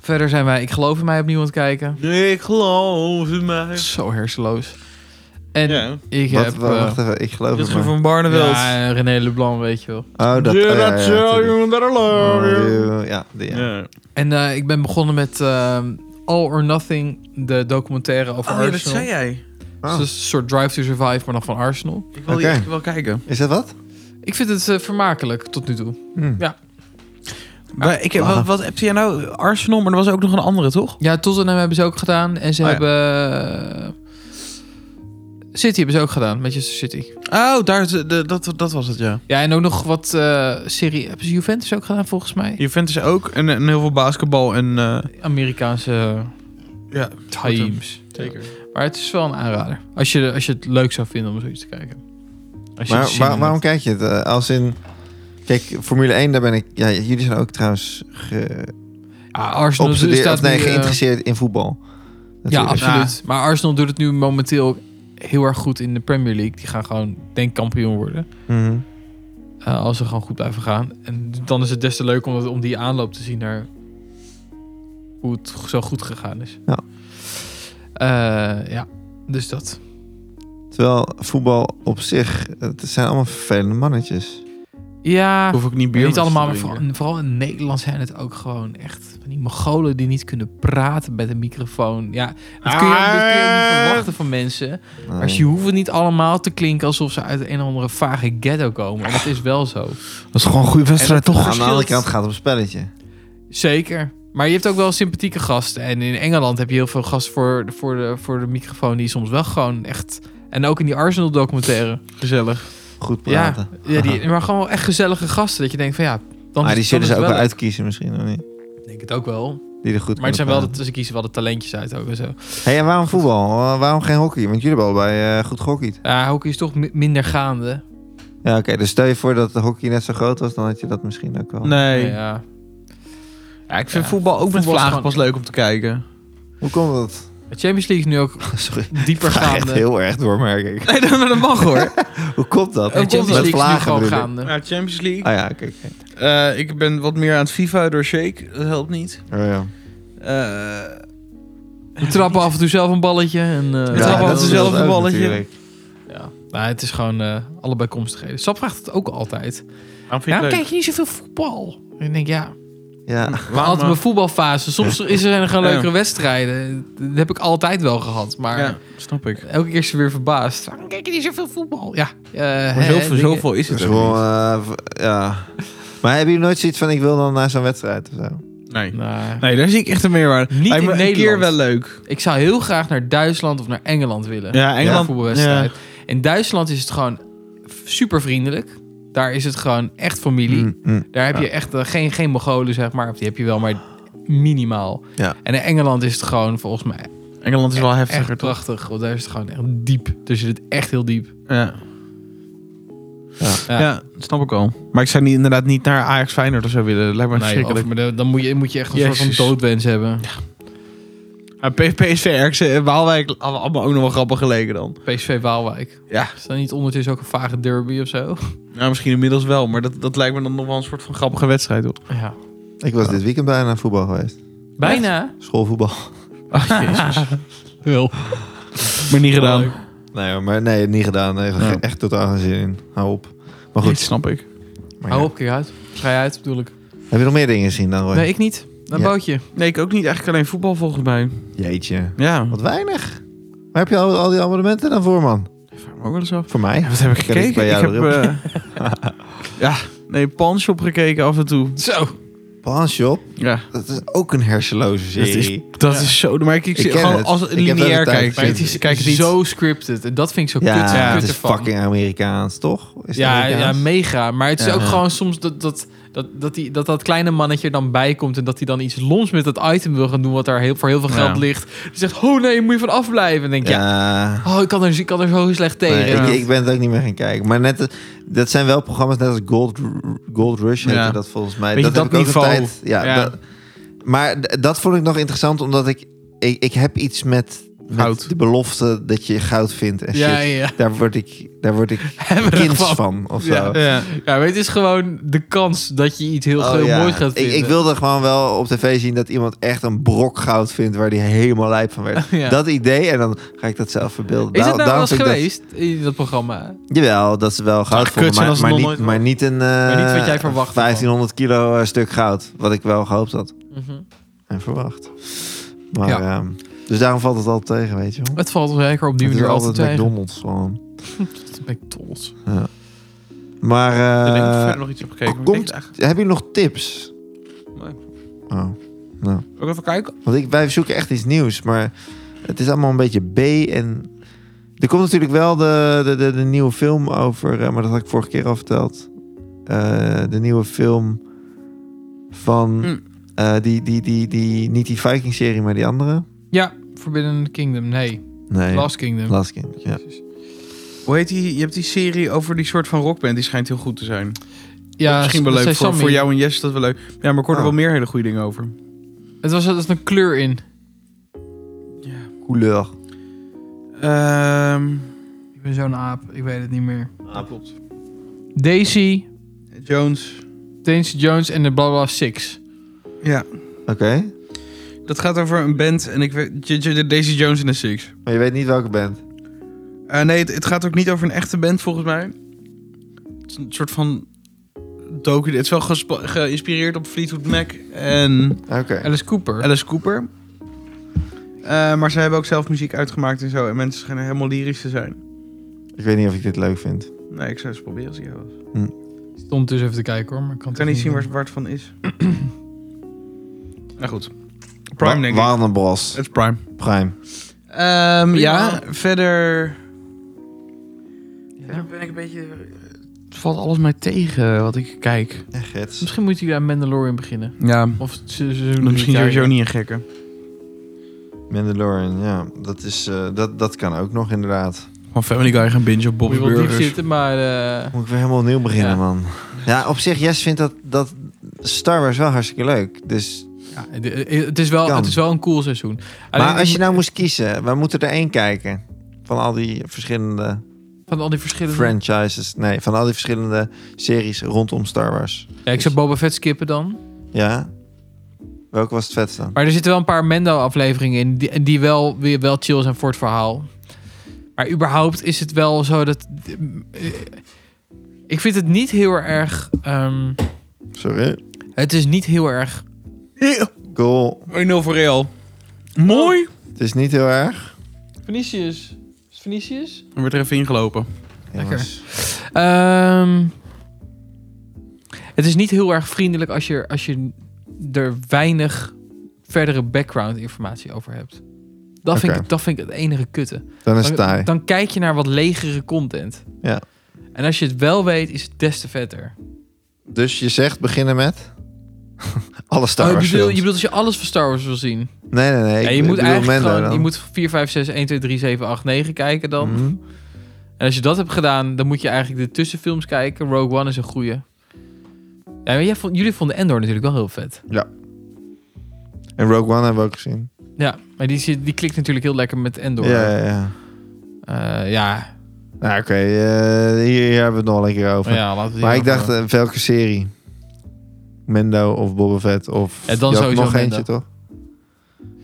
[SPEAKER 2] verder zijn wij Ik Geloof in Mij opnieuw aan het kijken.
[SPEAKER 1] Ik geloof in mij.
[SPEAKER 2] Zo hersenloos. En
[SPEAKER 1] Ja.
[SPEAKER 2] ik
[SPEAKER 3] Wat,
[SPEAKER 2] heb...
[SPEAKER 3] wa-
[SPEAKER 2] eh,
[SPEAKER 3] wacht even, ik geloof
[SPEAKER 1] Dit
[SPEAKER 3] het
[SPEAKER 1] is voor
[SPEAKER 3] maar.
[SPEAKER 1] van Barneveld.
[SPEAKER 2] ja, en René Leblanc, weet je wel.
[SPEAKER 3] Oh, dat... oh, ja, ja, natuurlijk.
[SPEAKER 1] that I
[SPEAKER 3] Oh, you- Ja, die, ja.
[SPEAKER 1] Ja.
[SPEAKER 2] En eh, ik ben begonnen met ehm, All or Nothing, de documentaire over
[SPEAKER 1] Oh, ja, dat
[SPEAKER 2] Arsenal.
[SPEAKER 1] zei jij.
[SPEAKER 2] Dus
[SPEAKER 3] Ah.
[SPEAKER 2] dat is een soort Drive to Survive, maar dan van Arsenal.
[SPEAKER 1] Ik wil die
[SPEAKER 3] Oké.
[SPEAKER 1] echt wel kijken.
[SPEAKER 3] Is dat wat?
[SPEAKER 2] Ik vind het eh, vermakelijk tot nu toe.
[SPEAKER 3] Hm.
[SPEAKER 1] Maar ik heb, wat, wat heb jij nou? Arsenal, maar er was ook nog een andere, toch?
[SPEAKER 2] Ja, Tottenham hebben ze ook gedaan. En ze
[SPEAKER 1] Oh ja.
[SPEAKER 2] hebben... eh, City hebben ze ook gedaan, Manchester City.
[SPEAKER 1] Oh, daar, is de, de- dat, dat was het, ja.
[SPEAKER 2] Ja, en ook nog wat eh serie... Hebben ze Juventus ook gedaan, volgens mij?
[SPEAKER 1] Juventus ook en, en heel veel basketbal en... eh,
[SPEAKER 2] Amerikaanse eh,
[SPEAKER 1] ja,
[SPEAKER 2] teams.
[SPEAKER 1] zeker.
[SPEAKER 2] Maar het is wel een aanrader. Als je, als je het leuk zou vinden om zoiets te kijken. Als je
[SPEAKER 3] Maar
[SPEAKER 2] het zin
[SPEAKER 3] waar-
[SPEAKER 2] in
[SPEAKER 3] waarom
[SPEAKER 2] hebt.
[SPEAKER 3] kijk je het? Eh, als in... Kijk, Formule 1, daar ben ik... Ja, jullie zijn ook trouwens ge,
[SPEAKER 2] Ja, Arsenal
[SPEAKER 3] obsedeerd,
[SPEAKER 2] staat
[SPEAKER 3] of nee,
[SPEAKER 2] nu, eh,
[SPEAKER 3] geïnteresseerd in voetbal.
[SPEAKER 2] Ja,
[SPEAKER 3] Natuurlijk.
[SPEAKER 2] absoluut. Maar Arsenal doet het nu momenteel ook heel erg goed in de Premier League. Die gaan gewoon, denk ik, kampioen worden.
[SPEAKER 3] Mhm.
[SPEAKER 2] Eh, als ze gewoon goed blijven gaan. En dan is het des te leuk om, dat- om die aanloop te zien naar hoe het zo goed gegaan is.
[SPEAKER 3] Ja.
[SPEAKER 2] Eh, ja, dus dat.
[SPEAKER 3] Terwijl voetbal op zich, het zijn allemaal vervelende mannetjes.
[SPEAKER 2] Ja,
[SPEAKER 1] Hoef ik Ah. niet bier met
[SPEAKER 2] Maar niet
[SPEAKER 1] ze te
[SPEAKER 2] allemaal, maar
[SPEAKER 1] drinken.
[SPEAKER 2] vooral, vooral in Nederland zijn het ook gewoon echt van die Mongolen die niet kunnen praten met een microfoon. Ja, dat kun je, dat kun je
[SPEAKER 3] Ah.
[SPEAKER 2] ook niet verwachten van mensen.
[SPEAKER 3] Nee.
[SPEAKER 2] Maar ze hoeven niet allemaal te klinken alsof ze uit een of andere vage ghetto komen. En dat is wel zo.
[SPEAKER 1] Dat is gewoon een goede wedstrijd,
[SPEAKER 2] En dat-
[SPEAKER 1] toch?
[SPEAKER 3] Aan de andere
[SPEAKER 2] verschilt.
[SPEAKER 3] kant gaat het om een spelletje.
[SPEAKER 2] Zeker. Maar je hebt ook wel sympathieke gasten. En in Engeland heb je heel veel gasten voor, voor, de, voor de microfoon die soms wel gewoon echt... En ook in die Arsenal documentaire.
[SPEAKER 1] Gezellig.
[SPEAKER 3] Goed
[SPEAKER 2] Ja,
[SPEAKER 3] praten.
[SPEAKER 2] ja die, maar gewoon wel echt gezellige gasten. Dat je denkt van ja...
[SPEAKER 3] maar
[SPEAKER 2] Dan is-
[SPEAKER 3] Ah, die zullen ze
[SPEAKER 2] dan is
[SPEAKER 3] ook
[SPEAKER 2] het
[SPEAKER 3] wel
[SPEAKER 2] wel
[SPEAKER 3] uitkiezen misschien, of niet?
[SPEAKER 2] leuk. Ik denk het ook wel.
[SPEAKER 3] Die er goed
[SPEAKER 2] Maar het zijn wel,
[SPEAKER 3] kunnen
[SPEAKER 2] de, ze kiezen wel de talentjes uit ook en zo.
[SPEAKER 3] praten. hey, en waarom voetbal? Wa- Waarom geen hockey? Want jullie hebben allebei eh, goed gehockeyd.
[SPEAKER 2] Ja, hockey is toch mi- minder gaande.
[SPEAKER 3] Ja, oké. dus stel je voor dat de hockey net zo groot was, dan had je dat misschien ook wel.
[SPEAKER 1] Oh, Nee.
[SPEAKER 2] Ja.
[SPEAKER 1] Ja, ik vind
[SPEAKER 2] Ja.
[SPEAKER 1] voetbal ook met
[SPEAKER 2] Voetbal is
[SPEAKER 1] vlagen
[SPEAKER 2] gewoon-
[SPEAKER 1] pas leuk om te kijken.
[SPEAKER 3] Hoe komt dat?
[SPEAKER 2] De Champions League is nu ook
[SPEAKER 1] Oh,
[SPEAKER 3] Sorry.
[SPEAKER 2] dieper
[SPEAKER 3] Ik ga echt
[SPEAKER 2] gaande.
[SPEAKER 3] heel erg door, merk ik.
[SPEAKER 1] Nee, dat, dat mag hoor.
[SPEAKER 3] Hoe komt dat?
[SPEAKER 2] De
[SPEAKER 3] Met
[SPEAKER 2] Champions League is nu
[SPEAKER 3] vlagen
[SPEAKER 2] gewoon
[SPEAKER 3] bedoel ik.
[SPEAKER 2] gaande.
[SPEAKER 1] Ja, Champions League.
[SPEAKER 3] Ah ja, oké. oké.
[SPEAKER 1] Eh, ik ben wat meer aan het FIFA door Shake. Dat helpt niet.
[SPEAKER 3] Oh, ja.
[SPEAKER 1] Eh,
[SPEAKER 2] We trappen af en toe zelf een balletje. En,
[SPEAKER 1] We
[SPEAKER 2] eh,
[SPEAKER 1] trappen af en
[SPEAKER 3] dat
[SPEAKER 1] toe zelf
[SPEAKER 3] speelt
[SPEAKER 1] een
[SPEAKER 3] ook
[SPEAKER 1] balletje.
[SPEAKER 3] natuurlijk.
[SPEAKER 2] Ja. Nou, het is gewoon eh alle bijkomstigheden. Sap vraagt het ook altijd.
[SPEAKER 1] waarom vind je het
[SPEAKER 2] Waarom
[SPEAKER 1] leuk?
[SPEAKER 2] kijk je niet zoveel voetbal? En ik denk, ja,
[SPEAKER 3] Ja.
[SPEAKER 1] Waarom, eh?
[SPEAKER 2] altijd mijn voetbalfase. Soms is er zijn gewoon
[SPEAKER 1] Ja.
[SPEAKER 2] leukere wedstrijden. Dat heb ik altijd wel gehad.
[SPEAKER 1] eh,
[SPEAKER 2] Maar
[SPEAKER 1] ja, snap ik.
[SPEAKER 2] elke keer is ze weer verbaasd. Waarom kijk je niet zoveel voetbal? Ja. eh,
[SPEAKER 1] Maar
[SPEAKER 2] hè,
[SPEAKER 1] zoveel,
[SPEAKER 2] dingen.
[SPEAKER 1] zoveel is
[SPEAKER 3] Dat
[SPEAKER 1] het
[SPEAKER 3] is
[SPEAKER 1] ook
[SPEAKER 3] wel, eh, v- ja. Maar hebben jullie nooit zoiets van ik wil dan naar zo'n wedstrijd of zo?
[SPEAKER 1] niet. Nee.
[SPEAKER 2] Nee.
[SPEAKER 1] nee, daar zie ik echt een meerwaarde.
[SPEAKER 2] Niet
[SPEAKER 1] Lijkt
[SPEAKER 2] in
[SPEAKER 1] me een
[SPEAKER 2] Nederland.
[SPEAKER 1] keer wel leuk.
[SPEAKER 2] Ik zou heel graag naar Duitsland of naar Engeland willen.
[SPEAKER 1] Ja,
[SPEAKER 2] Voor een
[SPEAKER 1] Engeland.
[SPEAKER 2] voetbalwedstrijd. In Duitsland is het gewoon super vriendelijk. Daar is het gewoon echt familie.
[SPEAKER 3] Mm, mm.
[SPEAKER 2] Daar heb je echt eh, geen, geen Mongolen, zeg maar. Of Die heb je wel, maar minimaal.
[SPEAKER 3] Ja.
[SPEAKER 2] En in Engeland is het gewoon volgens mij
[SPEAKER 1] Engeland is wel heftiger,
[SPEAKER 2] echt
[SPEAKER 1] toch?
[SPEAKER 2] prachtig. Want daar is het gewoon echt diep. Dus je zit echt heel diep.
[SPEAKER 1] Ja.
[SPEAKER 3] Ja.
[SPEAKER 1] Ja. dat snap ik al. Maar ik zou niet, inderdaad niet naar Ajax Feyenoord of zo willen. Dat lijkt me
[SPEAKER 2] Nee,
[SPEAKER 1] verschrikkelijk.
[SPEAKER 2] of- maar dan- dan moet je, moet je echt een soort
[SPEAKER 1] Jezus.
[SPEAKER 2] van doodwens hebben.
[SPEAKER 1] Maar P- PSV, Erkse en eh, Waalwijk hadden allemaal ook nog wel grappig geleken dan.
[SPEAKER 2] PSV Waalwijk.
[SPEAKER 1] Ja.
[SPEAKER 2] Is dat niet ondertussen ook een vage derby of zo?
[SPEAKER 1] Nou, misschien inmiddels wel. Maar dat, dat lijkt me dan nog wel een soort van grappige wedstrijd, toch?
[SPEAKER 2] Ja.
[SPEAKER 3] Ik was dit weekend bijna naar voetbal geweest.
[SPEAKER 2] Bijna.
[SPEAKER 3] Schoolvoetbal.
[SPEAKER 2] Jezus. Wel.
[SPEAKER 1] Maar niet gedaan.
[SPEAKER 2] Leuk.
[SPEAKER 3] Nee, hoor, maar nee, niet gedaan. Nee,
[SPEAKER 1] Ja.
[SPEAKER 3] Echt totaal geen zin in. Hou op. Maar
[SPEAKER 1] Goed,
[SPEAKER 3] goed.
[SPEAKER 1] snap ik.
[SPEAKER 3] Maar
[SPEAKER 2] Hou
[SPEAKER 3] ja.
[SPEAKER 2] op, kijk uit. Schrijf uit, bedoel ik.
[SPEAKER 3] Heb je nog meer dingen gezien dan Roy?
[SPEAKER 2] Nee, ik niet. Een
[SPEAKER 3] Ja.
[SPEAKER 2] bootje.
[SPEAKER 1] Nee, ik ook niet. Eigenlijk alleen voetbal volgens mij.
[SPEAKER 3] Jeetje.
[SPEAKER 1] Ja.
[SPEAKER 3] Wat weinig. Waar heb je al, al die abonnementen dan voor, man?
[SPEAKER 1] Vraag me ook wel eens af.
[SPEAKER 3] Voor mij?
[SPEAKER 1] Wat heb ik
[SPEAKER 3] Kijk,
[SPEAKER 1] gekeken?
[SPEAKER 3] bij
[SPEAKER 1] Ik
[SPEAKER 3] jou
[SPEAKER 1] heb... eh, ja, nee, Panshop gekeken af en toe.
[SPEAKER 2] Zo.
[SPEAKER 3] Pawnshop,
[SPEAKER 1] Ja.
[SPEAKER 3] dat is ook een hersenloze
[SPEAKER 1] Dat
[SPEAKER 3] serie.
[SPEAKER 1] is, dat is zo... Maar ik, ik,
[SPEAKER 3] Ik
[SPEAKER 1] zie
[SPEAKER 3] ken
[SPEAKER 1] gewoon
[SPEAKER 3] het.
[SPEAKER 1] als
[SPEAKER 3] Ik
[SPEAKER 1] het
[SPEAKER 3] heb dat een
[SPEAKER 1] lineair
[SPEAKER 3] tijd
[SPEAKER 1] kijkt.
[SPEAKER 3] gezien.
[SPEAKER 1] Kijk,
[SPEAKER 2] het
[SPEAKER 1] het
[SPEAKER 2] is,
[SPEAKER 1] kijk het niet.
[SPEAKER 2] zo scripted. En dat vind ik zo
[SPEAKER 3] ja,
[SPEAKER 2] kut,
[SPEAKER 3] het
[SPEAKER 2] kut
[SPEAKER 3] is
[SPEAKER 2] ervan.
[SPEAKER 3] fucking Amerikaans, toch? Is het
[SPEAKER 2] ja, ja,
[SPEAKER 3] Amerikaans?
[SPEAKER 2] mega. Maar het is
[SPEAKER 3] Ja.
[SPEAKER 2] ook
[SPEAKER 3] Ja.
[SPEAKER 2] gewoon soms dat dat, dat, dat, die, dat dat kleine mannetje er dan bij komt... en dat hij dan iets loms met dat item wil gaan doen... wat daar heel, voor heel veel
[SPEAKER 1] Ja.
[SPEAKER 2] geld ligt. Die zegt, oh nee, moet je van afblijven. En dan denk ik, ja,
[SPEAKER 3] Ja.
[SPEAKER 2] oh, ik kan, er, ik kan er zo slecht tegen.
[SPEAKER 3] Nee, ik, ik ben het ook niet meer gaan kijken. Maar net, dat zijn wel programma's net als Gold, Ru- Gold Rush heette
[SPEAKER 1] Ja.
[SPEAKER 3] dat volgens mij.
[SPEAKER 1] Weet je,
[SPEAKER 3] dat heb
[SPEAKER 1] dat
[SPEAKER 3] ik ook een
[SPEAKER 1] niveau.
[SPEAKER 3] tijd. Ja,
[SPEAKER 1] Ja.
[SPEAKER 3] dat- maar d- dat vond ik nog interessant, omdat ik, ik, ik heb iets met, met
[SPEAKER 1] Goud.
[SPEAKER 3] de belofte dat je goud vindt en
[SPEAKER 2] ja,
[SPEAKER 3] shit.
[SPEAKER 2] ja.
[SPEAKER 3] Daar word ik, daar word ik
[SPEAKER 2] Hebben we
[SPEAKER 3] kind
[SPEAKER 2] ervan.
[SPEAKER 3] van of zo.
[SPEAKER 2] Ja.
[SPEAKER 1] Ja.
[SPEAKER 2] Ja, weet, het is gewoon de kans dat je iets heel,
[SPEAKER 3] Oh,
[SPEAKER 2] heel
[SPEAKER 3] ja.
[SPEAKER 2] moois gaat
[SPEAKER 3] ik,
[SPEAKER 2] vinden.
[SPEAKER 3] ik wilde gewoon wel op tv zien dat iemand echt een brok goud vindt waar die helemaal lijp van werd.
[SPEAKER 2] Ja.
[SPEAKER 3] Dat idee, en dan ga ik dat zelf verbeelden.
[SPEAKER 2] Is het nou wel
[SPEAKER 3] Daarom
[SPEAKER 2] eens
[SPEAKER 3] vind ik dat-
[SPEAKER 2] geweest in dat programma?
[SPEAKER 3] Jawel, dat is wel goud
[SPEAKER 1] Ach,
[SPEAKER 3] voor me,
[SPEAKER 1] kut, zijn
[SPEAKER 3] maar,
[SPEAKER 1] als het
[SPEAKER 3] maar,
[SPEAKER 1] nog
[SPEAKER 3] niet,
[SPEAKER 1] nooit
[SPEAKER 3] maar niet een eh,
[SPEAKER 2] Maar niet wat jij verwacht
[SPEAKER 3] 1500 kilo eh, stuk goud. Wat ik wel gehoopt had
[SPEAKER 1] Mhm.
[SPEAKER 3] en verwacht. Maar,
[SPEAKER 2] Ja.
[SPEAKER 3] ehm, dus daarom valt het altijd tegen, weet je wel.
[SPEAKER 2] Het valt zeker op die
[SPEAKER 3] Het is
[SPEAKER 2] manier altijd
[SPEAKER 3] altijd
[SPEAKER 2] tegen.
[SPEAKER 3] McDonald's gewoon.
[SPEAKER 2] McDonald's.
[SPEAKER 3] Maar
[SPEAKER 1] Ik denk dat ik
[SPEAKER 3] eh,
[SPEAKER 1] verder nog iets heb gekeken. maar ik
[SPEAKER 3] komt-
[SPEAKER 1] denk het
[SPEAKER 3] heb je nog tips?
[SPEAKER 2] Nee.
[SPEAKER 3] Oh.
[SPEAKER 1] eigenlijk- Ook even kijken.
[SPEAKER 3] Want ik, wij zoeken echt iets nieuws, maar het is allemaal een beetje B en... Er komt natuurlijk wel de, de, de, de nieuwe film over, eh, maar dat had ik vorige keer al verteld. Eh, de nieuwe film van
[SPEAKER 1] Hm.
[SPEAKER 3] eh, die, die, die, die, niet die Viking-serie, maar die andere.
[SPEAKER 2] Ja, Forbidden Kingdom. Nee,
[SPEAKER 3] Nee,
[SPEAKER 2] Last Kingdom.
[SPEAKER 3] Last King, ja.
[SPEAKER 2] Precies.
[SPEAKER 1] Hoe heet die? Je hebt die serie over die soort van rockband. Die schijnt heel goed te zijn.
[SPEAKER 2] Ja,
[SPEAKER 1] Misschien wel leuk
[SPEAKER 2] dat zei
[SPEAKER 1] voor,
[SPEAKER 2] Sammy.
[SPEAKER 1] voor jou en Jess. is Dat wel leuk. Ja, maar ik hoor er
[SPEAKER 3] Oh.
[SPEAKER 1] wel meer hele goede dingen over.
[SPEAKER 2] Het was, er zat een kleur in.
[SPEAKER 3] Couleur.
[SPEAKER 1] Ehm,
[SPEAKER 2] Ik ben zo'n aap, ik weet het niet meer.
[SPEAKER 1] dat klopt.
[SPEAKER 2] Daisy,
[SPEAKER 1] Jones.
[SPEAKER 2] Daisy Jones en de Blabla Six.
[SPEAKER 1] Ja.
[SPEAKER 3] Oké,
[SPEAKER 1] Dat gaat over een band. En ik weet. J- J- Daisy Jones en de Six.
[SPEAKER 3] maar je weet niet welke band.
[SPEAKER 1] Eh, nee, het, het gaat ook niet over een echte band volgens mij. Het is een soort van. Docu. Het is wel gespa- geïnspireerd op Fleetwood Mac en
[SPEAKER 3] Oké.
[SPEAKER 2] Alice Cooper.
[SPEAKER 1] Alice Cooper. Eh, maar ze hebben ook zelf muziek uitgemaakt en zo. En mensen schijnen helemaal lyrisch te zijn.
[SPEAKER 3] Ik weet niet of ik dit leuk vind.
[SPEAKER 1] Nee, ik zou eens proberen als ik jou was.
[SPEAKER 2] Ik stond dus even te kijken hoor, maar ik kan,
[SPEAKER 1] Ik
[SPEAKER 2] het
[SPEAKER 1] kan niet
[SPEAKER 2] echt
[SPEAKER 1] zien waar,
[SPEAKER 2] doen.
[SPEAKER 1] waar het van is. nou goed.
[SPEAKER 3] Wa-
[SPEAKER 1] Prime denk ik.
[SPEAKER 3] Warner Bros.
[SPEAKER 1] Het is Prime.
[SPEAKER 3] Prime.
[SPEAKER 1] Ehm, ja,
[SPEAKER 2] Prima.
[SPEAKER 1] verder...
[SPEAKER 2] Ja.
[SPEAKER 1] ben ik een beetje...
[SPEAKER 2] Het valt alles mij tegen eh, wat ik kijk.
[SPEAKER 3] Ja, Gits.
[SPEAKER 2] Misschien moet hij aan Mandalorian beginnen.
[SPEAKER 1] Ja,
[SPEAKER 2] Of het se- seizoen
[SPEAKER 1] misschien
[SPEAKER 2] drie
[SPEAKER 1] sowieso
[SPEAKER 2] kijken.
[SPEAKER 1] niet een gekke.
[SPEAKER 3] Mandalorian, ja. Dat, is, eh, dat, dat kan ook nog inderdaad.
[SPEAKER 1] Van Family Guy gaan binge op
[SPEAKER 2] Moet
[SPEAKER 1] Bob's
[SPEAKER 2] je wel diep
[SPEAKER 1] Burgers.
[SPEAKER 2] zitten, maar... eh,
[SPEAKER 3] Moet ik weer helemaal opnieuw beginnen,
[SPEAKER 2] Ja.
[SPEAKER 3] man. Ja, op zich, Jess vindt dat, dat Star Wars wel hartstikke leuk. Dus,
[SPEAKER 2] ja, de- het, is wel,
[SPEAKER 3] Kan.
[SPEAKER 2] het is wel een cool seizoen.
[SPEAKER 3] maar
[SPEAKER 2] Alleen,
[SPEAKER 3] als je nou moest kiezen, we moeten er één kijken. Van al die verschillende
[SPEAKER 2] Van al die verschillende...
[SPEAKER 3] franchises. Nee, van al die verschillende series rondom Star Wars.
[SPEAKER 2] Ja, ik zou Boba Fett skippen dan.
[SPEAKER 3] Ja? Welke was het vetst dan?
[SPEAKER 2] Maar er zitten wel een paar Mendo-afleveringen in die, die wel weer wel chill zijn voor het verhaal. Maar überhaupt is het wel zo dat. eh, Ik vind het niet heel erg. ehm,
[SPEAKER 3] Sorry.
[SPEAKER 2] het is niet heel erg.
[SPEAKER 3] Cool.
[SPEAKER 1] 1-0 voor Real. Mooi!
[SPEAKER 3] Het is niet heel erg.
[SPEAKER 2] Venetius. Is Venetius?
[SPEAKER 1] Dan werd er even ingelopen.
[SPEAKER 3] Jongens.
[SPEAKER 2] Ehm, het is niet heel erg vriendelijk als je, als je er weinig verdere background informatie over hebt. Dat, vind
[SPEAKER 3] Oké.
[SPEAKER 2] ik, dat vind ik het enige kutte.
[SPEAKER 3] Dan is het
[SPEAKER 2] dan,
[SPEAKER 3] taai.
[SPEAKER 2] dan kijk je naar wat legere content.
[SPEAKER 3] Ja.
[SPEAKER 2] En als je het wel weet, is het des te vetter.
[SPEAKER 3] Dus je zegt beginnen met... Alle Star
[SPEAKER 2] Oh, je
[SPEAKER 3] Wars
[SPEAKER 2] bedoelt,
[SPEAKER 3] films.
[SPEAKER 2] je bedoelt als je alles van Star Wars wil zien.
[SPEAKER 3] Nee, nee, nee.
[SPEAKER 2] Ja,
[SPEAKER 3] ik
[SPEAKER 2] je moet
[SPEAKER 3] bedoel
[SPEAKER 2] eigenlijk
[SPEAKER 3] Mando
[SPEAKER 2] gewoon,
[SPEAKER 3] dan.
[SPEAKER 2] je moet 4, 5, 6, 1, 2, 3, 7, 8, 9 kijken dan.
[SPEAKER 3] Mhm.
[SPEAKER 2] En als je dat hebt gedaan, dan moet je eigenlijk de tussenfilms kijken. Rogue One is een goeie. Ja, maar jij vond, jullie vonden Endor natuurlijk wel heel vet.
[SPEAKER 3] En Rogue One hebben we ook gezien.
[SPEAKER 2] Ja, maar die, zit- die klikt natuurlijk heel lekker met Endor.
[SPEAKER 3] Ja, ja, ja.
[SPEAKER 2] Eh, ja.
[SPEAKER 3] Nou, oké. eh, hier, hier hebben we het nog een keer over.
[SPEAKER 2] Maar ja, laten we die
[SPEAKER 3] maar ik
[SPEAKER 2] over-
[SPEAKER 3] dacht, eh, welke serie? Mendo of Boba Fett of...
[SPEAKER 2] Ja, dan
[SPEAKER 3] Je had
[SPEAKER 2] sowieso
[SPEAKER 3] nog
[SPEAKER 2] Mendo.
[SPEAKER 3] eentje, toch?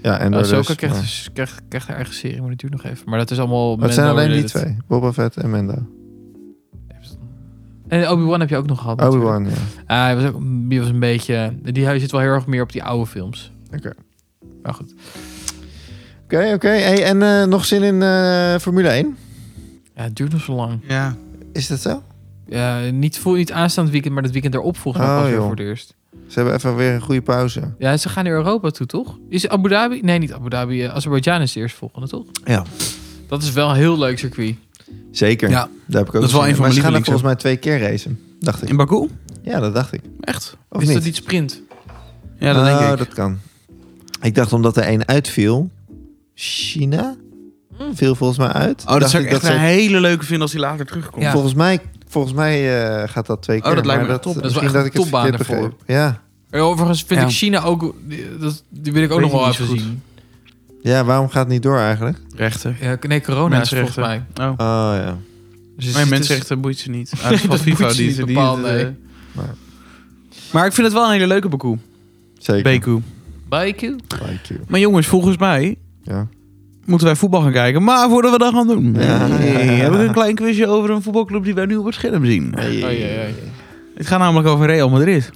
[SPEAKER 3] Ja, en
[SPEAKER 2] Oh,
[SPEAKER 3] dus,
[SPEAKER 2] Ahsoka krijgt,
[SPEAKER 3] maar-
[SPEAKER 2] dus, krijgt, krijgt haar eigen serie, maar dat duurt nog even. Maar dat is allemaal...
[SPEAKER 3] Maar het zijn alleen die
[SPEAKER 2] Mando-related.
[SPEAKER 3] twee. Boba Fett en Mendo.
[SPEAKER 2] En Obi-Wan heb je ook nog gehad. natuurlijk.
[SPEAKER 3] Obi-Wan, ja.
[SPEAKER 2] Ah, hij was ook, die was een beetje... Die hij zit wel heel erg meer op die oude films.
[SPEAKER 3] Oké.
[SPEAKER 2] Maar goed.
[SPEAKER 3] Oké, oké. Hey, en eh, nog zin in eh, Formule 1?
[SPEAKER 2] Ja, het duurt nog zo lang.
[SPEAKER 1] Ja.
[SPEAKER 3] Is dat zo?
[SPEAKER 2] Ja, niet, voor, niet aanstaand weekend, maar dat weekend erop volgens mij
[SPEAKER 3] Oh,
[SPEAKER 2] pas weer
[SPEAKER 3] joh.
[SPEAKER 2] voor het eerst.
[SPEAKER 3] Ze hebben even weer een goede pauze.
[SPEAKER 2] Ja, ze gaan naar Europa toe, toch? Is Abu Dhabi? Nee, niet Abu Dhabi. eh, Azerbeidzjan is de eerste volgende, toch?
[SPEAKER 3] Ja.
[SPEAKER 2] Dat is wel een heel leuk circuit.
[SPEAKER 3] Zeker.
[SPEAKER 1] Ja.
[SPEAKER 3] Daar heb ik ook
[SPEAKER 1] Dat is wel
[SPEAKER 3] zin in.
[SPEAKER 1] een van
[SPEAKER 3] Maar
[SPEAKER 1] mijn
[SPEAKER 3] ze gaan er
[SPEAKER 1] lievelings-
[SPEAKER 3] volgens mij twee keer racen. Dacht ik.
[SPEAKER 1] In Baku?
[SPEAKER 3] Ja, dat dacht ik.
[SPEAKER 1] Echt?
[SPEAKER 3] Of
[SPEAKER 2] is
[SPEAKER 3] niet?
[SPEAKER 2] dat niet sprint?
[SPEAKER 1] Ja, dat denk
[SPEAKER 3] Oh,
[SPEAKER 1] ik.
[SPEAKER 3] dat kan. Ik dacht omdat er één uitviel. China?
[SPEAKER 1] Hmm.
[SPEAKER 2] Mm.
[SPEAKER 3] Viel volgens mij uit.
[SPEAKER 1] Oh, dat
[SPEAKER 3] Dacht
[SPEAKER 1] zou ik echt
[SPEAKER 3] ze-
[SPEAKER 1] een hele leuke vinden als hij later terugkomt.
[SPEAKER 2] Ja.
[SPEAKER 3] Volgens mij, volgens mij eh, gaat dat twee
[SPEAKER 1] Oh,
[SPEAKER 3] keer.
[SPEAKER 1] dat lijkt
[SPEAKER 3] maar
[SPEAKER 1] me echt top. Dat
[SPEAKER 2] is wel
[SPEAKER 3] misschien
[SPEAKER 2] echt
[SPEAKER 3] dat
[SPEAKER 2] een
[SPEAKER 3] ik het
[SPEAKER 2] topbaan
[SPEAKER 3] verkeerd
[SPEAKER 2] ervoor.
[SPEAKER 3] begreep. Ja.
[SPEAKER 2] Ja, Eh, Overigens vind
[SPEAKER 1] Ja.
[SPEAKER 2] ik China ook... die- Dat, die wil ik ook
[SPEAKER 1] Weet
[SPEAKER 2] nog wel
[SPEAKER 1] ik niet
[SPEAKER 2] even
[SPEAKER 1] zo goed.
[SPEAKER 2] zien.
[SPEAKER 3] ja, waarom gaat het niet door eigenlijk?
[SPEAKER 1] Rechten.
[SPEAKER 2] Ja, nee, corona is het volgens mij.
[SPEAKER 1] Mensenrechten. Oh.
[SPEAKER 3] Oh ja.
[SPEAKER 2] Dus het
[SPEAKER 1] Nee,
[SPEAKER 2] is-
[SPEAKER 1] mensenrechten boeit ze niet. Ah, dat is van
[SPEAKER 2] Dat
[SPEAKER 1] FIFA.
[SPEAKER 2] boeit ze
[SPEAKER 1] Die,
[SPEAKER 2] niet
[SPEAKER 1] die,
[SPEAKER 2] bepaald,
[SPEAKER 1] eh,
[SPEAKER 2] nee.
[SPEAKER 3] Maar-
[SPEAKER 1] Maar ik vind het wel een hele leuke Baku.
[SPEAKER 3] Zeker.
[SPEAKER 1] Baku.
[SPEAKER 2] Barbecue?
[SPEAKER 3] Thank you.
[SPEAKER 1] Maar jongens, volgens mij
[SPEAKER 3] Ja.
[SPEAKER 1] moeten wij voetbal gaan kijken. Maar voordat we dat gaan doen,
[SPEAKER 3] Ja.
[SPEAKER 1] nee, heb ik een klein quizje over een voetbalclub die wij nu op het scherm zien.
[SPEAKER 2] Oei, oei, oei.
[SPEAKER 1] Het gaat namelijk over Real Madrid.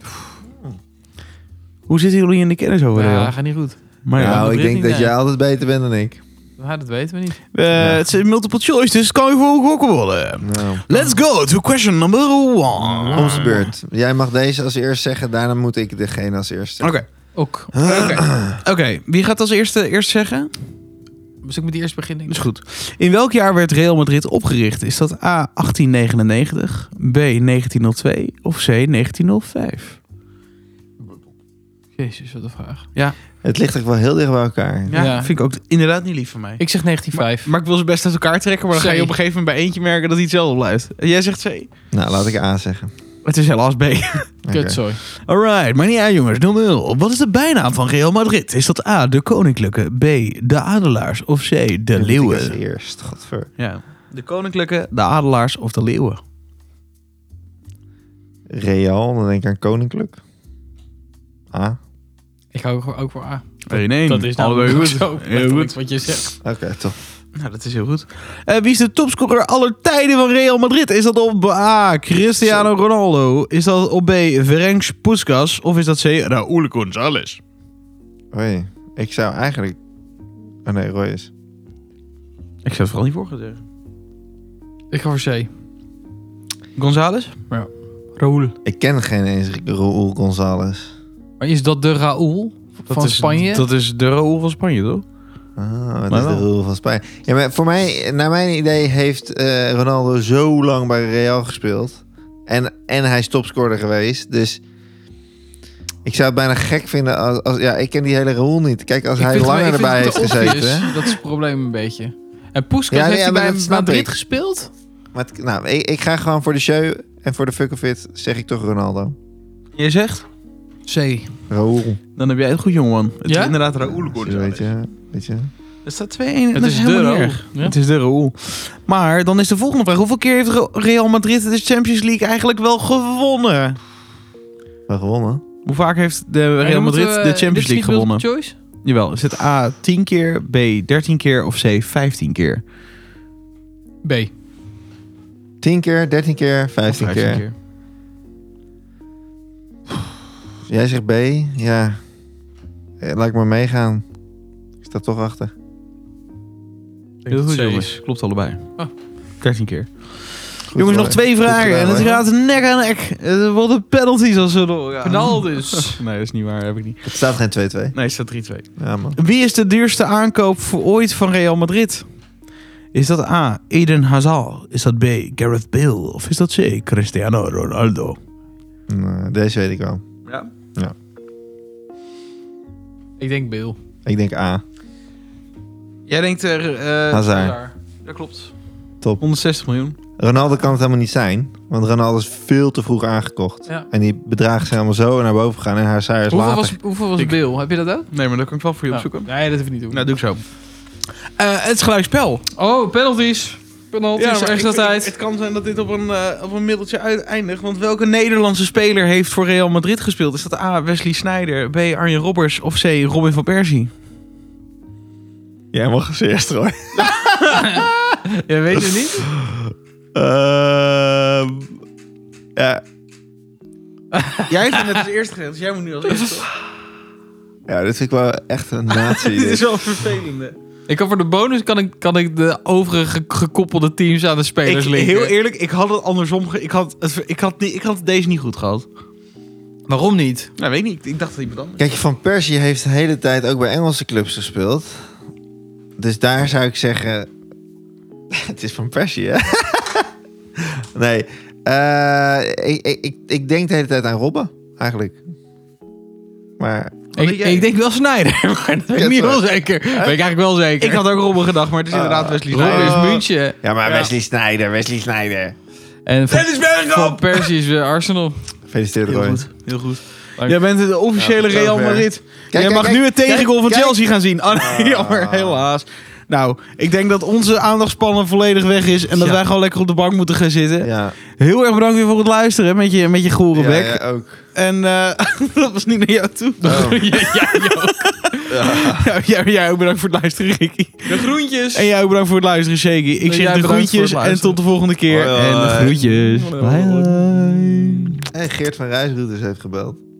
[SPEAKER 1] Hoe zitten jullie in de kennis over
[SPEAKER 2] Ja,
[SPEAKER 1] Real?
[SPEAKER 2] gaat niet goed.
[SPEAKER 1] Maar ja.
[SPEAKER 3] nou,
[SPEAKER 2] dat
[SPEAKER 3] ik
[SPEAKER 2] weet
[SPEAKER 3] denk
[SPEAKER 2] ik
[SPEAKER 3] dat
[SPEAKER 2] niet.
[SPEAKER 3] jij altijd beter bent dan ik.
[SPEAKER 2] Ja, dat weten we niet.
[SPEAKER 1] Eh, Het is multiple choice, dus het kan je voor gokken worden.
[SPEAKER 3] Nou.
[SPEAKER 1] Let's go to question number one.
[SPEAKER 3] Om zijn beurt. Jij mag deze als eerst zeggen, daarna moet ik degene als eerst
[SPEAKER 1] Oké,
[SPEAKER 3] zeggen.
[SPEAKER 2] Ook. Oké.
[SPEAKER 3] Ah.
[SPEAKER 1] oké. wie gaat als eerste eerst zeggen?
[SPEAKER 2] Dus ik moet die eerst beginnen.
[SPEAKER 1] Is goed. In welk jaar werd Real Madrid opgericht? Is dat A 1899, B 1902 of C 1905?
[SPEAKER 2] Jezus, wat een vraag.
[SPEAKER 3] Het ligt toch wel heel dicht bij elkaar.
[SPEAKER 1] Ja,
[SPEAKER 2] Ja.
[SPEAKER 1] vind ik ook inderdaad niet lief van mij.
[SPEAKER 2] Ik zeg 1905.
[SPEAKER 1] Maar ik wil ze best uit elkaar trekken, maar dan
[SPEAKER 2] C.
[SPEAKER 1] ga je op een gegeven moment bij eentje merken dat hij hetzelfde blijft. En jij zegt C.
[SPEAKER 3] Nou, laat ik A zeggen.
[SPEAKER 1] Het is helaas B.
[SPEAKER 3] Oké.
[SPEAKER 2] Kut, sorry.
[SPEAKER 1] Alright, maar niet uit jongens, noem me op. Wat is de bijnaam van Real Madrid? Is dat A, de Koninklijke, B, de Adelaars of C, de
[SPEAKER 3] Dan moet ik Als
[SPEAKER 1] Leeuwen?
[SPEAKER 3] eerst, godver.
[SPEAKER 1] Ja. De Koninklijke, de Adelaars of de Leeuwen?
[SPEAKER 3] Real, dan denk ik aan Koninklijk. Ah, A.
[SPEAKER 2] Ik hou ook voor, ook voor A.
[SPEAKER 1] 1-1.
[SPEAKER 2] Dat is
[SPEAKER 1] Allebei
[SPEAKER 2] nou
[SPEAKER 1] goed.
[SPEAKER 2] zo
[SPEAKER 1] Heel
[SPEAKER 2] letterlijk
[SPEAKER 1] goed.
[SPEAKER 2] wat je zegt.
[SPEAKER 3] Oké, toch.
[SPEAKER 1] Nou, dat is heel goed. Eh, wie is de topscorer aller tijden van Real Madrid? Is dat op A, Cristiano Ronaldo? Is dat op B, Ferenc Puskas? Of is dat C, Raúl González?
[SPEAKER 3] Oei. Ik zou eigenlijk... Oh nee, Roy is.
[SPEAKER 1] Ik zou het vooral niet voor gaan zeggen.
[SPEAKER 2] Ik ga voor C.
[SPEAKER 1] González?
[SPEAKER 2] Raoul.
[SPEAKER 3] Ik ken geen eens Raúl González.
[SPEAKER 2] Maar is dat de Raoul van Spanje?
[SPEAKER 1] Dat is de Raúl van Spanje, toch?
[SPEAKER 3] Ah, dat
[SPEAKER 1] Maar
[SPEAKER 3] is de
[SPEAKER 1] wel.
[SPEAKER 3] Raúl van Spanje. Ja, maar voor mij, naar mijn idee, heeft eh, Ronaldo zo lang bij Real gespeeld. En, en hij is topscorer geweest. Dus ik zou het bijna gek vinden als... als ja, ik ken die hele Raúl niet. Kijk, als
[SPEAKER 2] Ik
[SPEAKER 3] hij
[SPEAKER 2] vind het-
[SPEAKER 3] langer
[SPEAKER 2] ik vind
[SPEAKER 3] erbij
[SPEAKER 2] het
[SPEAKER 3] heeft
[SPEAKER 2] te obvious.
[SPEAKER 3] gezeten...
[SPEAKER 2] Dat is het probleem een beetje. En Poeskas
[SPEAKER 3] Ja,
[SPEAKER 2] heeft
[SPEAKER 3] ja,
[SPEAKER 2] hij
[SPEAKER 3] maar
[SPEAKER 2] bij
[SPEAKER 3] dat snap
[SPEAKER 2] Madrid
[SPEAKER 3] ik.
[SPEAKER 2] gespeeld?
[SPEAKER 3] Maar het- nou, ik, ik ga gewoon voor de show. En voor de fuck of it zeg ik toch Ronaldo.
[SPEAKER 1] Jij zegt?
[SPEAKER 2] C.
[SPEAKER 3] Raúl.
[SPEAKER 1] Dan heb jij het goed, jongen. Het
[SPEAKER 2] Ja?
[SPEAKER 1] is inderdaad Raúl
[SPEAKER 3] Weet
[SPEAKER 1] González.
[SPEAKER 3] je, weet je.
[SPEAKER 1] Er staat 2-1. en
[SPEAKER 2] Het
[SPEAKER 1] dat
[SPEAKER 2] is de
[SPEAKER 1] helemaal niet
[SPEAKER 2] Raoul.
[SPEAKER 1] erg. Het is de Raoul. Maar dan is de volgende vraag. Hoeveel keer heeft Re- Real Madrid de Champions League eigenlijk wel gewonnen?
[SPEAKER 3] Wel gewonnen.
[SPEAKER 1] Hoe vaak heeft de Real Madrid
[SPEAKER 2] eh,
[SPEAKER 1] de Champions League gewonnen? Jawel, is het A 10 keer, B 13 keer of C 15 keer?
[SPEAKER 2] B.
[SPEAKER 3] 10 keer, 13 keer, 15, keer. Jij zegt B. Ja. Eh, Laat ik maar meegaan. Ik sta toch achter.
[SPEAKER 1] Heel goed,
[SPEAKER 2] C
[SPEAKER 1] jongens. Klopt allebei.
[SPEAKER 2] Ah.
[SPEAKER 1] 13 keer.
[SPEAKER 3] Goed
[SPEAKER 1] jongens,
[SPEAKER 3] hoor.
[SPEAKER 1] nog twee
[SPEAKER 3] Goed
[SPEAKER 1] vragen.
[SPEAKER 3] gedaan,
[SPEAKER 1] en het
[SPEAKER 3] hoor.
[SPEAKER 1] gaat nek aan nek. Eh, Wat een penalties als ze doorgaan.
[SPEAKER 2] Knal dus.
[SPEAKER 1] Nee, dat is niet waar. Heb ik niet.
[SPEAKER 3] Het staat geen 2-2.
[SPEAKER 1] Nee, het staat 3-2.
[SPEAKER 3] Ja, man.
[SPEAKER 1] Wie is de duurste aankoop voor ooit van Real Madrid? Is dat A. Eden Hazard? Is dat B. Gareth Bale? Of is dat C. Cristiano Ronaldo?
[SPEAKER 3] Nee, deze weet ik wel.
[SPEAKER 1] Ja.
[SPEAKER 2] Ik denk Bill.
[SPEAKER 3] Ik denk A.
[SPEAKER 1] Jij denkt eh, er...
[SPEAKER 3] Hazard.
[SPEAKER 1] dat klopt.
[SPEAKER 3] Top.
[SPEAKER 1] 160 miljoen.
[SPEAKER 3] Ronaldo kan het helemaal niet zijn. Want Ronaldo is veel te vroeg aangekocht.
[SPEAKER 2] Ja.
[SPEAKER 3] En die bedragen zijn allemaal zo naar boven gegaan. En haar saai is
[SPEAKER 2] Hoeveel
[SPEAKER 3] later.
[SPEAKER 2] was, hoeveel was
[SPEAKER 1] Ik-
[SPEAKER 2] Bill? Heb je dat ook?
[SPEAKER 1] Nee, maar dat kan ik wel voor je
[SPEAKER 2] Nou, Nee, dat hoef ik niet te doen.
[SPEAKER 1] Nou, doe ik zo. Eh, het is gelijkspel.
[SPEAKER 2] Oh, penalties. Penalties, ja, extra tijd.
[SPEAKER 1] Het kan zijn dat dit op een, eh, op een middeltje uiteindigt. Want welke Nederlandse speler heeft voor Real Madrid gespeeld? Is dat A. Wesley Sneijder, B. Arjen Robbers of C. Robin van Persie?
[SPEAKER 3] Jij mag als eerste hoor.
[SPEAKER 2] Je weet het niet?
[SPEAKER 3] Ehm, ja,
[SPEAKER 1] Jij hebt het net als eerste gezegd, dus jij moet nu als eerste.
[SPEAKER 3] ja, dit vind ik wel echt een nazi.
[SPEAKER 1] Dit is
[SPEAKER 3] dit.
[SPEAKER 1] wel vervelende.
[SPEAKER 2] Ik kan voor de bonus kan ik, kan ik de overige gekoppelde teams aan de
[SPEAKER 1] Ik,
[SPEAKER 2] spelers linken.
[SPEAKER 1] heel eerlijk, ik had het andersom. ge- ik, had het, ik, had niet, ik had deze niet goed gehad.
[SPEAKER 2] Waarom niet?
[SPEAKER 1] Nou, weet ik niet. Ik dacht dat iemand anders.
[SPEAKER 3] Kijk, Van Persie heeft de hele tijd ook bij Engelse clubs gespeeld. Dus daar zou ik zeggen... Het is Van Persie, hè? nee. eh, ik, ik, ik, ik denk de hele tijd aan Robben, eigenlijk. Maar
[SPEAKER 2] Ik,
[SPEAKER 1] denk jij?
[SPEAKER 2] ik denk wel Snyder, maar dat weet ik
[SPEAKER 3] Ja,
[SPEAKER 2] niet
[SPEAKER 3] toch?
[SPEAKER 2] wel zeker. Dat weet ik eigenlijk wel zeker.
[SPEAKER 1] Ik had ook Robben gedacht, maar het is inderdaad Wesley
[SPEAKER 2] Robben
[SPEAKER 1] Sneijder.
[SPEAKER 2] is München.
[SPEAKER 3] Ja, maar
[SPEAKER 1] Ja.
[SPEAKER 3] Wesley Sneijder, Wesley Sneijder.
[SPEAKER 2] En van,
[SPEAKER 1] Dennis Bergkamp!
[SPEAKER 2] van Persie is weer Arsenal.
[SPEAKER 3] Gefeliciteerd,
[SPEAKER 1] Heel
[SPEAKER 3] Roy.
[SPEAKER 1] goed, heel goed.
[SPEAKER 2] Dank.
[SPEAKER 1] Jij bent de officiële
[SPEAKER 3] Ja, tot
[SPEAKER 1] Real
[SPEAKER 3] zover.
[SPEAKER 1] Madrid.
[SPEAKER 3] Kijk,
[SPEAKER 1] Jij
[SPEAKER 3] kijk,
[SPEAKER 1] mag
[SPEAKER 3] kijk,
[SPEAKER 1] nu het
[SPEAKER 3] kijk,
[SPEAKER 1] tegengoal van
[SPEAKER 3] kijk.
[SPEAKER 1] Chelsea gaan zien. Ah, nee,
[SPEAKER 3] Ah.
[SPEAKER 1] jammer, helaas. Nou, ik denk dat onze aandachtspannen volledig weg is en dat
[SPEAKER 2] Ja.
[SPEAKER 1] wij gewoon lekker op de bank moeten gaan zitten.
[SPEAKER 3] Ja,
[SPEAKER 1] Heel erg bedankt weer voor het luisteren met je, met je gore
[SPEAKER 3] ja,
[SPEAKER 1] bek.
[SPEAKER 3] ja, ook.
[SPEAKER 1] En eh, dat was niet naar jou toe.
[SPEAKER 3] Oh.
[SPEAKER 2] Ja, ja, ja.
[SPEAKER 1] Ja, jij, jij ook bedankt voor het luisteren, Ricky.
[SPEAKER 2] De groentjes.
[SPEAKER 1] En jij ook bedankt voor het luisteren, Shaky. Ik
[SPEAKER 2] jij
[SPEAKER 1] zeg de
[SPEAKER 2] bedankt voor het
[SPEAKER 1] groetjes en
[SPEAKER 2] luisteren.
[SPEAKER 1] tot de volgende keer.
[SPEAKER 3] Hoi, hoi.
[SPEAKER 1] En de groetjes.
[SPEAKER 2] Hoi, hoi.
[SPEAKER 1] Bye.
[SPEAKER 3] En Geert van Rijsroeters heeft gebeld.